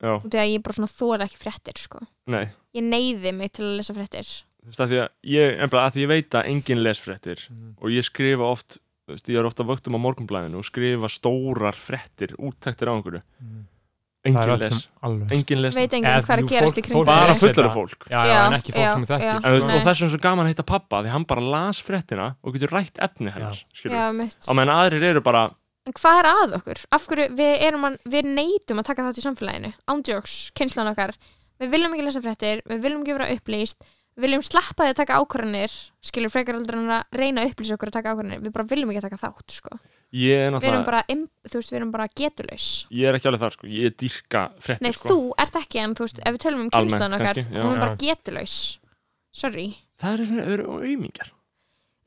já, og því að ég bara svona þóra ekki fréttir sko. nei ég neyði mig til að lesa fréttir þú veist að því að ég, ennbla, að því ég veit að enginn les fréttir Mhm. og ég skrifa oft þú veist, ég er ofta vögtum á morgunblæðinu og skrifa stórar fréttir, úttæktir á einhverju Mhm. Það er enginn öllum les, alveg enginn les veit Eða enginn hvað er jú, að gerast fólk- í kringum fólk- bara þig. les þetta. fullur fólk Já, já, Já, en ekki fólk já, sem við já. þekkjum En, þú veist, Nei. og þess er svo gaman að hitta pappa því hann bara las fréttina og getur rætt efni hennar skilurðu. Já, mitt. á meðan aðrir eru bara en hvað er að okkur? af hverju við, erum að, við neytum að taka þátt í samfélaginu ándjóks, kynslan okkar við viljum ekki lesa fréttir, við viljum ekki vera upplýst við viljum sleppa því að taka ákvarðanir skilur frekar aldrei en að reyna að upplýsa okkur og taka ákvarðanir, við bara viljum ekki taka þátt sko. ég er, við erum náttúrulega- bara, im- þú veist, við erum bara getulaus ég er ekki alveg þar sko, ég dýrka fréttir nei, sko. þú ert ekki en þú veist, ef við tölum um Almennt kynslan okkar kannski, já. hún er Já. bara getulaus sorry, það eru er, auðmingar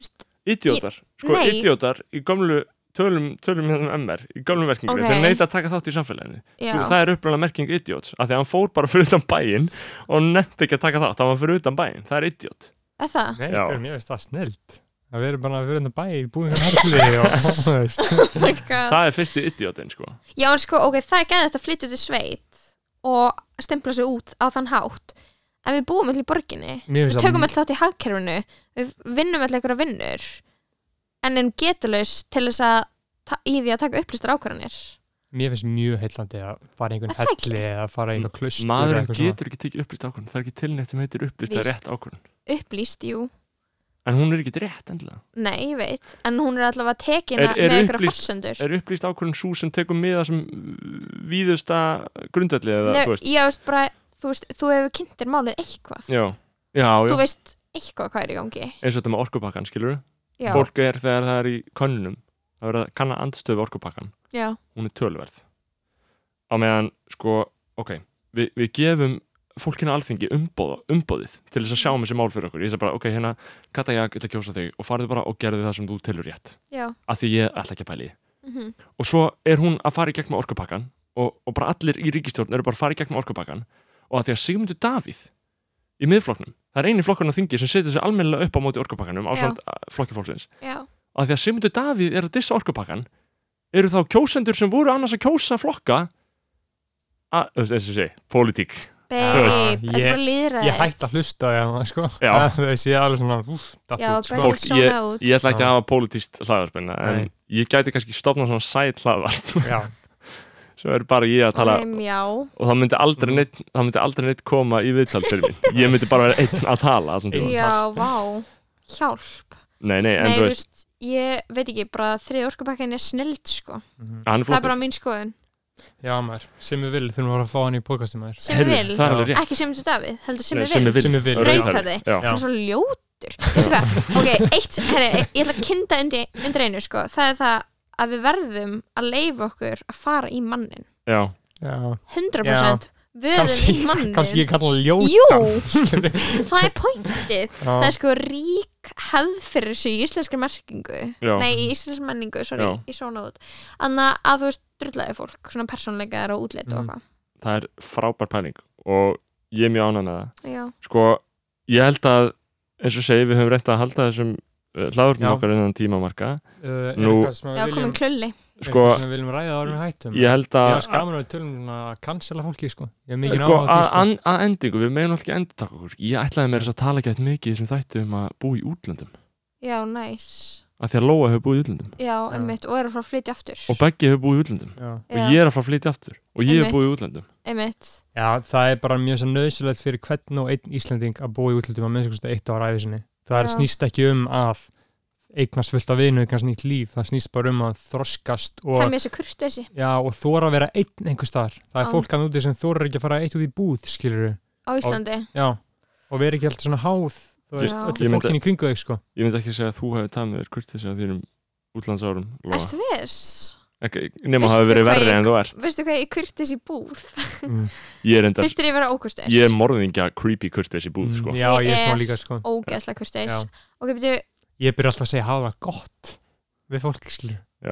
St- idiotar, sko nei. idiotar í gamlu tölum, tölum hérna um MR í gamlu merkingu, Ok. okay. þeir neita að taka þátt í samfélaginu já Þú, það er uppræðanlega merking idiots af því að hann fór bara fyrir utan bæinn og nefndi ekki að taka þátt, hann var fyrir utan bæinn það er idiot er það, Nei, Já. það er mjög veist það snilt að við erum bara að vera hérna bæ í búið hérna harfliði og þú veist oh my god það er fyrsti idiotinn sko Já, en sko, ok, það er gæðist að flytja til sveit og stempla sig út á þann hátt en við búum allir í borginni Mér við finnst tökum það- allir þátt í hagkerfinu við vinnum allir einhverja vinnur en erum getulaus til þess að ta- í því að taka upplýstar ákvarðanir mér finnst mjög heillandi að fara í einhvern Er það ekki? helli eða fara í einhvern klustur maðurinn eitthvað getur ekki tekið upplýst ákvörðun það er ekki tilnætt sem heitir upplýst að Víst. rétt ákvörðun upplýst, jú, en hún er ekki rétt endilega nei, ég veit en hún er allavega tekin Er- að- er með einhverja upplýst- forsendur er upplýst ákvörðun svo sem tekur miða sem víðusta grundvelli eða Nei, þú veist ég veist bara, þú veist, þú hefur kynnt þér málið eitthvað, já, já, já. þú veist eitthvað hvað er í gangi eins og þetta með orkupakkan skilur já, fólk er þegar það er í könnum það verður að kanna andstöðu orkupakkan já, hún er tölverð á meðan sko, ok við, við gefum fólkinu á alþingi umboða, umboðið til þess að sjá um þessi mál fyrir okkur ég sagði bara, ok, hérna, Kata, ég ætla að kjósa þig og farðu bara og gerðu það sem þú telur rétt já af því ég ætla ekki að pæli mm og svo er hún að fara í gegn með orkupakkan og, og bara allir í ríkistjórn eru bara að fara í gegn með orkupakkan og að því að Sigmundur Davíð í miðflokknum, það er eini flokkurinn á þingi sem setur sig almennilega upp á móti orkupakkanum á Já. flokki fólksins já, að því að Sigmundur Davíð er að dissa orkupakkan eru þá kjósendur sem voru annars að kjósa flokka að, þú veist, eins og sé, pólitík babe, veist, þetta er ég- bara líðræði ég hætti að hlusta á það sko Já. Það- þau sé alveg svona úf, Já, dabbult sko. bara Fólk, ekki svona út ég ætla Já. ekki að hafa pólitíst hlaðarpinna en Nei. ég gæti kannski stopna svona sæt hlaðarp já, sem er bara ég að tala Nei, mjá. og það myndi aldrei Mhm. neitt, það myndi aldrei neitt koma í viðtal fyrir mín ég myndi bara vera einn að tala allan tíma Já, vá Hjálp nei, nei, en Nei, þú þú veist, veist, ég veit ekki bara þrið orkupakkan er snild sko hann er Það er flottur bara mín skoðun já maður, sem við vil þurfum að fara að fá hann í podcastum maður Sem Heyrðu, vil, það er alveg rétt ekki sem til Davíð heldur sem Nei, vil Simmi Simmi Vil. Rauðhærði. Rauðhærði. Já. Hann er svo ljótur Veistu hvað, ok, eitt herri, Ég ætla að kynda undir, undir einu sko Það er það að við verðum að leifa okkur að fara í mannin já, 100% Vöðum í kannski, mannin kannski ég kalla hann ljótan Jú, það er pointið það er sko rík hefð fyrir þessu í íslenskri merkingu Já. nei, í íslenskri menningu, sorry, Já. í svona út anna að þú veist, drullaði fólk svona persónleikaðar og útlit og Mm. eitthvað það er frábær pæling og ég er mjög ánægð með það já, sko, ég held að eins og segi, við höfum reynt að halda þessum hláðurum Já. okkar innan tímamarka uh, Nú- já, komin klölli sko, sem við viljum ræða árum við hættum ég held Ég að var skaman að við tölum svona að cancela fólki sko. Ég er mikið sko, náða að, því Hérna, sko. an- að endingu, við meginum alltaf ekki endur taka okkur ég ætlaði mér þess að tala ekki eitt mikið í þessum þættu um að búa í útlöndum já, næs, af því að Lóa hefur búið í útlöndum já, einmitt og er að fara að flytja aftur og Beggi hefur búið í útlöndum Já. Já, og ég er að fara að flytja aftur og ég Einmitt. hefur búið í útlöndum einmitt, Já, það er bara mjög svo nöðsilegt fyrir hvern og einn Íslanding að búa í útlutum að minnst kosti eitt ára æfi sinni. Það er Já. snýst ekki um að eignast fullt af vinu, eignast nýtt líf, það snýst bara um að þroskast og, kemur þessu kurt þessi já, og þóra að vera einn einhver staðar. Það er Já. fólk að núti sem þóra ekki að fara eitt út í búð, skilur á Íslandi Já, og vera ekki alltaf svona háð, þú veist, Já. öllu Ég myndi- fólkinni í kringu þau, sko. ég myndi ekki segja að þú hefur tamið þér kurtið segja þínum útlandsárum Lóa ertu viss? ekki, nema Veistu að hafa verið hvað verri ég- en þú ert veistu hvað ég kurt þessi búð? ég er enda, fyrst er ég að vera ókurteis ég er morðingja creepy kurtið í búð Mm. sko Já, ég er Ég smá er- líka, sko. ógeðslega kurteis Já. ok, betur, Ég byrja alltaf að segja hafa það gott við fólk, skilur. Já,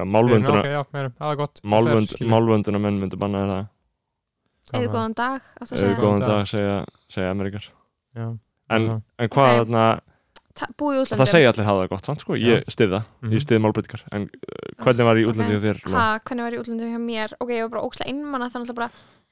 Já, málvönduna, ok, já, meira, hafa það gott. málvönd, Fer, skilurðu. málvönduna menn myndu banna þér það Já, auðvitað góðan dag áttu að Eða segja. góðan góðan dag, dag. segja, segja Amerikar já. En, Já. en hvað Nei. þarna, Ta- búa í það útlöndum segja allir hafa það gott samt sko, ég stið það, Mhm. ég stið málbreytingar En uh, hvernig var í útlandi ok. okay. þér? Lóa? ha, hvernig var í útlöndum hjá mér ok, ég var bara ókslega innmanna þannig að bara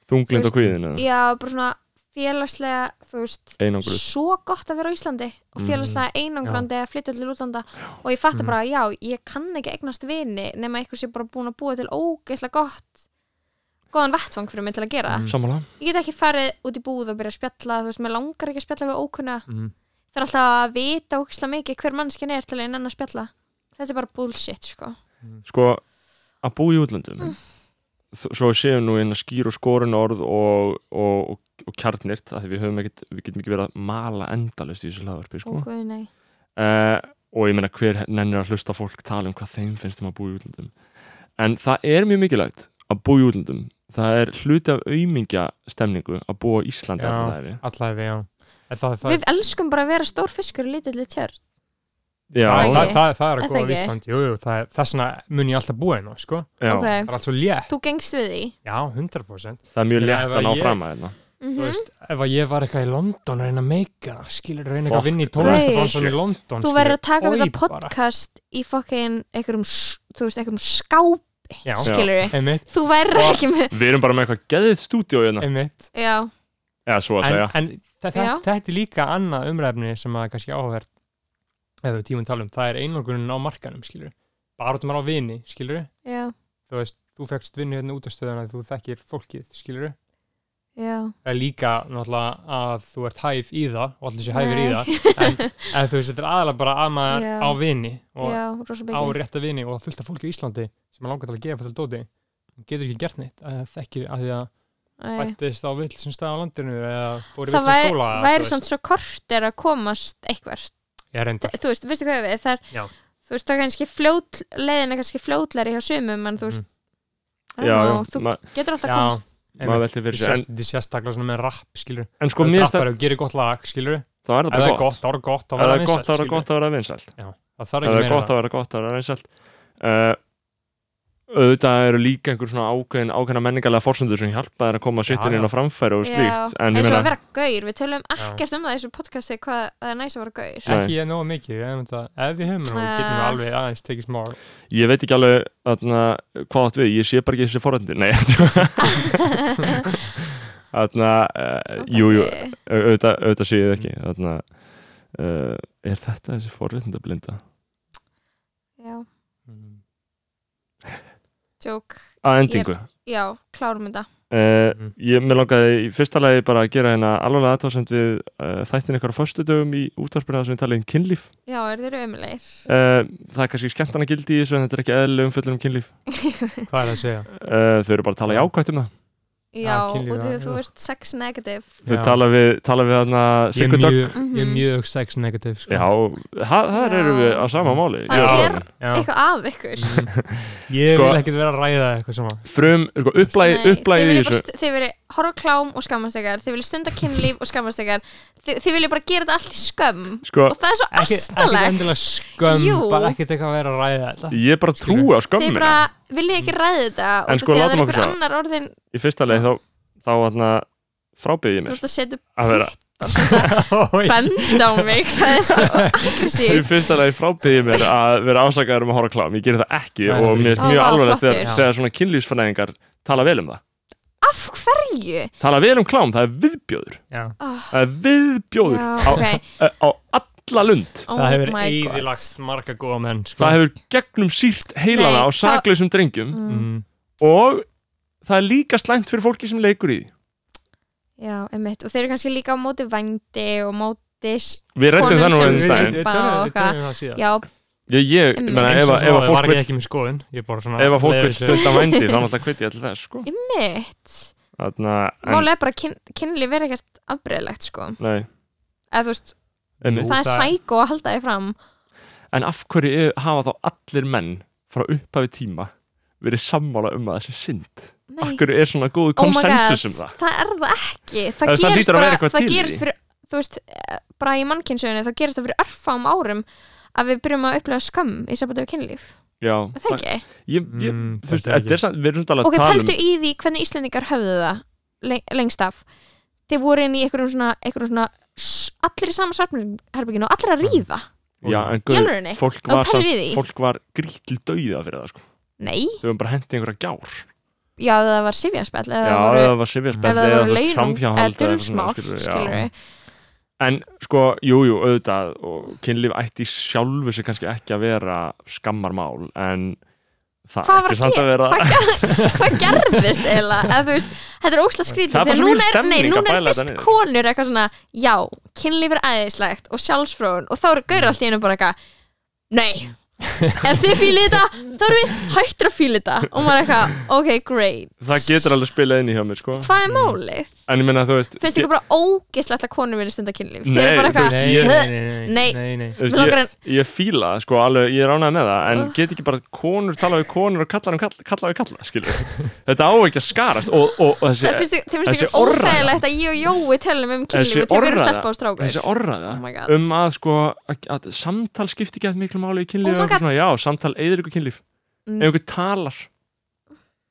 Þunglind og Þú kvíðin eða? Já, bara svona félagslega, þú veist, Einangrið svo gott að vera á Íslandi Mm. og félagslega einangrandi að flytja til útlanda og ég fatti Mhm. bara, já, ég kann ekki eignast vini nema eitthvað sé bara búin að búa til ógeðslega gott góðan vettfang fyrir mig til að Mm. gera það Sammála ég get ekki farið út í búð og byrja að spjalla þú veist, mér langar ekki að spjalla við ókunna Mhm. það er alltaf að vita ógeðslega mikið hver mannskinn er til að einn að spjalla þetta er bara bullshit, sko Sko, að búa í útlöndum Mm. þ- Svo séum nú einn að skýr og skorun orð og, og, og, og kjarnirt að við höfum ekkit, við getum ekki verið að mala endalust í þessu hlaðvarpi sko. og guð, nei uh, og ég meina hver nennir að hlusta á fólk tala um hvað þeim finnst um að búa í útlöndum en það er mjög mikilvægt að búa í útlöndum það er hluti af aumingja stemningu að búa í Íslandi Já. alltaf það er allavega, já En það, það, við elskum bara að vera stór fiskur í lítilli tjörn það, já, ekki? það, það, það er Er að það góða ekki? á Íslandi jú, jú, það, er- þess vegna mun ég alltaf búa hérna sko. já, ok, það er allt svo létt, þú gengst við því já, 100% það er mjög Ég- létt að ná ég- fram að hérna mm þú veist, ef að ég var eitthvað í London að reyna að meika, skilur reyna eitthvað Fuck. að vinna í tónlistabransan Shit. í London þú skilurðu, verður að taka við oj, þetta podcast í fokkin einhverjum, s- þú veist, einhverjum skáp bara. já, Já. skilur við, einmitt, þú verður Og- ekki með, við erum bara með eitthvað geðið stúdíó hérna einmitt já, eða svo að en, segja en þe- þe- Já. þetta er líka annað umræfni sem að er kannski áhverð eða við tímum tala um, það er einlokunin á markanum skilur, bara út um að á vini skilur, já, þú veist, þú fegst vinnu hérna út af stöðuna, þú þekkir fólkið skilur, já er líka náttúrulega að þú ert hæf í það og allir séu hæfir í Nei. það en, en þú veist, þetta er aðalega bara að maður Já. á vini og já, rosa á byggja rétta vini og fullt af fólki í Íslandi sem er langar til að gefa fyrir dóti Hún getur ekki gert neitt að þekkir að því að fættist á vill sem stað á landinu eða fór í vill það sem væri, skóla væri svona svo kort er að komast eitthvert, ég er enda Þe- þú veist, veistu hvað ég við það Já. er, þú veist, það er kannski fljót leiðin er kannski fljótlari hjá sumum en þú veist, I don't já, know, já, þú ma- getur alltaf Mm. já, komast maður einmitt. velti fyrir Ég sér sést- en, þetta er sérstaklega svona með rap skilur en sko og mér stað, rappar og gerir gott lag skilur ef þá er það það bara er gott gott, þá er það gott ef að það vera er vinsælt gott, þá er það skilurðu. gott að vera vinsælt það þarf það ekki er gott meira að vera gott að vera vinsælt uh, auðvitað eru líka einhver svona ákveðin ákveðina menningarlega forsendur sem hjálpa þær að koma Já, sittin já. inn á framfæri og slíkt en, en ég svo meina, að vera gaur, við tölum ekkert um það í þessu podcasti hvað það er næs að vera gaur Nei. ekki ég nóg mikið en það- ef við höfum nú getum við Ah. alveg aðeins tekið smá ég veit ekki alveg þarna, hvað átt við, ég sé bara ekki þessi forhendir nei þarna, uh, jú, jú auðvitað, auðvitað sé ég það ekki þarna, uh, er þetta þessi forhendablinda? já, Mm. tjók að endingu Já, klárum þetta Uh, Mhm. ég með langaði í fyrsta lagi bara að gera hérna alvarlega aðtáðsend við uh, þættin ykkur á föstudögum í útvarpinu þar sem við talaði um kynlíf Já, er þeir ömulegir? uh, það er kannski skemmtana gildi í þessu en þetta er ekki eðlilega umfjöllun um kynlíf hvað er það að segja uh, þau eru bara að tala jákvætt um það Já, Já, og kynlíf, því að já, þú já. ert sex negative þau Já. tala við, tala við þarna ég er Sigurd Dögg mjög, ég er Mhm. mjög sex negativ sko. já, það, það Já. eru við á sama máli Það Já. er- Já. Eitthvað að ykkur Mm. ég Sko- vil ekkert vera að ræða eitthvað svona frum, sko, upplæði, Nei, upplæði í þið þessu viljið vil veri horfa á klám og skammast ykkar Þið viljið stunda kynlíf og skammast ykkar Þið, þið viljið bara gera þetta allt í skömm sko, Og það er svo ekki, ekki astalegt endilega skömm Jú. bara ekkert eitthvað að vera að ræða þetta ég bara trúi á Þið skömmina bara viljið ekki ræða þetta En sko, Og sko, því að það látum er okkur ykkur sjá. annar orðin í fyrsta lagi þá, þá þarna frábið ég Þú mér ert að setja að vera Oj. bend á mig Það er svo í aggressív fyrsta lagi frábýði mér að vera ásakaður um að horfa á klám, ég gerir það ekki Nei, og þetta er mér finnst ekki. mjög Ó, vá, alvarlegt flottur. þegar, Já. þegar svona kynlýsfræðingar tala vel um það, Af hverju? tala vel um klám, það er viðbjóður Já. Oh, það er viðbjóður Já, á, ok. eh, á alla lund oh það hefur my god. eðilagt marga góða menn sko. það hefur gegnum sírt heilana Nei, á þá- saklausum drengjum mm, mm. og það er líka slæmt fyrir fólki sem leikur í því. Já, einmitt Og þeir eru kannski líka á móti vændi og móti s- við rættum Konum það nú sem einn stæðin. stæðin Við- við tölum- við tölum um það síðar. Já, ég, ég Einmitt. menna, Eins ef, og að- ef svo að var fólk ég vill ekki með skoðun Ég er bara svona ef að fólk leiðir vil sér. stunda vændi þá náttúrulega hvet ég alltaf þess sko. einmitt Þarna, en, Málega bara kyn, kynlíf er ekkert afbreyðlegt sko nei, Eða, þú veist, einmitt. Jú, Það er það- sækó að halda þið fram En af hverju er- hafa þá allir menn frá upphafi tíma verið sammála um að þessi synd? Af Nei, hverju er svona góð Oh my konsensus God, um það? er það ekki Það, Það- það hlýtur gerist að vera bara, eitthvað það til í gerist því. fyrir Þú veist, eh, bara í mannkynsögunni þá gerist það fyrir örfám árum að við byrjum að upplega skömm í sambandi við kynlíf Já, Er Það ekki Ég, ég, Mm, þú veist, þetta er þetta er samt, við erum svona að Ok, tala um- pældu í því hvernig Íslendingar höfðu það le- lengst af Þeir voru inn í einhverjum svona, einhverjum svona s- allir í sama svartmjörnherbygginu og allir að rífa um... Já, en Í guð, alvörunni? fólk Og var, pældu samt, í því? fólk var grýtt til dauða fyrir það, sko. Nei, Þau varum bara hendið einhverja gjár. já, eða það var sifjanspell eða Já, það voru, það var sifjarspell eða það voru um launum, eða framhjáhald dulsmál skilurðu, já. skilur við, En sko, jújú, jú, auðvitað og kynlíf ætti í sjálfu sig kannski ekki að vera skammarmál en það hvað ætti var að samt gera að vera Hvað ger- hvað gerðist eiginlega, eða þú veist, þetta er ósla skrítið Það er bara þegar svo núna mikil er, nei, stemning að núna er bæla þetta fyrst niður. konur eitthvað svona, já, kynlíf er æðislegt og sjálfsfróun og þá eru gaur allt í einu bara eitthvað, nei ef þið fýlið þetta, þá erum við hættur að fýlið þetta og maður er eitthvað, ok, great það getur alveg spilað inn í hjá mér sko hvað er málið? en ég meina þú veist Finnst ég- ykkur bara ógislegt að konur vilja stunda kynlíf? Þeir Nei, eru bara þú veist, eitthvað, Nei, nei, nei, nei, Nei. nei, nei. þú veist, mig langar ég, ég fíla það, sko alveg, ég er ánægð með það en Ugh. get ekki bara konur tala við konur og kallar um kalla, kalla við kalla skilur þetta á ekki að skarast og, og, og Það þessi, finnst þér- þeim finnst þessi ykkur orðræða. óþægilegt að ég og Jói tölum um kynlíf þessi og þeir eru orðræða- stelpa og strákur þessi orðræða Oh my god. um að sko að, að samtal skipti ekki að miklu máli í kynlíf Oh og eitthvað my svona, já, samtal eður ykkur kynlíf Mm. ef einhver talar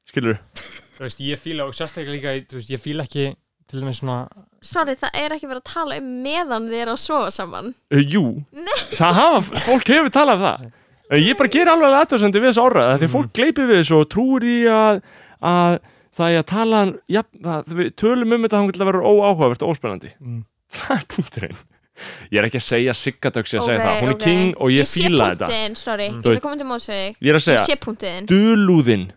skilur Þú veist, ég fíla og sérstaklega líka, í- þú veist, ég fíla ekki til dæmis svona, Sorry, það er ekki verið að tala um meðan þið eru að sofa saman Uh, jú, það hafa, fólk hefur talað um það uh, Ég bara ger alveg aðtöðsendir við þessu orðað Mhm. Þegar fólk gleipir við þessu og trúir því að, að það er að tala ja, að við tölum um þetta þannig að vera óáhugavert og óspennandi Mm. Það er punkturinn Ég er ekki að segja Siggadöks ég að segja Ok, það Hún er ok. king og ég, fíla Ég sé þetta punktiðin, sorry, Mm. Þú ég ætla veist- að koma til mótsveg Ég er að Ég segja, sé punktiðin dulúðin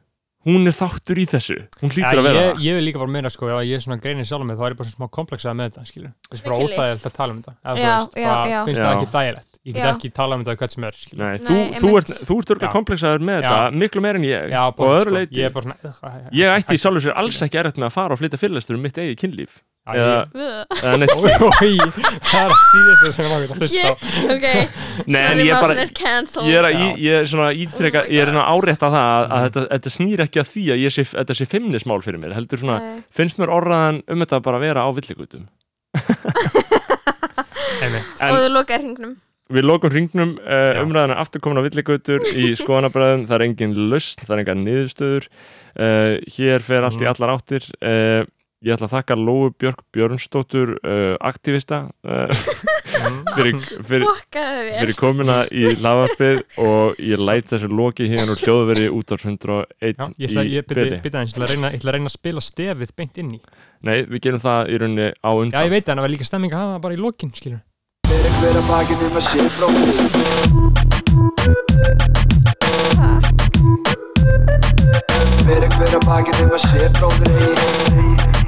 Hún er þáttur í þessu Hún Ja, hlýtur að vera ég, það ég vil líka bara meina sko, ef að ég er svona greinir sjálf með þá er ég bara svona smá komplexað með þetta, skilur Það er bara Mikið líf. óþægilegt að tala um þetta eða þú Já, veist, já, bara já. finnst það Já. ekki þægilegt Ég get Já. ekki talað um þetta við hvert sem er, skilur Nei, þú, Nei, þú einmitt. ert, þú ert örgulega Já. komplexaður með Já. þetta miklu meir en ég Já, sko, og öðru leiti Ég ég, er bara svona Ugh, ætti í sjálfu sér alls ekki erfitt með að fara og flytja fyrirlestur um mitt eigið kynlíf Já, eða ég- Ugh. eða neitt Oj, oj, það er að síðast það sem ég langar að hlusta á Ég, ok, Nei, en sorry, ég bara másin er cancelled ég er, að, í- ég er svona að ítreka, Oh my ég er að God. Mm. árétta það að, að þetta, þetta snýr ekki að því að ég sé, þetta sé feimnismál fyrir mér, heldur svona Nei. finnst mér orðaðan um þetta bara að vera á villigutum Einmitt. en- Og þú lokaði hringnum Við lokum ringnum Já. uh, umræðan er aftur komin á villigutur í skoðanabræðum, það er engin lausn, það er engan niðurstöður uh, hér fer Mhm. allt í Mm. allar áttir uh, ég ætla að þakka Lóu Björk Björnsdóttur uh, aktivista uh, Mm. fyrir, fyrir, Fokkaði þér fyrir komina í lavarpið og ég læt þessu loki hérna úr hljóðveri út á 101 Já, ég ætla, í ég byrja, bili. byrja eins, ég ætla að reyna, ég ætla að reyna að spila stefið beint inn í Nei, við gerum það í rauninni á Já, undan ég veit að það var líka stemming að hafa það bara í lokin, skilur Fyrir hver að bakið um að sé bróðir Fyrir hver að bakið um að sé bróðir